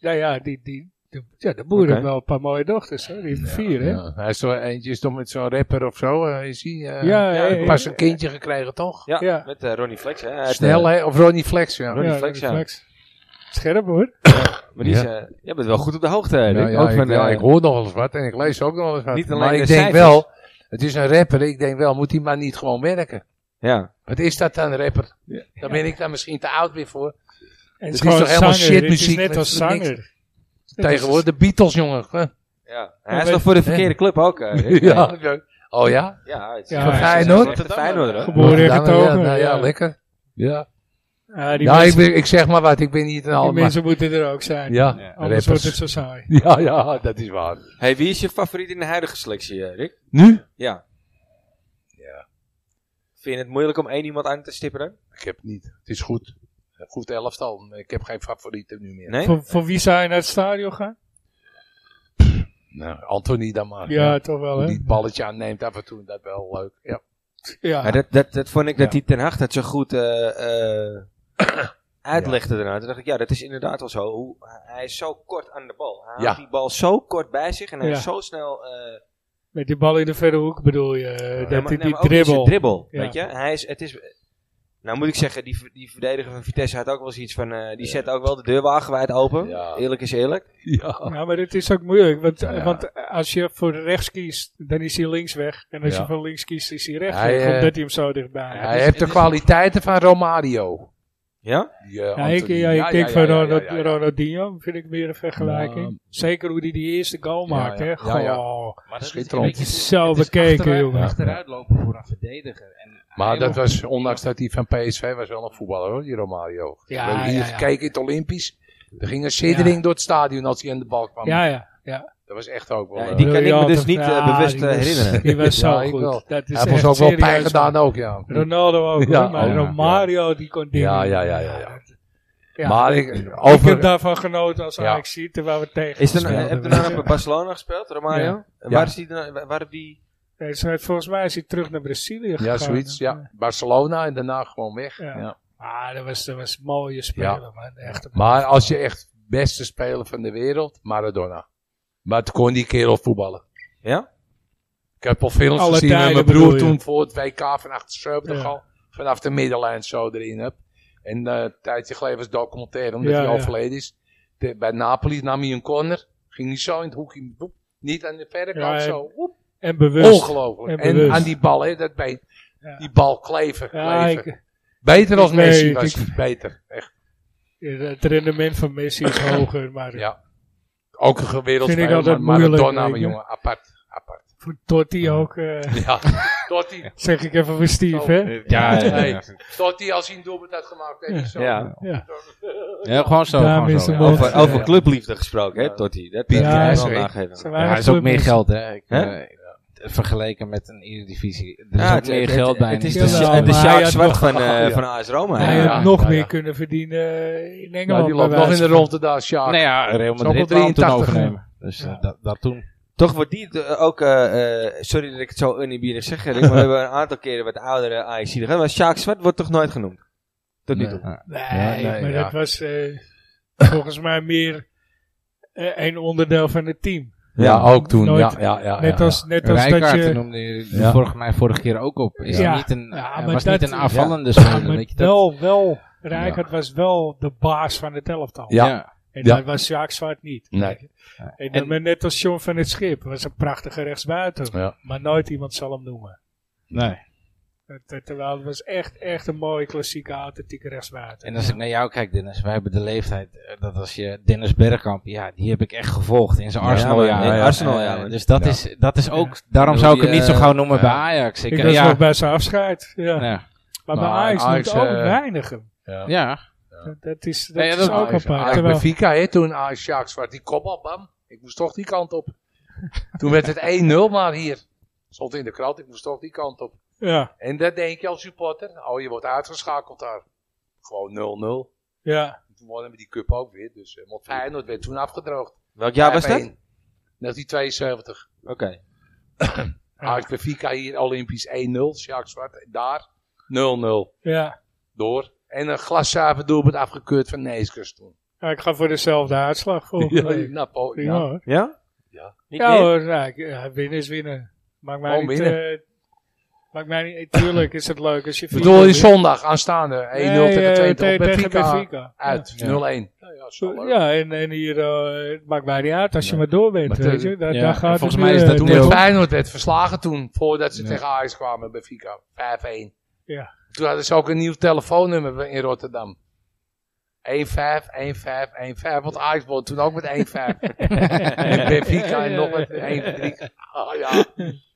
Speaker 2: nou ja, die, die, de, ja, de boer
Speaker 1: Oké.
Speaker 2: heeft wel een paar mooie dochters. Hoor. Die heeft vier, hè? Ja,
Speaker 3: Ja. Hij is zo, eentje is toch met zo'n rapper of zo, eh, is hij? eh,
Speaker 2: ja, ja, ja,
Speaker 3: Pas een kindje gekregen, toch?
Speaker 1: Ja,
Speaker 2: Ja.
Speaker 1: met eh, Ronnie Flex, hè? Uit,
Speaker 3: Snel,
Speaker 1: eh,
Speaker 3: hè? Of Ronnie Flex, ja.
Speaker 1: Ronnie
Speaker 2: ja,
Speaker 1: Flex, ja.
Speaker 2: reflex. Scherp, hoor.
Speaker 1: Maar die is, eh, jij bent wel goed op de hoogte. hè,
Speaker 3: Ja,
Speaker 1: Dick.
Speaker 3: Nou ja,
Speaker 1: Ook
Speaker 3: ik,
Speaker 1: van,
Speaker 3: ja,
Speaker 1: eh,
Speaker 3: ik hoor nog wel eens wat en ik lees ook nog wel eens wat.
Speaker 1: Niet alleen
Speaker 3: maar
Speaker 1: de
Speaker 3: ik denk
Speaker 1: cijfers.
Speaker 3: wel, het is een rapper, ik denk wel, moet hij maar niet gewoon werken.
Speaker 1: ja.
Speaker 3: Wat is dat dan, rapper? Daar ben ik dan misschien te oud weer voor.
Speaker 2: En
Speaker 3: is toch helemaal
Speaker 2: Het is
Speaker 3: shitmuziek
Speaker 2: net
Speaker 3: met-
Speaker 2: als
Speaker 3: met niks.
Speaker 2: zanger.
Speaker 3: Tegenwoordig de Beatles, jongen. Huh?
Speaker 1: ja.
Speaker 2: Maar
Speaker 1: Hij is
Speaker 2: weet-
Speaker 1: nog voor de verkeerde club ook. eh, Dick.
Speaker 3: Ja. Oh ja?
Speaker 1: Ja, het is
Speaker 2: Ja,
Speaker 1: ja,
Speaker 3: Feyenoord?
Speaker 1: Feyenoord, hoor.
Speaker 2: Geboren in
Speaker 3: Rotterdam, ja,
Speaker 2: getogen.
Speaker 3: nou, ja,
Speaker 2: ja.
Speaker 3: lekker. Ja.
Speaker 2: Ja, die,
Speaker 3: ja,
Speaker 2: mensen,
Speaker 3: ik, ben- ik zeg maar wat, ik ben niet een
Speaker 2: die
Speaker 3: allemaal.
Speaker 2: mensen moeten er ook zijn.
Speaker 3: Ja,
Speaker 4: Ja,
Speaker 2: Anders wordt het
Speaker 3: rappers.
Speaker 2: zo saai.
Speaker 3: Ja, ja, dat is waar.
Speaker 1: Hey, wie is je favoriet in de huidige selectie, eh, Rick?
Speaker 3: Nu?
Speaker 1: Ja.
Speaker 3: Ja.
Speaker 1: Vind je het moeilijk om één iemand aan te stipperen?
Speaker 3: Ik heb het niet. Het is goed. Een Goed elftal. Ik heb geen favorieten nu meer.
Speaker 1: Nee?
Speaker 2: Voor, voor wie zou je naar het stadion gaan?
Speaker 3: Nou, Anthony dan maar.
Speaker 2: Ja, toch wel,
Speaker 3: Hoe
Speaker 2: hè?
Speaker 3: Die het balletje aanneemt af en toe, dat wel leuk. Ja.
Speaker 2: Ja.
Speaker 1: Maar dat, dat, dat vond ik dat
Speaker 3: Ja.
Speaker 1: die Ten Hag dat zo goed eh, eh, uitlegde daarna. Toen dacht ik, ja, dat is inderdaad wel zo. Hoe, hij is zo kort aan de bal. Hij
Speaker 3: Ja.
Speaker 1: haalt die bal zo kort bij zich en hij
Speaker 2: Ja.
Speaker 1: is zo snel... eh,
Speaker 2: Met die bal in de verre hoek bedoel je. eh, dat
Speaker 1: nee,
Speaker 2: hij
Speaker 1: maar- nee,
Speaker 2: die
Speaker 1: maar ook in zijn
Speaker 2: dribbel.
Speaker 1: dribbel,
Speaker 2: Ja.
Speaker 1: weet je. Hij is, het is... Nou moet ik zeggen, die, ver- die verdediger van Vitesse had ook wel eens iets van... eh, die zet ook wel de deur wagenwijd open.
Speaker 3: Ja.
Speaker 1: Eerlijk is eerlijk.
Speaker 3: Ja.
Speaker 2: Ja, maar het is ook moeilijk. Want,
Speaker 3: Ja, ja.
Speaker 2: want als je voor rechts kiest, dan is hij links weg. En als
Speaker 3: Ja.
Speaker 2: je voor links kiest, is hij rechts
Speaker 3: Hij,
Speaker 2: weg.
Speaker 3: eh,
Speaker 2: Omdat hij hem zo dichtbij heeft.
Speaker 3: Hij heeft de kwaliteiten van Romario.
Speaker 1: Ja?
Speaker 3: Die, eh,
Speaker 2: Ja,
Speaker 3: Anthony.
Speaker 2: ik, ja, ik
Speaker 3: Ja,
Speaker 2: denk
Speaker 3: ja,
Speaker 2: van
Speaker 3: ja, ja,
Speaker 2: Ronald-
Speaker 3: ja, ja.
Speaker 2: Ronaldinho vind ik meer een vergelijking.
Speaker 3: Ja.
Speaker 2: Zeker hoe hij die eerste goal
Speaker 3: Ja,
Speaker 2: maakt.
Speaker 3: ja.
Speaker 2: Hè?
Speaker 3: Ja, ja.
Speaker 2: Goh,
Speaker 4: Maar dat is
Speaker 3: Schitterend.
Speaker 4: een beetje-
Speaker 2: Het is zo
Speaker 4: het
Speaker 2: bekeken,
Speaker 4: achteruit-
Speaker 2: jongen.
Speaker 4: Achteruitlopen voor een verdediger. En
Speaker 3: Maar
Speaker 4: hij
Speaker 3: dat
Speaker 4: nog-
Speaker 3: was, ondanks dat hij van PSV was, wel een voetballer hoor, die Romario.
Speaker 2: Ja,
Speaker 3: We hebben hier
Speaker 2: ja, ja.
Speaker 3: gekeken in het Olympisch. Er ging een siddering door het stadion als hij aan de bal kwam.
Speaker 2: Ja, ja. ja.
Speaker 3: Dat was echt ook wel...
Speaker 1: Ja,
Speaker 3: eh,
Speaker 1: die- kan ik me dus
Speaker 2: Briljante-
Speaker 1: niet, eh,
Speaker 2: Ja,
Speaker 1: bewust,
Speaker 2: die
Speaker 1: eh,
Speaker 2: was-
Speaker 1: herinneren.
Speaker 2: Die was zo
Speaker 3: Ja, ik wel.
Speaker 2: goed. Dat is
Speaker 3: hij was
Speaker 2: echt
Speaker 3: ook wel
Speaker 2: serieus,
Speaker 3: pijn gedaan
Speaker 2: man.
Speaker 3: ook, ja.
Speaker 2: Ronaldo ook,
Speaker 3: Ja,
Speaker 2: hoor, maar
Speaker 3: ja, ja.
Speaker 2: Romario die kon dingen.
Speaker 3: Ja, ja, ja, ja, ja.
Speaker 2: Ja.
Speaker 3: Maar ik,
Speaker 2: Ik heb
Speaker 3: over...
Speaker 2: daarvan genoten als
Speaker 3: Ja.
Speaker 2: Ajax ziet terwijl we tegen
Speaker 1: Is er,
Speaker 2: speelden,
Speaker 1: heb je
Speaker 2: weet
Speaker 1: nou
Speaker 2: je.
Speaker 1: bij Barcelona gespeeld, Romario?
Speaker 2: Ja.
Speaker 1: En
Speaker 3: Ja.
Speaker 1: Waar is die dan, waar- waar op die...
Speaker 2: Nee, ze- volgens mij is hij terug naar Brazilië gegaan.
Speaker 3: Ja, zoiets, ja. Barcelona en daarna gewoon weg.
Speaker 2: Ja.
Speaker 3: Ja.
Speaker 2: Ah, dat was, dat was een mooie speler, man. Echt een-
Speaker 3: Maar als je echt beste speler van de wereld, Maradona. Maar toen kon die kerel voetballen.
Speaker 1: Ja?
Speaker 3: Ik heb al films
Speaker 2: Alle
Speaker 3: gezien met
Speaker 2: tijden
Speaker 3: mijn
Speaker 2: bedoel
Speaker 3: broer
Speaker 2: je?
Speaker 3: toen voor het WK van 78
Speaker 2: Ja.
Speaker 3: al. Vanaf de middenlijn zo erin heb. En eh, een tijdje geleden was het documentaire, omdat
Speaker 2: Ja,
Speaker 3: hij
Speaker 2: ja.
Speaker 3: overleden is. De- bij Napoli nam hij een corner. Ging hij zo in het hoekje. boep, niet aan de verre
Speaker 2: Ja,
Speaker 3: kant
Speaker 2: en
Speaker 3: zo. Woep,
Speaker 2: En bewust.
Speaker 3: ongelooflijk.
Speaker 2: en
Speaker 3: En,
Speaker 2: bewust.
Speaker 3: aan die bal, hè, dat been.
Speaker 2: Ja.
Speaker 3: Die bal kleven.
Speaker 2: Ja,
Speaker 3: kleven.
Speaker 2: ik-
Speaker 3: beter als
Speaker 2: ik
Speaker 3: Messi
Speaker 2: weet,
Speaker 3: was
Speaker 2: ik-
Speaker 3: hij. Beter. Echt.
Speaker 2: het rendement van Messi is hoger, maar
Speaker 3: Ja. Ook een wereldspeler.
Speaker 2: altijd
Speaker 3: maar
Speaker 2: moeilijk,
Speaker 3: Maradona,
Speaker 2: weet
Speaker 3: maar
Speaker 2: je.
Speaker 3: jongen, apart. Apart.
Speaker 2: Voor Totti ook, eh,
Speaker 3: Ja, Totti.
Speaker 2: zeg ik even voor Steve,
Speaker 3: Oh.
Speaker 2: hè?
Speaker 4: Ja, ja, ja.
Speaker 3: Nee, Totti als hij een doelpunt had gemaakt. Weet je zo.
Speaker 1: Ja.
Speaker 4: Ja, gewoon zo.
Speaker 2: Daar
Speaker 4: gewoon
Speaker 2: is
Speaker 4: zo.
Speaker 2: hem
Speaker 4: ja.
Speaker 2: ook.
Speaker 1: Over,
Speaker 3: Ja.
Speaker 1: over clubliefde gesproken, hè, Totti. Dat
Speaker 4: Ja,
Speaker 1: eh, kan je
Speaker 2: sorry.
Speaker 1: wel aangeven.
Speaker 2: Zijn
Speaker 4: Ja,
Speaker 2: wij
Speaker 4: hij is ook meer
Speaker 2: clubmensen?
Speaker 4: geld, hè? Ik,
Speaker 1: Hè?
Speaker 4: eh, vergeleken met een Eredivisie. Er is
Speaker 1: Ja,
Speaker 4: ook
Speaker 1: het-
Speaker 4: meer
Speaker 1: het-
Speaker 4: geld bij.
Speaker 1: Het
Speaker 4: een
Speaker 1: is de,
Speaker 2: Jawel,
Speaker 1: Sja-
Speaker 4: Eredivisie.
Speaker 1: het is
Speaker 2: maar
Speaker 1: Sjaak
Speaker 2: hij had
Speaker 1: Zwart
Speaker 2: nog-
Speaker 1: van, eh,
Speaker 3: Ja.
Speaker 1: van AS Roma.
Speaker 2: Hij
Speaker 3: Ja,
Speaker 2: had
Speaker 1: Ja.
Speaker 2: nog
Speaker 3: ja,
Speaker 2: meer
Speaker 3: ja.
Speaker 2: kunnen verdienen eh, in
Speaker 3: Ja,
Speaker 2: Engeland.
Speaker 3: die loopt
Speaker 2: bij
Speaker 3: nog in
Speaker 2: wijze
Speaker 3: de
Speaker 2: van-
Speaker 3: ronde daar, Sjaak.
Speaker 4: Nee, ja, Real
Speaker 3: Is ook al
Speaker 4: Madrid wou hem toen
Speaker 3: 83
Speaker 4: overnemen. Dus eh,
Speaker 2: Ja.
Speaker 4: dat, dat toen.
Speaker 1: Toch wordt die eh, ook, eh, eh, sorry dat ik het zo oneerbiedig zeg, Rick, maar we hebben een aantal keren wat oudere AIC gehad, maar Sjaak Zwart wordt toch nooit genoemd? Tot nu toe.
Speaker 4: Ja.
Speaker 2: Nee,
Speaker 4: Ja, nee,
Speaker 2: maar
Speaker 4: ja.
Speaker 2: dat was eh, volgens mij meer eh, een onderdeel van het team.
Speaker 3: Ja, ook toen.
Speaker 2: Nooit-
Speaker 3: ja, ja, ja,
Speaker 2: net
Speaker 3: ja.
Speaker 2: als, net als dat
Speaker 4: Rijkaard
Speaker 2: je...
Speaker 4: noemde je
Speaker 3: Ja.
Speaker 4: vorige, mij vorige keer ook op. Is
Speaker 2: Ja.
Speaker 4: niet een,
Speaker 2: Ja,
Speaker 4: hij
Speaker 2: maar
Speaker 4: was
Speaker 2: dat-
Speaker 4: niet een
Speaker 2: ja.
Speaker 4: aanvallende
Speaker 2: Ja,
Speaker 4: speler.
Speaker 2: maar
Speaker 4: Weet je, dat,
Speaker 2: wel, wel. Rijkaard was wel de baas van het elftal.
Speaker 3: Ja.
Speaker 2: En
Speaker 3: Ja.
Speaker 2: dat was Sjaak Zwart niet.
Speaker 3: Nee.
Speaker 2: En, dan maar net als John van het Schip. was een prachtige rechtsbuiten.
Speaker 3: Ja.
Speaker 2: Maar nooit iemand zal hem noemen.
Speaker 4: nee.
Speaker 2: Het- het- Terwijl het was echt, echt een mooie klassieke authentieke rechtsbuiten.
Speaker 4: En als ik naar jou kijk, Dennis, wij hebben de leeftijd eh, dat als je Dennis Bergkamp, ja, die heb ik echt gevolgd in zijn
Speaker 1: Ja,
Speaker 4: Arsenal.
Speaker 1: man,
Speaker 4: Ja,
Speaker 1: in
Speaker 4: ja,
Speaker 1: Arsenal,
Speaker 4: eh,
Speaker 1: ja, man.
Speaker 4: dus dat,
Speaker 3: Ja.
Speaker 4: Is, dat is ook,
Speaker 1: Ik
Speaker 4: daarom
Speaker 1: bedoel,
Speaker 4: zou ik hem
Speaker 1: die,
Speaker 4: niet zo
Speaker 1: eh,
Speaker 4: gauw noemen
Speaker 1: ja.
Speaker 4: bij Ajax. eh,
Speaker 2: ik was
Speaker 4: ja,
Speaker 2: nog bij zijn afscheid. Ja.
Speaker 4: ja,
Speaker 2: Maar bij
Speaker 3: Maar
Speaker 2: Ajax,
Speaker 3: Ajax,
Speaker 2: moet ook
Speaker 3: eh,
Speaker 2: weinig hem.
Speaker 3: Ja.
Speaker 4: ja.
Speaker 2: Dat- Dat is, dat
Speaker 4: Nee, ja,
Speaker 2: is
Speaker 4: dat-
Speaker 2: ook
Speaker 3: Ajax-
Speaker 2: apart.
Speaker 3: Ajax
Speaker 2: Terwijl-
Speaker 3: Benfica, hè, toen Ajax Sjaak Zwart, die kop op, bam. Ik moest toch die kant op. Toen werd het 1-0 maar hier. Stond in de krant, ik moest toch die kant op.
Speaker 2: Ja,
Speaker 3: En dat denk je als supporter. Oh, je wordt uitgeschakeld daar. Gewoon 0-0.
Speaker 2: ja.
Speaker 3: Toen wonnen we die cup ook weer. Dus eh, want Feyenoord werd toen afgedroogd.
Speaker 1: Welk jaar was dat?
Speaker 3: 5-1. 1972.
Speaker 1: Oké.
Speaker 3: Ajax Benfica hier, Olympisch 1-0. Sjaak Zwart, daar 0-0.
Speaker 2: ja.
Speaker 3: Door. En een glaszuiver doelpunt afgekeurd van Neeskens toen.
Speaker 2: Ja, ik ga voor dezelfde uitslag volgende week.
Speaker 3: Nou, po-
Speaker 2: Prima
Speaker 3: ja.
Speaker 2: hoor.
Speaker 1: Ja?
Speaker 3: Ja.
Speaker 1: Niet
Speaker 2: Ja
Speaker 1: meer?
Speaker 2: hoor, ja, ik- ja, winnen is winnen. Maakt mij
Speaker 3: Gewoon
Speaker 2: niet...
Speaker 3: winnen.
Speaker 2: eh, maakt mij niet... Tuurlijk is het leuk als je...
Speaker 3: Ik bedoel je
Speaker 2: vier-
Speaker 3: zondag aanstaande 1-0
Speaker 2: Nee, eh,
Speaker 3: tegen Twente
Speaker 2: tegen
Speaker 3: op Benfica
Speaker 2: Benfica.
Speaker 3: uit.
Speaker 4: Ja.
Speaker 3: 0-1. Ja, ja, zo
Speaker 2: Ja,
Speaker 3: leuk.
Speaker 2: ja en, en hier... eh, het maakt mij niet uit als je maar door bent,
Speaker 3: Maar
Speaker 2: weet
Speaker 3: de-
Speaker 2: je. Daar,
Speaker 4: ja,
Speaker 2: daar
Speaker 4: en
Speaker 2: gaat
Speaker 4: volgens
Speaker 2: het
Speaker 4: mij
Speaker 2: nu,
Speaker 4: is dat
Speaker 2: eh,
Speaker 4: toen
Speaker 3: Toen
Speaker 4: Nee,
Speaker 2: door.
Speaker 4: ook-
Speaker 3: Feyenoord werd verslagen toen, voordat ze
Speaker 4: Ja.
Speaker 3: tegen Ajax kwamen bij Benfica. 5-1.
Speaker 2: Ja.
Speaker 3: Toen hadden ze ook een nieuw telefoonnummer in Rotterdam. 1-5, 1-5, 1-5. Want Ajax won toen ook met 1-5. en Benfica en nog met 1-3. Ah ja.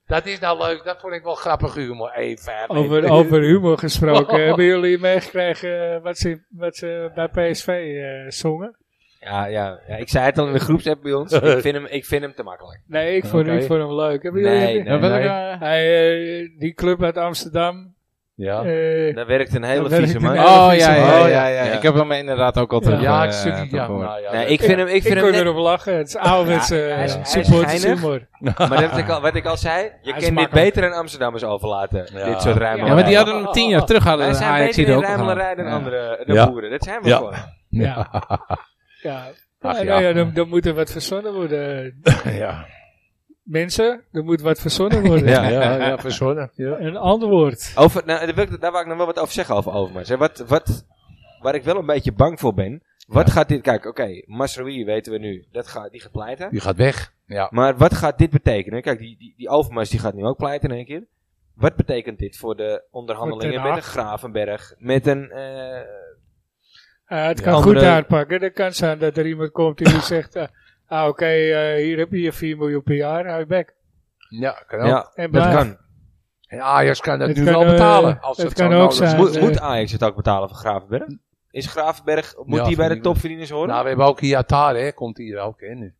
Speaker 3: Dat is nou leuk. Dat vond ik wel grappig humor. 1-5.
Speaker 2: Over, over humor gesproken. Hebben jullie meegekregen eh, wat, ze, wat ze bij PSV eh, zongen?
Speaker 1: Ja, ja, ja, ik zei het al in de groepsapp bij ons. ik, vind hem, ik vind hem te makkelijk.
Speaker 2: Nee, ik vond,
Speaker 3: Oké.
Speaker 2: ik vond hem leuk. Hebben
Speaker 1: Nee,
Speaker 2: jullie...
Speaker 1: nee. Ja,
Speaker 3: Nou, welke-
Speaker 2: Hij, eh, die club uit Amsterdam.
Speaker 3: Ja.
Speaker 2: eh,
Speaker 1: Daar werkt een hele
Speaker 2: Daar werkt
Speaker 1: vieze
Speaker 2: een
Speaker 1: man.
Speaker 2: hele-
Speaker 4: Oh
Speaker 2: vieze
Speaker 4: ja,
Speaker 2: man.
Speaker 4: ja,
Speaker 1: Oh,
Speaker 4: ja,
Speaker 1: ja,
Speaker 4: ja.
Speaker 1: ja.
Speaker 4: Ik heb hem inderdaad ook al terug.
Speaker 3: Ja,
Speaker 4: eh,
Speaker 3: een stukje. Ja,
Speaker 4: terug gehoord.
Speaker 3: nou ja,
Speaker 1: Nee,
Speaker 3: dat-
Speaker 1: ik vind hem, ik
Speaker 2: Ik,
Speaker 1: vind hem
Speaker 2: kon
Speaker 1: net-
Speaker 2: erop lachen. Het is ouderwetse eh,
Speaker 1: Ja, hij
Speaker 2: ja,
Speaker 1: is- hij is geinig.
Speaker 2: supportershumor.
Speaker 1: Maar dat ik al, wat ik al zei, je
Speaker 2: is
Speaker 1: kan dit
Speaker 2: makkelijk.
Speaker 1: beter aan Amsterdammers overlaten.
Speaker 3: Ja.
Speaker 1: Dit soort ruimte.
Speaker 4: Ja, maar die hadden hem tien jaar terug hadden.
Speaker 1: Wij
Speaker 4: Ajax
Speaker 1: zijn
Speaker 4: hier
Speaker 1: beter in
Speaker 4: ook al
Speaker 1: ruimelarij
Speaker 4: gehad.
Speaker 1: dan
Speaker 4: Ja.
Speaker 1: andere de
Speaker 3: Ja.
Speaker 1: boeren. Dat zijn we
Speaker 3: Ja.
Speaker 1: gewoon.
Speaker 2: Ja. Ja.
Speaker 3: Ach,
Speaker 2: Ja,
Speaker 3: ja.
Speaker 2: nou ja, dan, dan moet er wat verzonnen worden.
Speaker 3: ja.
Speaker 2: Mensen, er moet wat verzonnen worden.
Speaker 3: Ja, ja, ja, verzonnen. Ja.
Speaker 2: Een antwoord.
Speaker 1: Over, nou, daar, wil ik, daar wou ik nog wel wat over zeggen over Overmars. Hè. Wat, wat, waar ik wel een beetje bang voor ben. Wat gaat dit... Kijk, oké, Masrui weten we nu. Dat gaat, die gaat pleiten.
Speaker 3: Die gaat weg. Ja.
Speaker 1: Maar wat gaat dit betekenen? Kijk, die, die, die Overmars die gaat nu ook pleiten in één keer. Wat betekent dit voor de onderhandelingen
Speaker 2: Voor
Speaker 1: met
Speaker 2: Ten
Speaker 1: een Gravenberg? Met een... eh,
Speaker 2: Ja, het
Speaker 1: Ja.
Speaker 2: kan
Speaker 1: Andere-
Speaker 2: goed uitpakken. Het kan zijn dat er iemand komt die zegt... eh, ah, oké, eh, hier heb je je 4 miljoen per jaar. Hou je bek.
Speaker 3: Ja, kan ook.
Speaker 1: ja, dat
Speaker 2: En blijf.
Speaker 1: kan.
Speaker 3: En Ajax kan dat
Speaker 2: Het
Speaker 3: nu
Speaker 2: kan,
Speaker 3: wel
Speaker 2: eh,
Speaker 3: betalen. Als
Speaker 2: het
Speaker 3: het
Speaker 2: kan
Speaker 3: zo
Speaker 2: ook
Speaker 3: nodig
Speaker 2: zijn.
Speaker 3: is.
Speaker 1: Moet,
Speaker 2: eh,
Speaker 1: moet Ajax het ook betalen voor Gravenberg? Is Gravenberg... Moet
Speaker 3: Ja,
Speaker 1: die bij
Speaker 3: vind
Speaker 1: de
Speaker 3: ik wel.
Speaker 1: topverdieners horen?
Speaker 3: Nou, we hebben ook Iatar, hè. Komt hier ook in nu.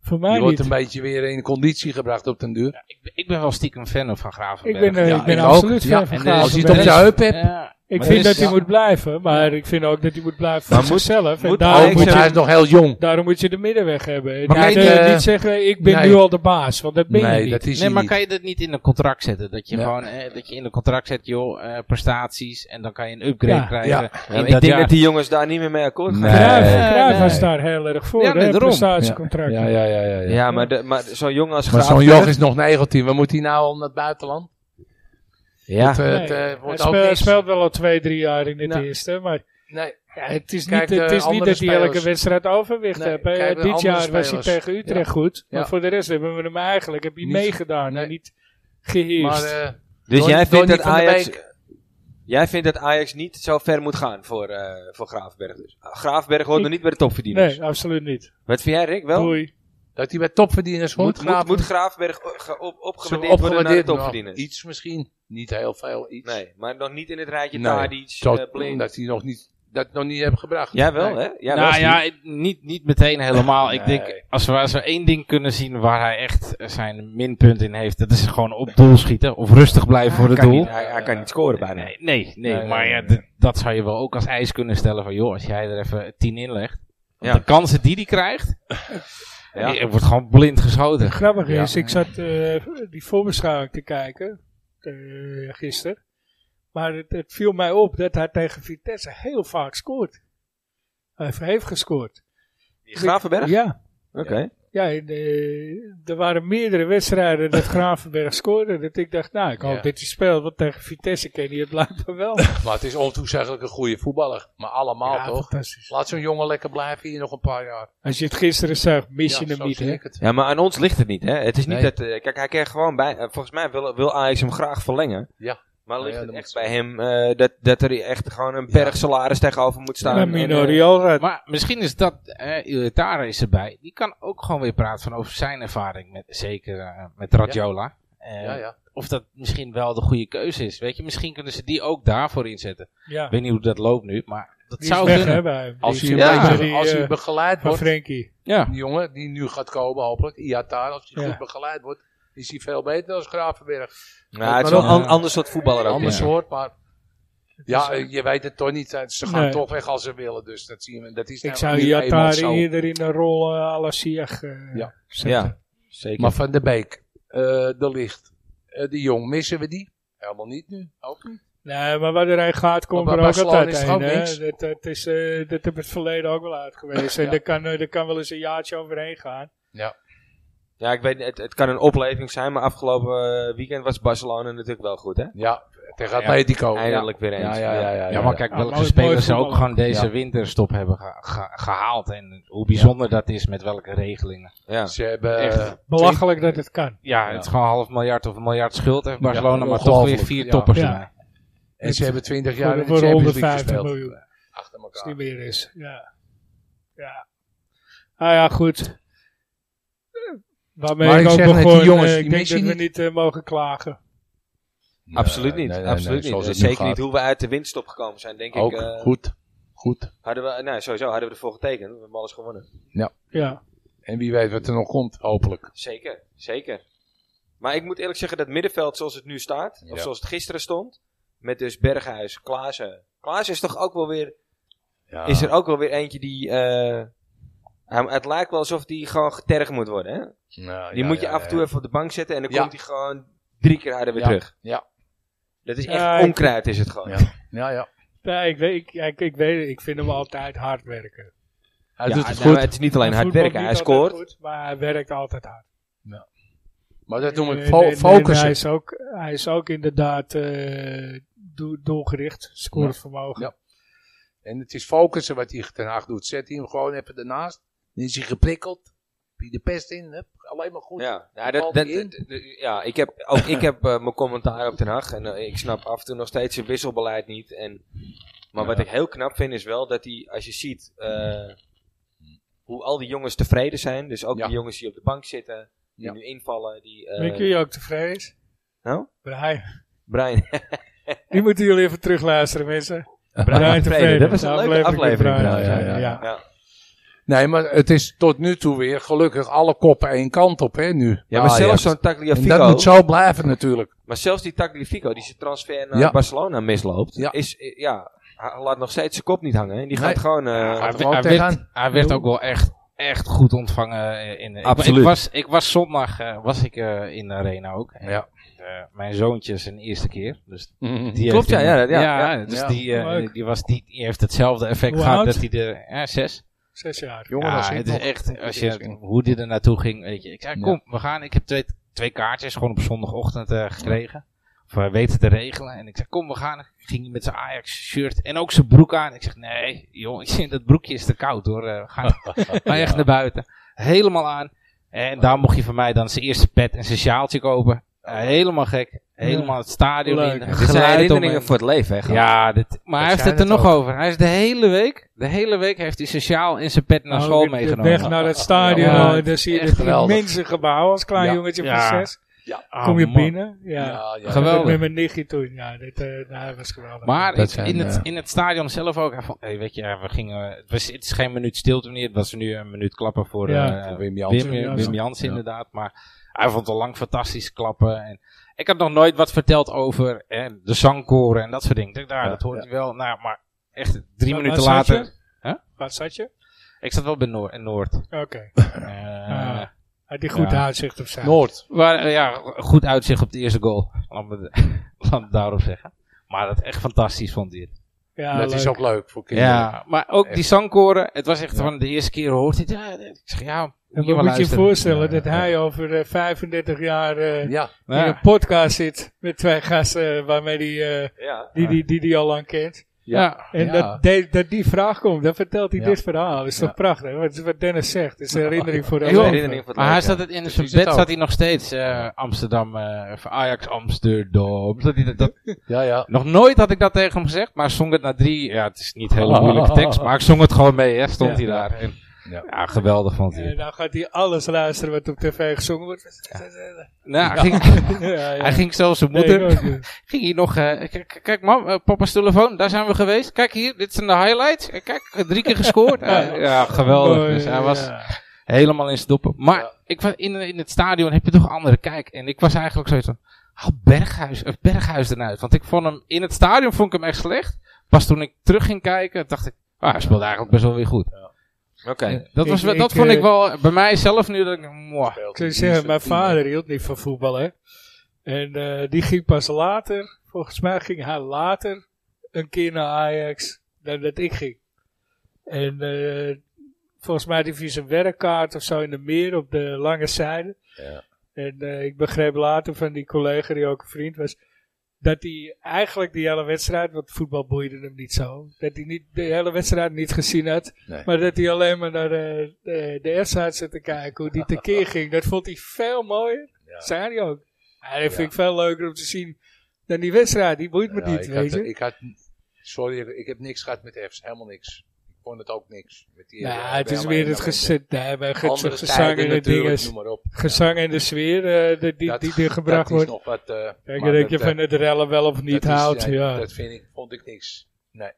Speaker 2: Voor mij
Speaker 3: Die wordt een
Speaker 2: niet.
Speaker 3: beetje weer in conditie gebracht op den duur.
Speaker 4: Ik ben- Ik ben wel stiekem fan van Gravenberg.
Speaker 2: Ik ben, eh,
Speaker 3: Ja,
Speaker 2: ik ben
Speaker 3: ik
Speaker 2: absoluut
Speaker 3: ook.
Speaker 2: fan
Speaker 3: Ja,
Speaker 2: van
Speaker 4: En er is-
Speaker 3: Als hij het
Speaker 2: Gravenberg.
Speaker 3: op zijn heup hebt.
Speaker 4: Ja.
Speaker 2: Ik
Speaker 4: Maar
Speaker 2: vind
Speaker 4: er
Speaker 3: dus-
Speaker 2: dat
Speaker 4: is-
Speaker 2: hij
Speaker 4: ja.
Speaker 2: moet blijven. Maar ik vind ook dat hij moet blijven voor
Speaker 1: Maar moet-
Speaker 2: zichzelf. en
Speaker 1: moet
Speaker 2: daarom
Speaker 1: Ajax
Speaker 2: moet
Speaker 3: Ook,
Speaker 2: je
Speaker 1: hem-
Speaker 3: hij is nog heel jong.
Speaker 2: Daarom moet je de middenweg hebben.
Speaker 3: Maar
Speaker 2: Maar
Speaker 3: kijk, eh,
Speaker 2: niet zeggen, ik ben
Speaker 3: nee.
Speaker 2: nu al de baas, want dat ben je
Speaker 3: Nee,
Speaker 2: niet.
Speaker 3: dat is
Speaker 4: Nee,
Speaker 3: hij
Speaker 4: maar
Speaker 3: niet.
Speaker 4: kan je dat niet in een contract zetten? Dat je
Speaker 3: Ja.
Speaker 4: gewoon eh, dat je in een contract zet, joh, eh, prestaties en dan kan je een upgrade
Speaker 2: Ja.
Speaker 4: krijgen.
Speaker 3: Ja.
Speaker 1: Ja, maar
Speaker 4: In
Speaker 1: ik
Speaker 4: dat
Speaker 1: denk
Speaker 4: jaar.
Speaker 1: dat die jongens daar niet meer mee akkoord gaan.
Speaker 3: Nee.
Speaker 2: Cruijff,
Speaker 4: nee,
Speaker 2: Cruijff
Speaker 4: nee.
Speaker 2: was daar heel erg voor,
Speaker 4: Ja, nee,
Speaker 2: hè,
Speaker 4: daarom.
Speaker 2: prestatiecontract.
Speaker 3: Ja, ja, ja. ja, ja.
Speaker 1: Ja, maar, de- maar zo'n jongen als
Speaker 3: maar zo'n
Speaker 1: Gravenberg-
Speaker 3: joch is nog 19. Wat moet hij nou al naar het buitenland?
Speaker 1: Ja.
Speaker 3: Het, eh,
Speaker 2: Nee,
Speaker 3: het, eh, wordt
Speaker 2: hij
Speaker 3: ook
Speaker 2: speelt,
Speaker 3: niks.
Speaker 2: speelt wel al twee, drie jaar in het
Speaker 3: Nou.
Speaker 2: eerste, maar
Speaker 3: Nee.
Speaker 2: ja, het is
Speaker 3: Kijk,
Speaker 2: niet, het
Speaker 3: eh,
Speaker 2: is niet
Speaker 3: andere
Speaker 2: dat hij elke
Speaker 3: spelers.
Speaker 2: wedstrijd overwicht
Speaker 3: Nee,
Speaker 2: heeft. hè.
Speaker 3: kijk, de
Speaker 2: Dit
Speaker 3: andere
Speaker 2: jaar was
Speaker 3: spelers.
Speaker 2: hij tegen Utrecht
Speaker 3: Ja.
Speaker 2: goed, maar
Speaker 3: Ja.
Speaker 2: voor de rest hebben we hem eigenlijk heb hij
Speaker 3: Niet-
Speaker 2: meegedaan
Speaker 3: nee.
Speaker 2: en niet geheerst.
Speaker 3: Maar, eh,
Speaker 1: Dus
Speaker 3: Donny-
Speaker 1: jij vindt,
Speaker 3: Donny
Speaker 1: dat
Speaker 3: van der
Speaker 1: Ajax,
Speaker 3: Beek-
Speaker 1: jij vindt dat Ajax niet zo ver moet gaan voor, eh voor Graafberg dus? Graafberg hoort
Speaker 2: Ik-
Speaker 1: nog niet bij de topverdieners.
Speaker 2: nee, absoluut niet.
Speaker 1: Wat vind jij Rick wel?
Speaker 2: Doei.
Speaker 3: Dat hij bij topverdieners
Speaker 1: Moet,
Speaker 3: hoort.
Speaker 1: moet,
Speaker 3: Graaf-
Speaker 1: moet Graafberg o- ge- op,
Speaker 3: Zullen we
Speaker 1: opgewaardeerd worden naar de
Speaker 3: opgewaardeerd? Nou,
Speaker 1: topverdieners?
Speaker 3: Iets misschien. Niet heel veel, iets.
Speaker 1: Nee, maar nog niet in het rijtje
Speaker 3: Nee,
Speaker 1: Tadic,
Speaker 3: Zo,
Speaker 1: eh, Blind.
Speaker 3: dat hij nog niet, dat nog niet hebben gebracht.
Speaker 1: Jawel,
Speaker 3: Nee.
Speaker 1: hè? Ja, wel,
Speaker 4: nou
Speaker 1: Steve.
Speaker 4: ja, ik- niet, niet meteen helemaal. Ik
Speaker 1: Nee.
Speaker 4: denk, als we, als we één ding kunnen zien waar hij echt eh, zijn minpunt in heeft, dat is gewoon op doel schieten of rustig blijven voor het
Speaker 1: Kan
Speaker 4: doel.
Speaker 1: niet, hij, hij kan niet scoren bijna.
Speaker 4: Nee, nee, nee,
Speaker 3: Nee,
Speaker 4: maar
Speaker 3: nee,
Speaker 4: ja,
Speaker 3: nee,
Speaker 4: d- dat zou je wel ook als eis kunnen stellen van, joh, als jij er even tien in legt. want
Speaker 1: Ja.
Speaker 4: De kansen die die krijgt,
Speaker 1: Ja.
Speaker 4: die- er wordt gewoon blind geschoten.
Speaker 2: Grappig
Speaker 1: Ja.
Speaker 2: is, ik zat eh, die voorbeschouwing te kijken eh, gisteren. Maar het, het viel mij op dat hij tegen Vitesse heel vaak scoort. Hij heeft gescoord.
Speaker 1: Gravenberg?
Speaker 2: Ja,
Speaker 1: Oké.
Speaker 2: ja en, eh, er waren meerdere wedstrijden dat Gravenberg scoorde. Dat ik dacht, nou, ik hoop
Speaker 3: Ja.
Speaker 2: dat hij speelt, want tegen Vitesse ken hij het blijkbaar wel.
Speaker 3: Maar het is ontoezeggelijk een goede voetballer. Maar allemaal
Speaker 2: Ja,
Speaker 3: toch?
Speaker 2: fantastisch.
Speaker 3: Laat zo'n jongen lekker blijven hier nog een paar jaar.
Speaker 2: Als je het gisteren zag, mis je
Speaker 3: Ja,
Speaker 2: hem
Speaker 3: zo
Speaker 2: niet.
Speaker 3: zie
Speaker 2: hè?
Speaker 3: ik het.
Speaker 1: Ja, maar aan ons ligt het niet, hè? Het is niet
Speaker 3: Nee.
Speaker 1: dat... eh, kijk, hij krijgt gewoon bij... eh, volgens mij wil, wil Ajax hem graag verlengen.
Speaker 3: Ja.
Speaker 1: Maar
Speaker 3: Nou
Speaker 1: ligt
Speaker 3: ja,
Speaker 1: het
Speaker 3: dan
Speaker 1: echt
Speaker 3: moet-
Speaker 1: bij hem eh, dat, dat er echt gewoon een berg salaris tegenover moet staan?
Speaker 2: Maar
Speaker 1: En, eh,
Speaker 2: Mino Riola,
Speaker 4: Maar misschien is dat, eh, Iwetara is erbij, die kan ook gewoon weer praten van over zijn ervaring, met, zeker eh, met Radiola. Eh,
Speaker 3: Ja, ja.
Speaker 4: Of dat misschien wel de goede keuze is. Weet je, misschien kunnen ze die ook daarvoor inzetten.
Speaker 2: ja,
Speaker 4: Ik weet niet hoe dat loopt nu, maar dat
Speaker 2: die is
Speaker 4: zou
Speaker 2: weg
Speaker 4: kunnen.
Speaker 2: hè, bij hem.
Speaker 3: Als hij,
Speaker 2: Die
Speaker 3: een
Speaker 2: is een
Speaker 4: Ja.
Speaker 2: beetje
Speaker 3: beetje,
Speaker 2: die,
Speaker 3: als hij
Speaker 2: eh,
Speaker 3: begeleid
Speaker 2: van
Speaker 3: wordt,
Speaker 2: Frenkie.
Speaker 4: Ja.
Speaker 3: die jongen die nu gaat komen hopelijk, Iatar, als hij
Speaker 2: Ja.
Speaker 3: goed begeleid wordt, is hij veel beter dan Gravenberg.
Speaker 1: Nou, het is wel
Speaker 3: Maar
Speaker 1: een
Speaker 3: ook-
Speaker 1: an- ander soort voetballer ook.
Speaker 3: Ander
Speaker 1: ja.
Speaker 3: soort, maar ja, eh, je weet het toch niet. eh, Ze gaan
Speaker 2: Nee.
Speaker 3: toch weg als ze willen, dus dat zien we. Dat is
Speaker 2: Ik
Speaker 3: nou
Speaker 2: zou
Speaker 3: nu eenmaal
Speaker 2: Iatari
Speaker 3: zo.
Speaker 2: eerder in een rol eh à la Ziyech, eh,
Speaker 3: Ja.
Speaker 2: zetten.
Speaker 1: Ja, zeker.
Speaker 3: Maar Van de Beek, eh, de Licht, eh, de Jong, missen we die? Helemaal niet nu, ook niet.
Speaker 2: Nee, maar waar hij gaat, komt
Speaker 3: Maar
Speaker 2: er
Speaker 3: bij
Speaker 2: ook
Speaker 3: Barcelona
Speaker 2: altijd
Speaker 3: is het
Speaker 2: heen.
Speaker 3: ook
Speaker 2: hè.
Speaker 3: niks.
Speaker 2: Dat, dat, is, eh, dat heb het verleden ook wel uit geweest. En
Speaker 3: Ja.
Speaker 2: daar kan, eh, daar kan wel eens een jaartje overheen gaan.
Speaker 1: Ja, ik weet, niet, het, het kan een opleving zijn, maar afgelopen eh, weekend was Barcelona natuurlijk wel goed, hè?
Speaker 3: Ja, tegen Atletico. Oh, Ja.
Speaker 1: Eindelijk weer eens.
Speaker 3: Ja, ja, ja, ja,
Speaker 4: Ja, maar
Speaker 3: ja.
Speaker 4: kijk,
Speaker 2: Ja,
Speaker 4: welke
Speaker 2: mooi- mooi
Speaker 4: spelers ze ook
Speaker 2: voetballer.
Speaker 4: gewoon deze
Speaker 3: Ja.
Speaker 4: winterstop hebben ge- ge- gehaald. En hoe bijzonder dat is met welke regelingen.
Speaker 1: Ja.
Speaker 3: Ze hebben
Speaker 4: Echt.
Speaker 3: eh,
Speaker 2: Belachelijk dat het kan.
Speaker 4: Ja,
Speaker 3: Ja.
Speaker 4: het is gewoon half miljard of een miljard schuld heeft Barcelona, maar toch
Speaker 3: ongelooflijk.
Speaker 4: weer vier
Speaker 3: Ja.
Speaker 4: toppers
Speaker 2: Ja.
Speaker 4: erbij.
Speaker 3: en ze hebben 20 jaar
Speaker 2: Voor,
Speaker 3: in de
Speaker 2: voor
Speaker 3: Champions League
Speaker 2: 150
Speaker 3: gespeeld.
Speaker 2: miljoen.
Speaker 3: Achter
Speaker 2: Als het
Speaker 3: elkaar.
Speaker 2: niet meer is. Ja. ja. Ah ja, goed. Eh, Waarmee
Speaker 3: Maar
Speaker 2: ik
Speaker 3: ik
Speaker 2: ook
Speaker 3: zeg net, die
Speaker 2: begon.
Speaker 3: jongens,
Speaker 2: eh,
Speaker 3: die
Speaker 2: ik denk
Speaker 3: mis je
Speaker 2: dat we
Speaker 3: niet.
Speaker 2: niet eh, mogen klagen.
Speaker 1: Absoluut
Speaker 3: Nee,
Speaker 1: niet,
Speaker 3: nee, nee,
Speaker 1: absoluut
Speaker 3: nee,
Speaker 1: niet.
Speaker 3: zoals het nu
Speaker 1: Zeker
Speaker 3: gaat.
Speaker 1: niet hoe we uit de winststop gekomen zijn, denk
Speaker 3: Ook
Speaker 1: ik. eh,
Speaker 3: goed. Goed.
Speaker 1: hadden we, nou, sowieso hadden we ervoor getekend, we hebben alles gewonnen.
Speaker 2: Ja.
Speaker 3: En wie weet wat er nog komt, hopelijk.
Speaker 1: Zeker, zeker. Maar ik moet eerlijk zeggen dat middenveld zoals het nu staat, of
Speaker 3: Ja.
Speaker 1: zoals het gisteren stond, met dus Berghuis, Klaassen. Klaassen is toch ook wel weer,
Speaker 3: Ja.
Speaker 1: is er ook wel weer eentje die, eh, hij- het lijkt wel alsof die gewoon getergd moet worden, hè?
Speaker 3: Ja,
Speaker 1: Die
Speaker 3: ja,
Speaker 1: moet je
Speaker 3: ja,
Speaker 1: af en toe
Speaker 3: ja.
Speaker 1: even op de bank zetten en dan
Speaker 3: Ja.
Speaker 1: komt hij gewoon drie keer harder weer
Speaker 3: Ja,
Speaker 1: terug.
Speaker 3: ja.
Speaker 1: Dat is echt
Speaker 2: Ja, ik-
Speaker 1: onkruid is het gewoon.
Speaker 3: Ja. Ja, ja.
Speaker 2: Ja, ik, weet, ik, ik, ik weet Ik vind hem altijd hard werken.
Speaker 3: Hij
Speaker 1: Ja,
Speaker 3: doet het
Speaker 1: nou,
Speaker 3: goed.
Speaker 1: het is niet alleen hard
Speaker 2: voetbalt
Speaker 1: werken,
Speaker 2: niet
Speaker 1: hij
Speaker 2: altijd
Speaker 1: scoort.
Speaker 2: goed, maar hij werkt altijd hard. Eh,
Speaker 3: Maar dat noem ik
Speaker 2: En-
Speaker 3: fo-
Speaker 2: en- en
Speaker 3: focussen.
Speaker 2: hij, is ook, hij is ook inderdaad eh, doel- doelgericht, scorevermogen.
Speaker 3: Ja. En het is focussen wat hij ten Hag doet. Zet hij hem gewoon even ernaast. Dan is hij geprikkeld. Heb je de pest in. Hup, alleen maar goed.
Speaker 1: Ja, nou,
Speaker 3: Dan
Speaker 1: dat,
Speaker 3: valt
Speaker 1: dat,
Speaker 3: hij in.
Speaker 1: dat- dat- ja ik heb, ook ik heb eh, mijn commentaar op Den Haag. En eh, ik snap af en toe nog steeds zijn wisselbeleid niet. En, maar wat
Speaker 3: Ja.
Speaker 1: ik heel knap vind is wel dat hij, als je ziet eh, hoe al die jongens tevreden zijn. Dus ook
Speaker 3: Ja.
Speaker 1: die jongens die op de bank zitten, die
Speaker 3: Ja.
Speaker 1: nu invallen. Die, eh,
Speaker 2: Weet je wie ook tevreden is?
Speaker 1: Nou?
Speaker 2: Brian.
Speaker 1: Brian,
Speaker 2: Die moeten jullie even terugluisteren, mensen.
Speaker 1: Brian tevreden. Dat was
Speaker 2: De
Speaker 1: een leuke
Speaker 2: met
Speaker 1: aflevering.
Speaker 2: Brian.
Speaker 3: Ja, ja, ja.
Speaker 2: ja.
Speaker 3: Nee, maar het is tot nu toe weer gelukkig alle koppen één kant op. Hè, nu.
Speaker 1: Ja, maar
Speaker 3: Ah,
Speaker 1: zelfs
Speaker 3: ja.
Speaker 1: zo'n
Speaker 3: En dat
Speaker 1: Tagliafico,
Speaker 3: moet zo blijven natuurlijk.
Speaker 1: maar zelfs die Tagliafico die zijn transfer naar
Speaker 3: Ja.
Speaker 1: Barcelona misloopt,
Speaker 3: Ja.
Speaker 1: is, eh, ja, hij laat nog steeds zijn kop niet hangen. hè. En die
Speaker 3: Nee.
Speaker 1: gaat gewoon, eh,
Speaker 3: Ja,
Speaker 4: Hij,
Speaker 3: er gewoon
Speaker 4: hij werd,
Speaker 3: tegenaan.
Speaker 4: hij werd ook wel echt, echt goed ontvangen. eh, In, ik-
Speaker 1: Absoluut.
Speaker 4: Ik, was, ik was zondag eh, was ik, eh, in de arena ook. En,
Speaker 3: Ja.
Speaker 4: eh, mijn zoontje zijn eerste keer. Dus
Speaker 3: Die
Speaker 4: Die
Speaker 1: Klopt,
Speaker 4: heeft
Speaker 1: ja,
Speaker 4: een-
Speaker 1: ja, ja,
Speaker 4: dus
Speaker 3: ja.
Speaker 4: Die, eh,
Speaker 2: Leuk.
Speaker 4: die, was, die, die heeft hetzelfde effect
Speaker 2: Hoe
Speaker 4: gehad
Speaker 2: oud?
Speaker 4: dat hij de ja, zes.
Speaker 2: Zes jaar.
Speaker 3: jongen,
Speaker 4: ja,
Speaker 3: dat zit
Speaker 4: het is
Speaker 3: nog.
Speaker 4: echt, als
Speaker 3: Dat
Speaker 4: je,
Speaker 3: zit.
Speaker 4: hoe die er naartoe ging, weet je. Ik zei,
Speaker 3: Ja.
Speaker 4: kom, we gaan. Ik heb twee, twee kaartjes gewoon op zondagochtend eh, gekregen. Of eh, weten te regelen. En ik zei, kom, we gaan. Ik Ging hij met zijn Ajax shirt en ook zijn broek aan. Ik zeg, nee, joh, ik zeg, dat broekje is te koud hoor. Eh, we gaan maar echt naar buiten. Helemaal aan. En daar mocht je van mij dan zijn eerste pet en zijn sjaaltje kopen. Eh, helemaal gek. Helemaal het stadion
Speaker 2: Leuk.
Speaker 4: in.
Speaker 1: Dit
Speaker 4: geluid om
Speaker 1: zijn
Speaker 4: hem.
Speaker 1: herinneringen voor het leven, hè? gewoon.
Speaker 4: Ja, dit, maar
Speaker 3: zijn
Speaker 4: hij heeft het er
Speaker 3: het
Speaker 4: nog
Speaker 3: ook.
Speaker 4: over. Hij is de hele week, de hele week heeft hij zijn sjaal in zijn pet naar
Speaker 2: Nou,
Speaker 4: school
Speaker 2: de- de
Speaker 4: meegenomen.
Speaker 2: Weg naar het stadion,
Speaker 4: Ja,
Speaker 2: al, en dan zie je
Speaker 4: echt
Speaker 2: het
Speaker 4: geweldig.
Speaker 2: immense gebouw als klein
Speaker 3: Ja.
Speaker 2: jongetje van
Speaker 4: Ja.
Speaker 2: zes.
Speaker 4: Ah,
Speaker 2: nou, Kom je
Speaker 4: man.
Speaker 2: binnen? Ja.
Speaker 3: Ja, ja,
Speaker 4: Geweldig.
Speaker 2: Met mijn nichtje toen. Ja, dit eh, nou, dat was geweldig.
Speaker 4: Maar
Speaker 3: Dat
Speaker 4: ik-
Speaker 3: zijn,
Speaker 4: in, het,
Speaker 3: eh,
Speaker 4: in het stadion zelf ook. Hij vond, hey, weet je, eh, we gingen, het, was, het is geen minuut stilte meer. Het was nu een minuut klappen voor
Speaker 2: Ja.
Speaker 4: eh,
Speaker 3: Wim
Speaker 4: Wim,
Speaker 3: Jansen.
Speaker 4: Wim,
Speaker 2: Jansen.
Speaker 4: Jansen
Speaker 3: Ja.
Speaker 4: inderdaad. Maar hij vond al lang fantastisch klappen. En ik had nog nooit wat verteld over eh, de zangkoren en dat soort dingen. Ik dacht, nou,
Speaker 3: Ja,
Speaker 4: dat hoort
Speaker 3: ja.
Speaker 4: je wel. Nou, maar echt drie
Speaker 2: Waar-
Speaker 4: minuten
Speaker 2: waar zat
Speaker 4: later.
Speaker 2: je?
Speaker 4: Huh?
Speaker 2: Waar zat je?
Speaker 4: Ik zat wel bij Noor- in Noord.
Speaker 2: Oké. Ah.
Speaker 4: Eh,
Speaker 2: Had die goed
Speaker 4: Ja.
Speaker 2: uitzicht op zijn.
Speaker 3: Noord.
Speaker 4: Waar, eh, ja, goed uitzicht op de eerste goal. Laat me, laat me daarop zeggen. Maar dat echt fantastisch vond hij het.
Speaker 2: Ja,
Speaker 3: dat is
Speaker 2: leuk.
Speaker 3: ook leuk voor kinderen.
Speaker 4: Ja, maar ook die zangkoren. Het was echt
Speaker 3: Ja.
Speaker 4: van de eerste keer hoort hij het. Ja, ik zeg
Speaker 2: En
Speaker 4: ja, je
Speaker 2: moet
Speaker 4: wel
Speaker 2: je je
Speaker 4: luisteren.
Speaker 2: voorstellen dat
Speaker 4: Ja,
Speaker 2: hij over eh, 35 jaar eh,
Speaker 3: Ja,
Speaker 4: ja.
Speaker 2: in een podcast zit met twee gasten eh, waarmee die, eh,
Speaker 1: Ja.
Speaker 2: die, die, die, die al lang kent.
Speaker 4: Ja.
Speaker 2: En
Speaker 3: Ja.
Speaker 2: dat, de- dat die vraag komt, dan vertelt hij
Speaker 3: Ja.
Speaker 2: dit verhaal. Dat is toch
Speaker 3: Ja.
Speaker 2: prachtig? Wat, wat Dennis zegt, is een herinnering voor
Speaker 1: Echt
Speaker 2: hem.
Speaker 1: een herinnering voor het
Speaker 4: Maar hij
Speaker 1: leven.
Speaker 4: zat het in
Speaker 3: Dus
Speaker 4: zijn
Speaker 3: is het
Speaker 4: bed,
Speaker 3: ook.
Speaker 4: zat hij nog steeds eh, Amsterdam, eh, of Ajax Amsterdam. Zat hij dat, dat-
Speaker 3: ja, ja.
Speaker 4: nog nooit had ik dat tegen hem gezegd, maar zong het na drie. Ja, het is niet een hele
Speaker 3: Ah.
Speaker 4: moeilijke tekst, maar ik zong het gewoon mee, hè, stond
Speaker 3: Ja.
Speaker 4: hij daar. En, ja.
Speaker 3: Ja.
Speaker 4: geweldig vond hij.
Speaker 2: En
Speaker 4: het.
Speaker 2: dan gaat hij alles luisteren wat op tv gezongen wordt.
Speaker 4: Nou, hij ging,
Speaker 2: Ja, ja.
Speaker 4: hij ging zelfs zijn
Speaker 2: Nee,
Speaker 4: moeder,
Speaker 2: ik ook niet.
Speaker 4: ging hier nog, eh, k- k- kijk mam, eh, papa's telefoon, daar zijn we geweest. Kijk hier, dit zijn de highlights. Eh, Kijk, eh, drie keer gescoord. Eh, ja, geweldig.
Speaker 2: Mooi,
Speaker 4: dus hij was
Speaker 2: Oh, ja.
Speaker 4: helemaal in zijn doppen. Maar ik was in, in het stadion heb je toch een andere kijk. En ik was eigenlijk zoiets van, haal Berghuis, eh, Berghuis eruit. Want ik vond hem, in het stadion vond ik hem echt slecht. Pas toen ik terug ging kijken, dacht ik, ah, hij speelde eigenlijk best wel weer goed.
Speaker 1: Oké.
Speaker 4: Dat,
Speaker 2: Ik-
Speaker 4: was, wel-
Speaker 2: ik,
Speaker 4: dat vond
Speaker 2: eh,
Speaker 4: ik wel, eh, bij mijzelf nu, dat ik, mwah.
Speaker 2: Ik zou je zeggen, mijn vader hield niet van voetbal, hè. En eh, die ging pas later, volgens mij ging hij later een keer naar Ajax dan dat ik ging. En eh, volgens mij had hij via zijn werkkaart of zo in de meer op de lange zijde.
Speaker 3: Ja.
Speaker 2: En eh, ik begreep later van die collega die ook een vriend was, dat hij eigenlijk die hele wedstrijd, want voetbal boeide hem niet zo, dat hij niet, de hele wedstrijd niet gezien had.
Speaker 3: Nee.
Speaker 2: Maar dat hij alleen maar naar de, de, de wedstrijd zat te kijken, hoe die tekeer ging, dat vond hij veel mooier.
Speaker 3: Ja.
Speaker 2: Zei hij ook. Ja, dat vind
Speaker 3: Ja.
Speaker 2: ik veel leuker om te zien dan die wedstrijd, die boeit me
Speaker 3: Ja,
Speaker 2: niet,
Speaker 3: ik
Speaker 2: weet
Speaker 3: had,
Speaker 2: je.
Speaker 3: ik had, sorry, ik- ik heb niks gehad met F's, helemaal niks. Ik vond het ook niks. Met die,
Speaker 2: Nou,
Speaker 3: eh,
Speaker 2: het is
Speaker 3: Bijlmer
Speaker 2: weer
Speaker 3: en
Speaker 2: het
Speaker 3: Ellende.
Speaker 2: gezet, nee, maar ge-
Speaker 3: Andere
Speaker 2: gezang
Speaker 3: tijden
Speaker 2: en de
Speaker 3: natuurlijk,
Speaker 2: dinges,
Speaker 3: noem maar op.
Speaker 2: gezang en de sfeer eh, de- die,
Speaker 3: Dat-
Speaker 2: die er gebracht
Speaker 3: dat
Speaker 2: wordt.
Speaker 3: is nog wat... eh,
Speaker 2: Kijk,
Speaker 3: maar
Speaker 2: dat, je
Speaker 3: eh,
Speaker 2: van het rellen wel of niet
Speaker 3: dat is-
Speaker 2: houdt,
Speaker 3: nee,
Speaker 2: ja.
Speaker 3: Dat vind ik, vond ik niks. Nee.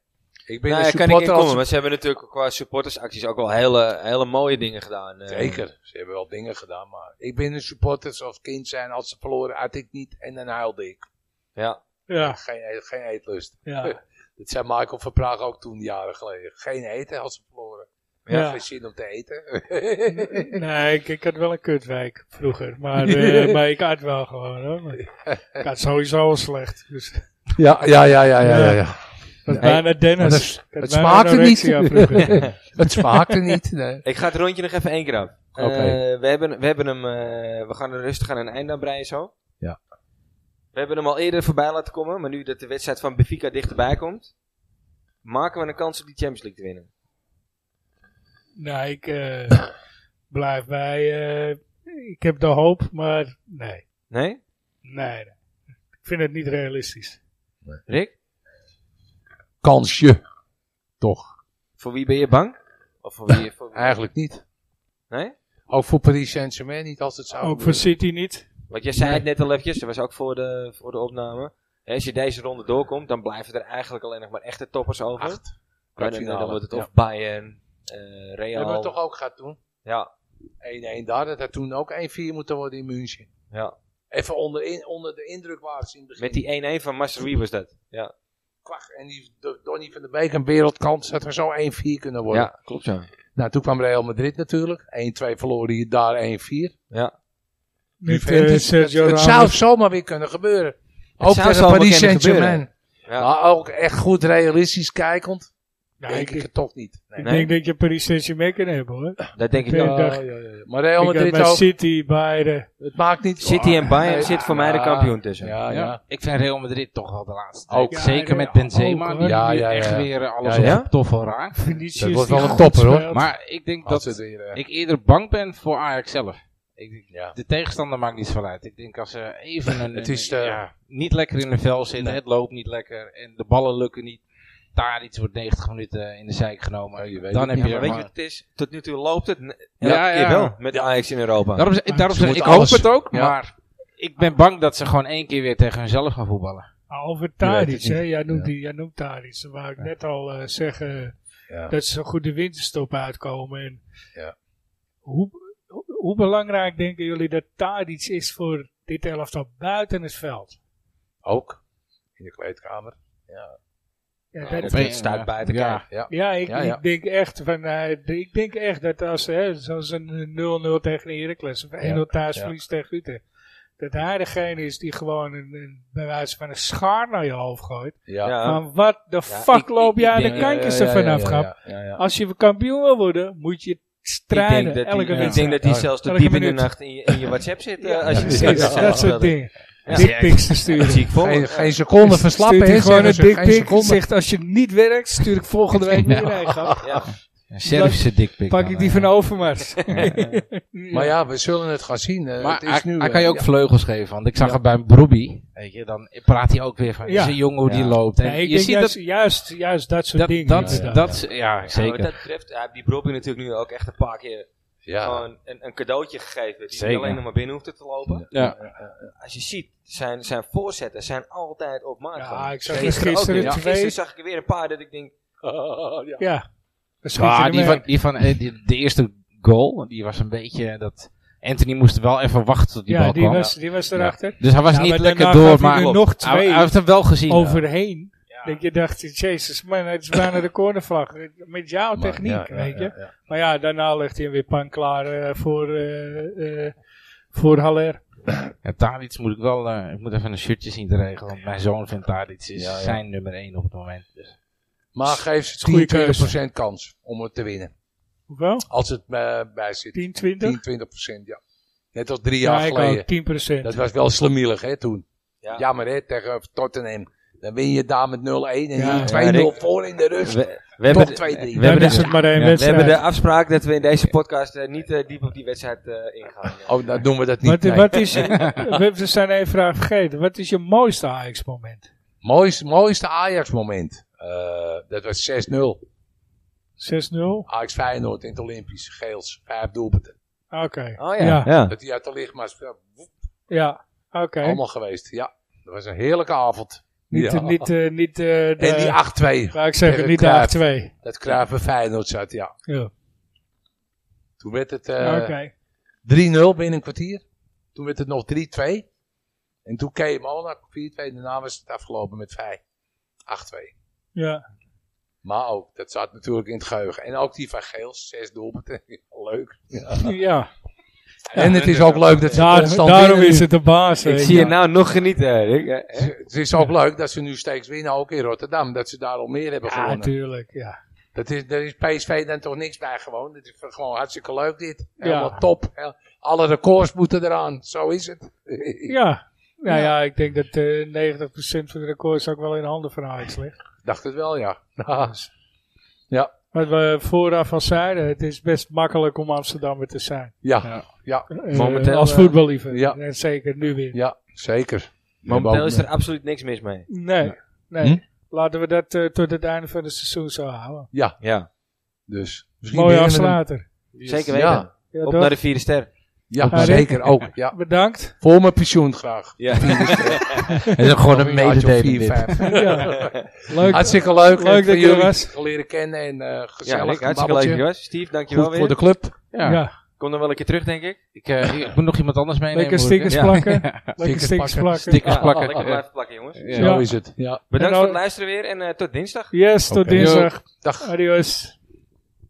Speaker 3: Ik ben
Speaker 1: Nou, daar
Speaker 3: een
Speaker 1: kan ik
Speaker 3: supporter
Speaker 1: inkomen,
Speaker 3: als...
Speaker 1: maar ze hebben natuurlijk qua supportersacties ook wel hele, hele mooie dingen gedaan. eh.
Speaker 3: Zeker, ze hebben wel dingen gedaan, maar ik ben een supporter zoals kind zijn. Als ze verloren, had ik niet en dan huilde ik.
Speaker 1: Ja.
Speaker 2: ja,
Speaker 3: Geen, geen eetlust.
Speaker 2: ja.
Speaker 3: Dat zei Michael van Praag ook toen, jaren geleden. Geen eten had ze verloren. Ja.
Speaker 2: Ja.
Speaker 3: Geen zin om te eten.
Speaker 2: Nee, ik, ik had wel een kutwijk vroeger, maar, eh, maar ik had wel gewoon hoor. Maar Ik had sowieso al slecht, dus...
Speaker 3: ja, ja, ja, ja,
Speaker 2: ja, Dat is
Speaker 3: Nee,
Speaker 2: bijna Dennis.
Speaker 3: dat is-
Speaker 2: Dat
Speaker 3: het
Speaker 2: is
Speaker 3: smaakte
Speaker 2: bijna
Speaker 3: niet.
Speaker 2: anorexia vroeger.
Speaker 3: Het smaakte niet. Nee.
Speaker 1: Ik ga het rondje nog even één keer af. Eh,
Speaker 3: Oké.
Speaker 1: we, hebben, we hebben hem, eh, we gaan er rustig aan een eind aan breien zo.
Speaker 3: Ja.
Speaker 1: We hebben hem al eerder voorbij laten komen, maar nu dat de wedstrijd van Benfica dichterbij komt, maken we een kans om die Champions League te winnen.
Speaker 2: nee, ik eh, blijf bij. eh, ik heb de hoop, maar nee.
Speaker 1: Nee?
Speaker 2: Nee, nee. Ik vind het niet realistisch.
Speaker 1: Rick?
Speaker 3: Kansje. Toch?
Speaker 1: Voor wie ben je bang? Of voor wie? Voor wie?
Speaker 3: Eigenlijk niet.
Speaker 1: Nee?
Speaker 3: Ook voor Paris Saint-Germain niet als het zou
Speaker 2: Ook voor City niet.
Speaker 1: Want jij zei het net al eventjes, dat was ook voor de, voor de opname. Hè, Als je deze ronde doorkomt, dan blijven er eigenlijk alleen nog maar echte toppers over.
Speaker 3: Acht.
Speaker 1: Maar dan, dan wordt het of
Speaker 3: Ja.
Speaker 1: Bayern, eh,
Speaker 3: Dat hebben
Speaker 1: Real.
Speaker 3: we toch ook gehad toen.
Speaker 1: Ja,
Speaker 3: 1-1 daar. Dat had toen ook 1-4 moeten worden in München.
Speaker 1: ja.
Speaker 3: Even onder, in, onder de indruk waren ze in het begin.
Speaker 1: Met die 1-1 van Master was dat. Ja,
Speaker 3: kwak. En die Do- Donny van der Beek een wereldkans. Dat er zo 1-4 kunnen worden.
Speaker 1: ja klopt zo.
Speaker 3: Nou, toen kwam Real Madrid natuurlijk. 1-2 verloren hier daar 1-4.
Speaker 1: Ja.
Speaker 2: Met eh,
Speaker 3: Juventus,
Speaker 2: Sergio
Speaker 3: het, het zou
Speaker 2: Ramos.
Speaker 3: zomaar weer kunnen gebeuren.
Speaker 1: zou
Speaker 3: Ook tegen
Speaker 1: zomaar
Speaker 3: Paris
Speaker 1: kunnen
Speaker 3: Saint-Germain.
Speaker 1: Ja.
Speaker 3: Maar ook echt goed realistisch kijkend.
Speaker 2: Ja,
Speaker 3: denk
Speaker 2: ik,
Speaker 3: ik, het toch niet. Nee. Oh,
Speaker 2: ik
Speaker 1: Nee.
Speaker 2: denk dat je Paris Saint-Germain kan hebben hoor.
Speaker 1: Dat denk ik
Speaker 2: Ja,
Speaker 1: ook.
Speaker 2: ik dacht-
Speaker 3: ja, ja. Maar Real
Speaker 2: ik dacht
Speaker 3: Madrid
Speaker 2: bij
Speaker 3: ook.
Speaker 2: City, eh, Bayern.
Speaker 3: Het maakt niet Oh,
Speaker 1: City en Bayern
Speaker 3: Nee,
Speaker 1: zit voor mij de
Speaker 3: ja,
Speaker 1: kampioen tussen.
Speaker 3: Ja, ja.
Speaker 4: Ah, Ja, ik vind Real Madrid toch wel de laatste.
Speaker 3: Ook.
Speaker 4: tijd.
Speaker 2: Ja,
Speaker 4: Zeker
Speaker 2: ja,
Speaker 4: met
Speaker 2: ook,
Speaker 4: Benzema,
Speaker 2: hoor.
Speaker 4: die
Speaker 3: Ja, ja,
Speaker 4: echt
Speaker 3: ja.
Speaker 4: weer eh, alles
Speaker 3: Ja, ja.
Speaker 4: op de toffel raakt.
Speaker 2: Vinicius
Speaker 3: Dat wordt
Speaker 2: die
Speaker 3: wel een
Speaker 2: goed
Speaker 3: topper, hoor.
Speaker 2: speelt.
Speaker 4: Maar ik denk
Speaker 3: Als
Speaker 4: dat
Speaker 3: het weer, eh,
Speaker 4: ik eerder bang ben voor Ajax zelf. Ik,
Speaker 3: Ja.
Speaker 4: De tegenstander maakt niet zoveel uit. Ik denk als ze even een,
Speaker 3: Het is, eh,
Speaker 4: ja, niet lekker in de vel zitten,
Speaker 3: Nee.
Speaker 4: het loopt niet lekker en de ballen lukken niet. Daar iets wordt 90 minuten in de zijk genomen.
Speaker 3: Ja, je weet
Speaker 4: dan
Speaker 3: het
Speaker 4: heb
Speaker 3: niet,
Speaker 4: je,
Speaker 3: maar
Speaker 1: weet
Speaker 3: maar-
Speaker 1: je wat het is? Tot nu toe loopt het n- elke
Speaker 4: Ja,
Speaker 1: keer
Speaker 4: ja.
Speaker 1: wel met de Ajax in Europa.
Speaker 4: Daarom,
Speaker 2: Maar
Speaker 4: daarom
Speaker 3: ze
Speaker 4: zeg, ik
Speaker 3: moeten
Speaker 4: hoop
Speaker 3: alles-
Speaker 4: het ook,
Speaker 3: ja.
Speaker 4: maar ik ben bang dat ze gewoon één keer weer tegen hunzelf gaan voetballen.
Speaker 2: Ah, Over
Speaker 1: Je weet
Speaker 2: Tadic,
Speaker 1: het
Speaker 2: hè? Jij noemt, die, jij noemt Tadic. Dan wou ik net al eh, zeggen
Speaker 3: Ja.
Speaker 2: dat ze zo goed de winterstop uitkomen. En
Speaker 3: Ja.
Speaker 2: hoe, hoe belangrijk denken jullie dat Tadic is voor dit elftal buiten het veld?
Speaker 3: Ook. In de kleedkamer.
Speaker 2: Ja,
Speaker 3: Nou,
Speaker 4: Ja,
Speaker 2: dat-
Speaker 1: dat staat buiten
Speaker 4: ja.
Speaker 1: kijf.
Speaker 3: Ja.
Speaker 2: ja, ik,
Speaker 3: Ja, ja.
Speaker 2: ik denk echt van, eh, de- ik denk echt dat als hè, zoals een 0-0 tegen Heracles of 1-0 thuis
Speaker 3: ja.
Speaker 2: verlies tegen Utrecht, dat hij degene is die gewoon een, een, bij wijze van een schaar naar je hoofd gooit.
Speaker 3: Ja.
Speaker 2: Maar wat de fuck
Speaker 1: ik-
Speaker 2: loop
Speaker 1: ik
Speaker 2: jij aan
Speaker 1: denk-
Speaker 2: de
Speaker 1: ja,
Speaker 2: kantjes
Speaker 3: ja,
Speaker 2: ervan
Speaker 3: ja,
Speaker 2: af,
Speaker 3: ja,
Speaker 2: grap?
Speaker 3: ja, ja, ja.
Speaker 2: Als je kampioen wil worden, moet je
Speaker 1: Ik
Speaker 2: strijden
Speaker 1: denk dat
Speaker 2: elke
Speaker 1: die, ik
Speaker 2: wedstrijd.
Speaker 1: denk dat die zelfs tot
Speaker 2: Elke
Speaker 1: diep in de
Speaker 2: minuut.
Speaker 1: nacht in je, in je WhatsApp zit. eh, als je
Speaker 2: Ja,
Speaker 1: de
Speaker 2: precies,
Speaker 1: Celtics
Speaker 2: dat soort
Speaker 1: speelt.
Speaker 2: dingen.
Speaker 1: Ja.
Speaker 2: Dickpics te sturen.
Speaker 1: Dat zie ik vol.
Speaker 3: Geen, geen seconde verslappen.
Speaker 2: Stuurt hij
Speaker 3: hè,
Speaker 2: gewoon een
Speaker 3: zeggen ze. Geen
Speaker 2: dickpic.
Speaker 3: seconde.
Speaker 2: Zegt als je niet werkt, stuur ik volgende week weer een grap.
Speaker 1: Ja.
Speaker 4: Een Servische dikpik.
Speaker 2: Pak ik die van Overmars.
Speaker 3: Maar ja, we zullen het gaan zien. eh,
Speaker 4: Maar
Speaker 3: het is
Speaker 4: hij,
Speaker 3: nu,
Speaker 4: hij
Speaker 3: eh,
Speaker 4: kan je ook
Speaker 3: ja.
Speaker 4: vleugels geven. Want ik zag het bij een Broby. Weet je, dan praat hij ook weer van
Speaker 2: Ja.
Speaker 4: zijn jongen hoe die
Speaker 3: Ja.
Speaker 4: loopt. En
Speaker 2: Nee, ik
Speaker 4: je
Speaker 2: denk
Speaker 4: ziet
Speaker 2: juist,
Speaker 4: dat...
Speaker 2: juist, juist dat soort
Speaker 4: Dat,
Speaker 2: dingen.
Speaker 4: dat,
Speaker 2: inderdaad.
Speaker 4: dat is- ja,
Speaker 1: Ja, wat
Speaker 4: zeker.
Speaker 1: dat betreft, hij heeft die Brobbey natuurlijk nu ook echt een paar keer
Speaker 3: Ja.
Speaker 1: gewoon een, een cadeautje gegeven. Die
Speaker 4: Zeker.
Speaker 1: niet alleen nog maar binnen hoeft te lopen.
Speaker 4: Ja.
Speaker 1: Als je ziet, zijn, zijn voorzetten zijn altijd op maat.
Speaker 2: Ja,
Speaker 1: gewoon.
Speaker 2: ik zag
Speaker 1: Gisteren
Speaker 2: gisteren,
Speaker 1: ook weer.
Speaker 2: gisteren
Speaker 1: Ja.
Speaker 2: twee. Oh,
Speaker 1: Gisteren zag ik er weer een paar dat ik denk,
Speaker 3: ja.
Speaker 2: Ja. Dan schiet je
Speaker 4: Ja,
Speaker 2: er
Speaker 4: die
Speaker 2: mee.
Speaker 4: van, die van eh, die- de eerste goal, die was een beetje dat... Anthony moest wel even wachten tot die
Speaker 2: ja,
Speaker 4: bal
Speaker 2: die
Speaker 4: kwam.
Speaker 2: was, die was erachter.
Speaker 4: Dus hij was
Speaker 2: Ja,
Speaker 4: niet
Speaker 2: maar
Speaker 4: lekker
Speaker 2: daarna
Speaker 4: door,
Speaker 2: gaf hij
Speaker 4: maar
Speaker 2: er nog
Speaker 4: hij, hij
Speaker 2: twee
Speaker 4: heeft hem wel gezien.
Speaker 2: overheen.
Speaker 4: Ja.
Speaker 2: Dat je dacht, jezus man, het is bijna de cornervlag. Met jouw
Speaker 3: Maar-
Speaker 2: techniek,
Speaker 3: ja, ja,
Speaker 2: weet je.
Speaker 3: ja, ja.
Speaker 2: Maar ja, daarna legt hij hem weer pan klaar eh, voor, eh, eh, voor Haller.
Speaker 4: Ja, Tadic moet ik wel, eh, ik moet even een shirtje zien te regelen, want mijn zoon vindt Tadic is
Speaker 3: Ja, ja.
Speaker 4: zijn nummer 1 op het moment. Dus.
Speaker 3: Maar geef ze
Speaker 2: Goeie
Speaker 3: 10,
Speaker 2: keuze.
Speaker 3: 20% kans om het te winnen.
Speaker 2: Hoeveel?
Speaker 3: Als het eh, bij zit.
Speaker 2: 10, 20?
Speaker 3: 10, 20%, ja. Net als drie
Speaker 2: ja,
Speaker 3: jaar
Speaker 2: ik
Speaker 3: geleden.
Speaker 2: ook, 10 procent.
Speaker 3: Dat was wel slemielig, hè, toen.
Speaker 1: Ja.
Speaker 3: Jammer, hè, tegen Tottenham. Dan win je daar met 0-1 en
Speaker 2: Ja.
Speaker 3: hier 2-0
Speaker 1: Ja, Rick.
Speaker 3: voor in de rust.
Speaker 1: we,
Speaker 3: Toch
Speaker 1: hebben,
Speaker 3: 2-3.
Speaker 1: we hebben
Speaker 2: is
Speaker 1: de-
Speaker 2: het maar één
Speaker 4: ja,
Speaker 1: we
Speaker 2: wedstrijd.
Speaker 1: hebben de afspraak dat we in deze podcast eh, niet eh, diep op die wedstrijd eh, ingaan. Ja.
Speaker 3: Oh, dan doen we dat niet.
Speaker 2: wat,
Speaker 3: nee.
Speaker 2: wat is je, we we zijn één vraag vergeten. Wat is je mooiste Ajax-moment?
Speaker 3: Mooiste, mooiste Ajax-moment. Eh, dat was 6-0.
Speaker 2: 6-0?
Speaker 3: Ajax Feyenoord in het Olympisch. Geels. Vijf doelpunten.
Speaker 2: Oké.
Speaker 1: Oh
Speaker 2: Ja, ja.
Speaker 3: Dat die uit de lichtmaas. ja, woep,
Speaker 2: Oké.
Speaker 3: Allemaal geweest. Ja, dat was een heerlijke avond.
Speaker 2: Niet,
Speaker 3: Ja.
Speaker 2: niet, eh, niet eh,
Speaker 3: en die
Speaker 2: de,
Speaker 3: 8-2.
Speaker 2: wou ik zeggen,
Speaker 3: tegen
Speaker 2: niet
Speaker 3: Cruijff.
Speaker 2: de 8-2.
Speaker 3: Dat Cruijff bij Feyenoord zat, ja.
Speaker 2: Ja.
Speaker 3: Toen werd het eh,
Speaker 2: Oké.
Speaker 3: 3-0 binnen een kwartier. Toen werd het nog 3-2. En toen keek Monaco 4-2. Daarna was het afgelopen met 5. 8-2.
Speaker 2: Ja.
Speaker 3: Maar ook, dat zat natuurlijk in het geheugen. En ook die van Geels, zes doelpunten. Leuk.
Speaker 2: ja.
Speaker 3: en het is ook leuk dat ze
Speaker 2: Daar-
Speaker 3: constant
Speaker 2: daarom
Speaker 3: winnen nu.
Speaker 2: is het de baas. eh,
Speaker 1: Ik
Speaker 2: weet
Speaker 1: zie
Speaker 2: je.
Speaker 1: je nou nog genieten. Rick, eh.
Speaker 3: Het is- Het is ook leuk dat ze nu steeds winnen, ook in Rotterdam. Dat ze daar al meer hebben
Speaker 2: Ja,
Speaker 3: gewonnen.
Speaker 2: natuurlijk. Ja.
Speaker 3: Dat is, daar is PSV dan toch niks bij gewoon. Dat is gewoon hartstikke leuk dit. Helemaal
Speaker 2: Ja.
Speaker 3: top. Alle records moeten eraan. Zo is het.
Speaker 2: ja. Nou ja, ik denk dat eh 90% van de records ook wel in handen van Ajax ligt.
Speaker 3: Ik dacht het wel, ja.
Speaker 2: Wat we vooraf al zeiden, het is best makkelijk om Amsterdammer te zijn.
Speaker 3: Ja,
Speaker 2: Eh,
Speaker 1: Momenteel,
Speaker 2: als
Speaker 1: eh,
Speaker 2: voetballiefhebber.
Speaker 3: ja.
Speaker 2: En zeker nu weer.
Speaker 3: ja zeker.
Speaker 1: Momenteel is er absoluut niks mis mee.
Speaker 2: Nee, nee.
Speaker 3: Hm?
Speaker 2: Laten we dat eh, tot het einde van het seizoen zo houden.
Speaker 1: Ja,
Speaker 3: Dus misschien
Speaker 2: Mooi
Speaker 3: winnen we hem.
Speaker 2: afsluiter.
Speaker 1: zeker weten.
Speaker 3: Ja.
Speaker 2: Ja,
Speaker 1: Op
Speaker 2: toch?
Speaker 1: naar de vierde ster.
Speaker 3: Ja,
Speaker 2: Ja,
Speaker 3: zeker ook. Ja.
Speaker 2: Bedankt.
Speaker 3: Voor mijn pensioen graag.
Speaker 1: Ja.
Speaker 4: Het is ook gewoon een
Speaker 3: jaartje of
Speaker 4: mededeling
Speaker 3: vier,
Speaker 4: dit.
Speaker 3: vijf.
Speaker 2: ja. Leuk.
Speaker 3: Hartstikke leuk.
Speaker 2: Leuk
Speaker 3: Leuk
Speaker 2: dat
Speaker 3: dat
Speaker 2: je
Speaker 3: jullie
Speaker 2: er was.
Speaker 3: leren kennen en eh
Speaker 1: Ja,
Speaker 3: gezellig.
Speaker 1: Rick,
Speaker 3: Ja,
Speaker 1: hartstikke leuk dat je er was. Steve, dankjewel
Speaker 3: Goed
Speaker 1: weer.
Speaker 3: voor de club.
Speaker 2: Ja.
Speaker 4: Ja.
Speaker 1: Kom dan wel een keer terug, denk ik.
Speaker 4: Ik, eh, ik moet nog iemand anders meenemen.
Speaker 2: Lekker
Speaker 4: hoor ik, hè?
Speaker 2: stickers
Speaker 1: Ja.
Speaker 2: plakken. Lekker
Speaker 3: Stickers
Speaker 2: stickers
Speaker 3: plakken.
Speaker 2: plakken.
Speaker 4: Stickers
Speaker 1: Ja,
Speaker 4: plakken.
Speaker 1: Lekker blijven plakken, jongens.
Speaker 4: Ja.
Speaker 3: Zo is het. Ja.
Speaker 1: Bedankt
Speaker 2: En
Speaker 1: voor
Speaker 2: ook-
Speaker 1: het luisteren weer en eh, tot dinsdag.
Speaker 2: Yes, tot
Speaker 3: Oké.
Speaker 2: dinsdag.
Speaker 3: Dag.
Speaker 2: Adios.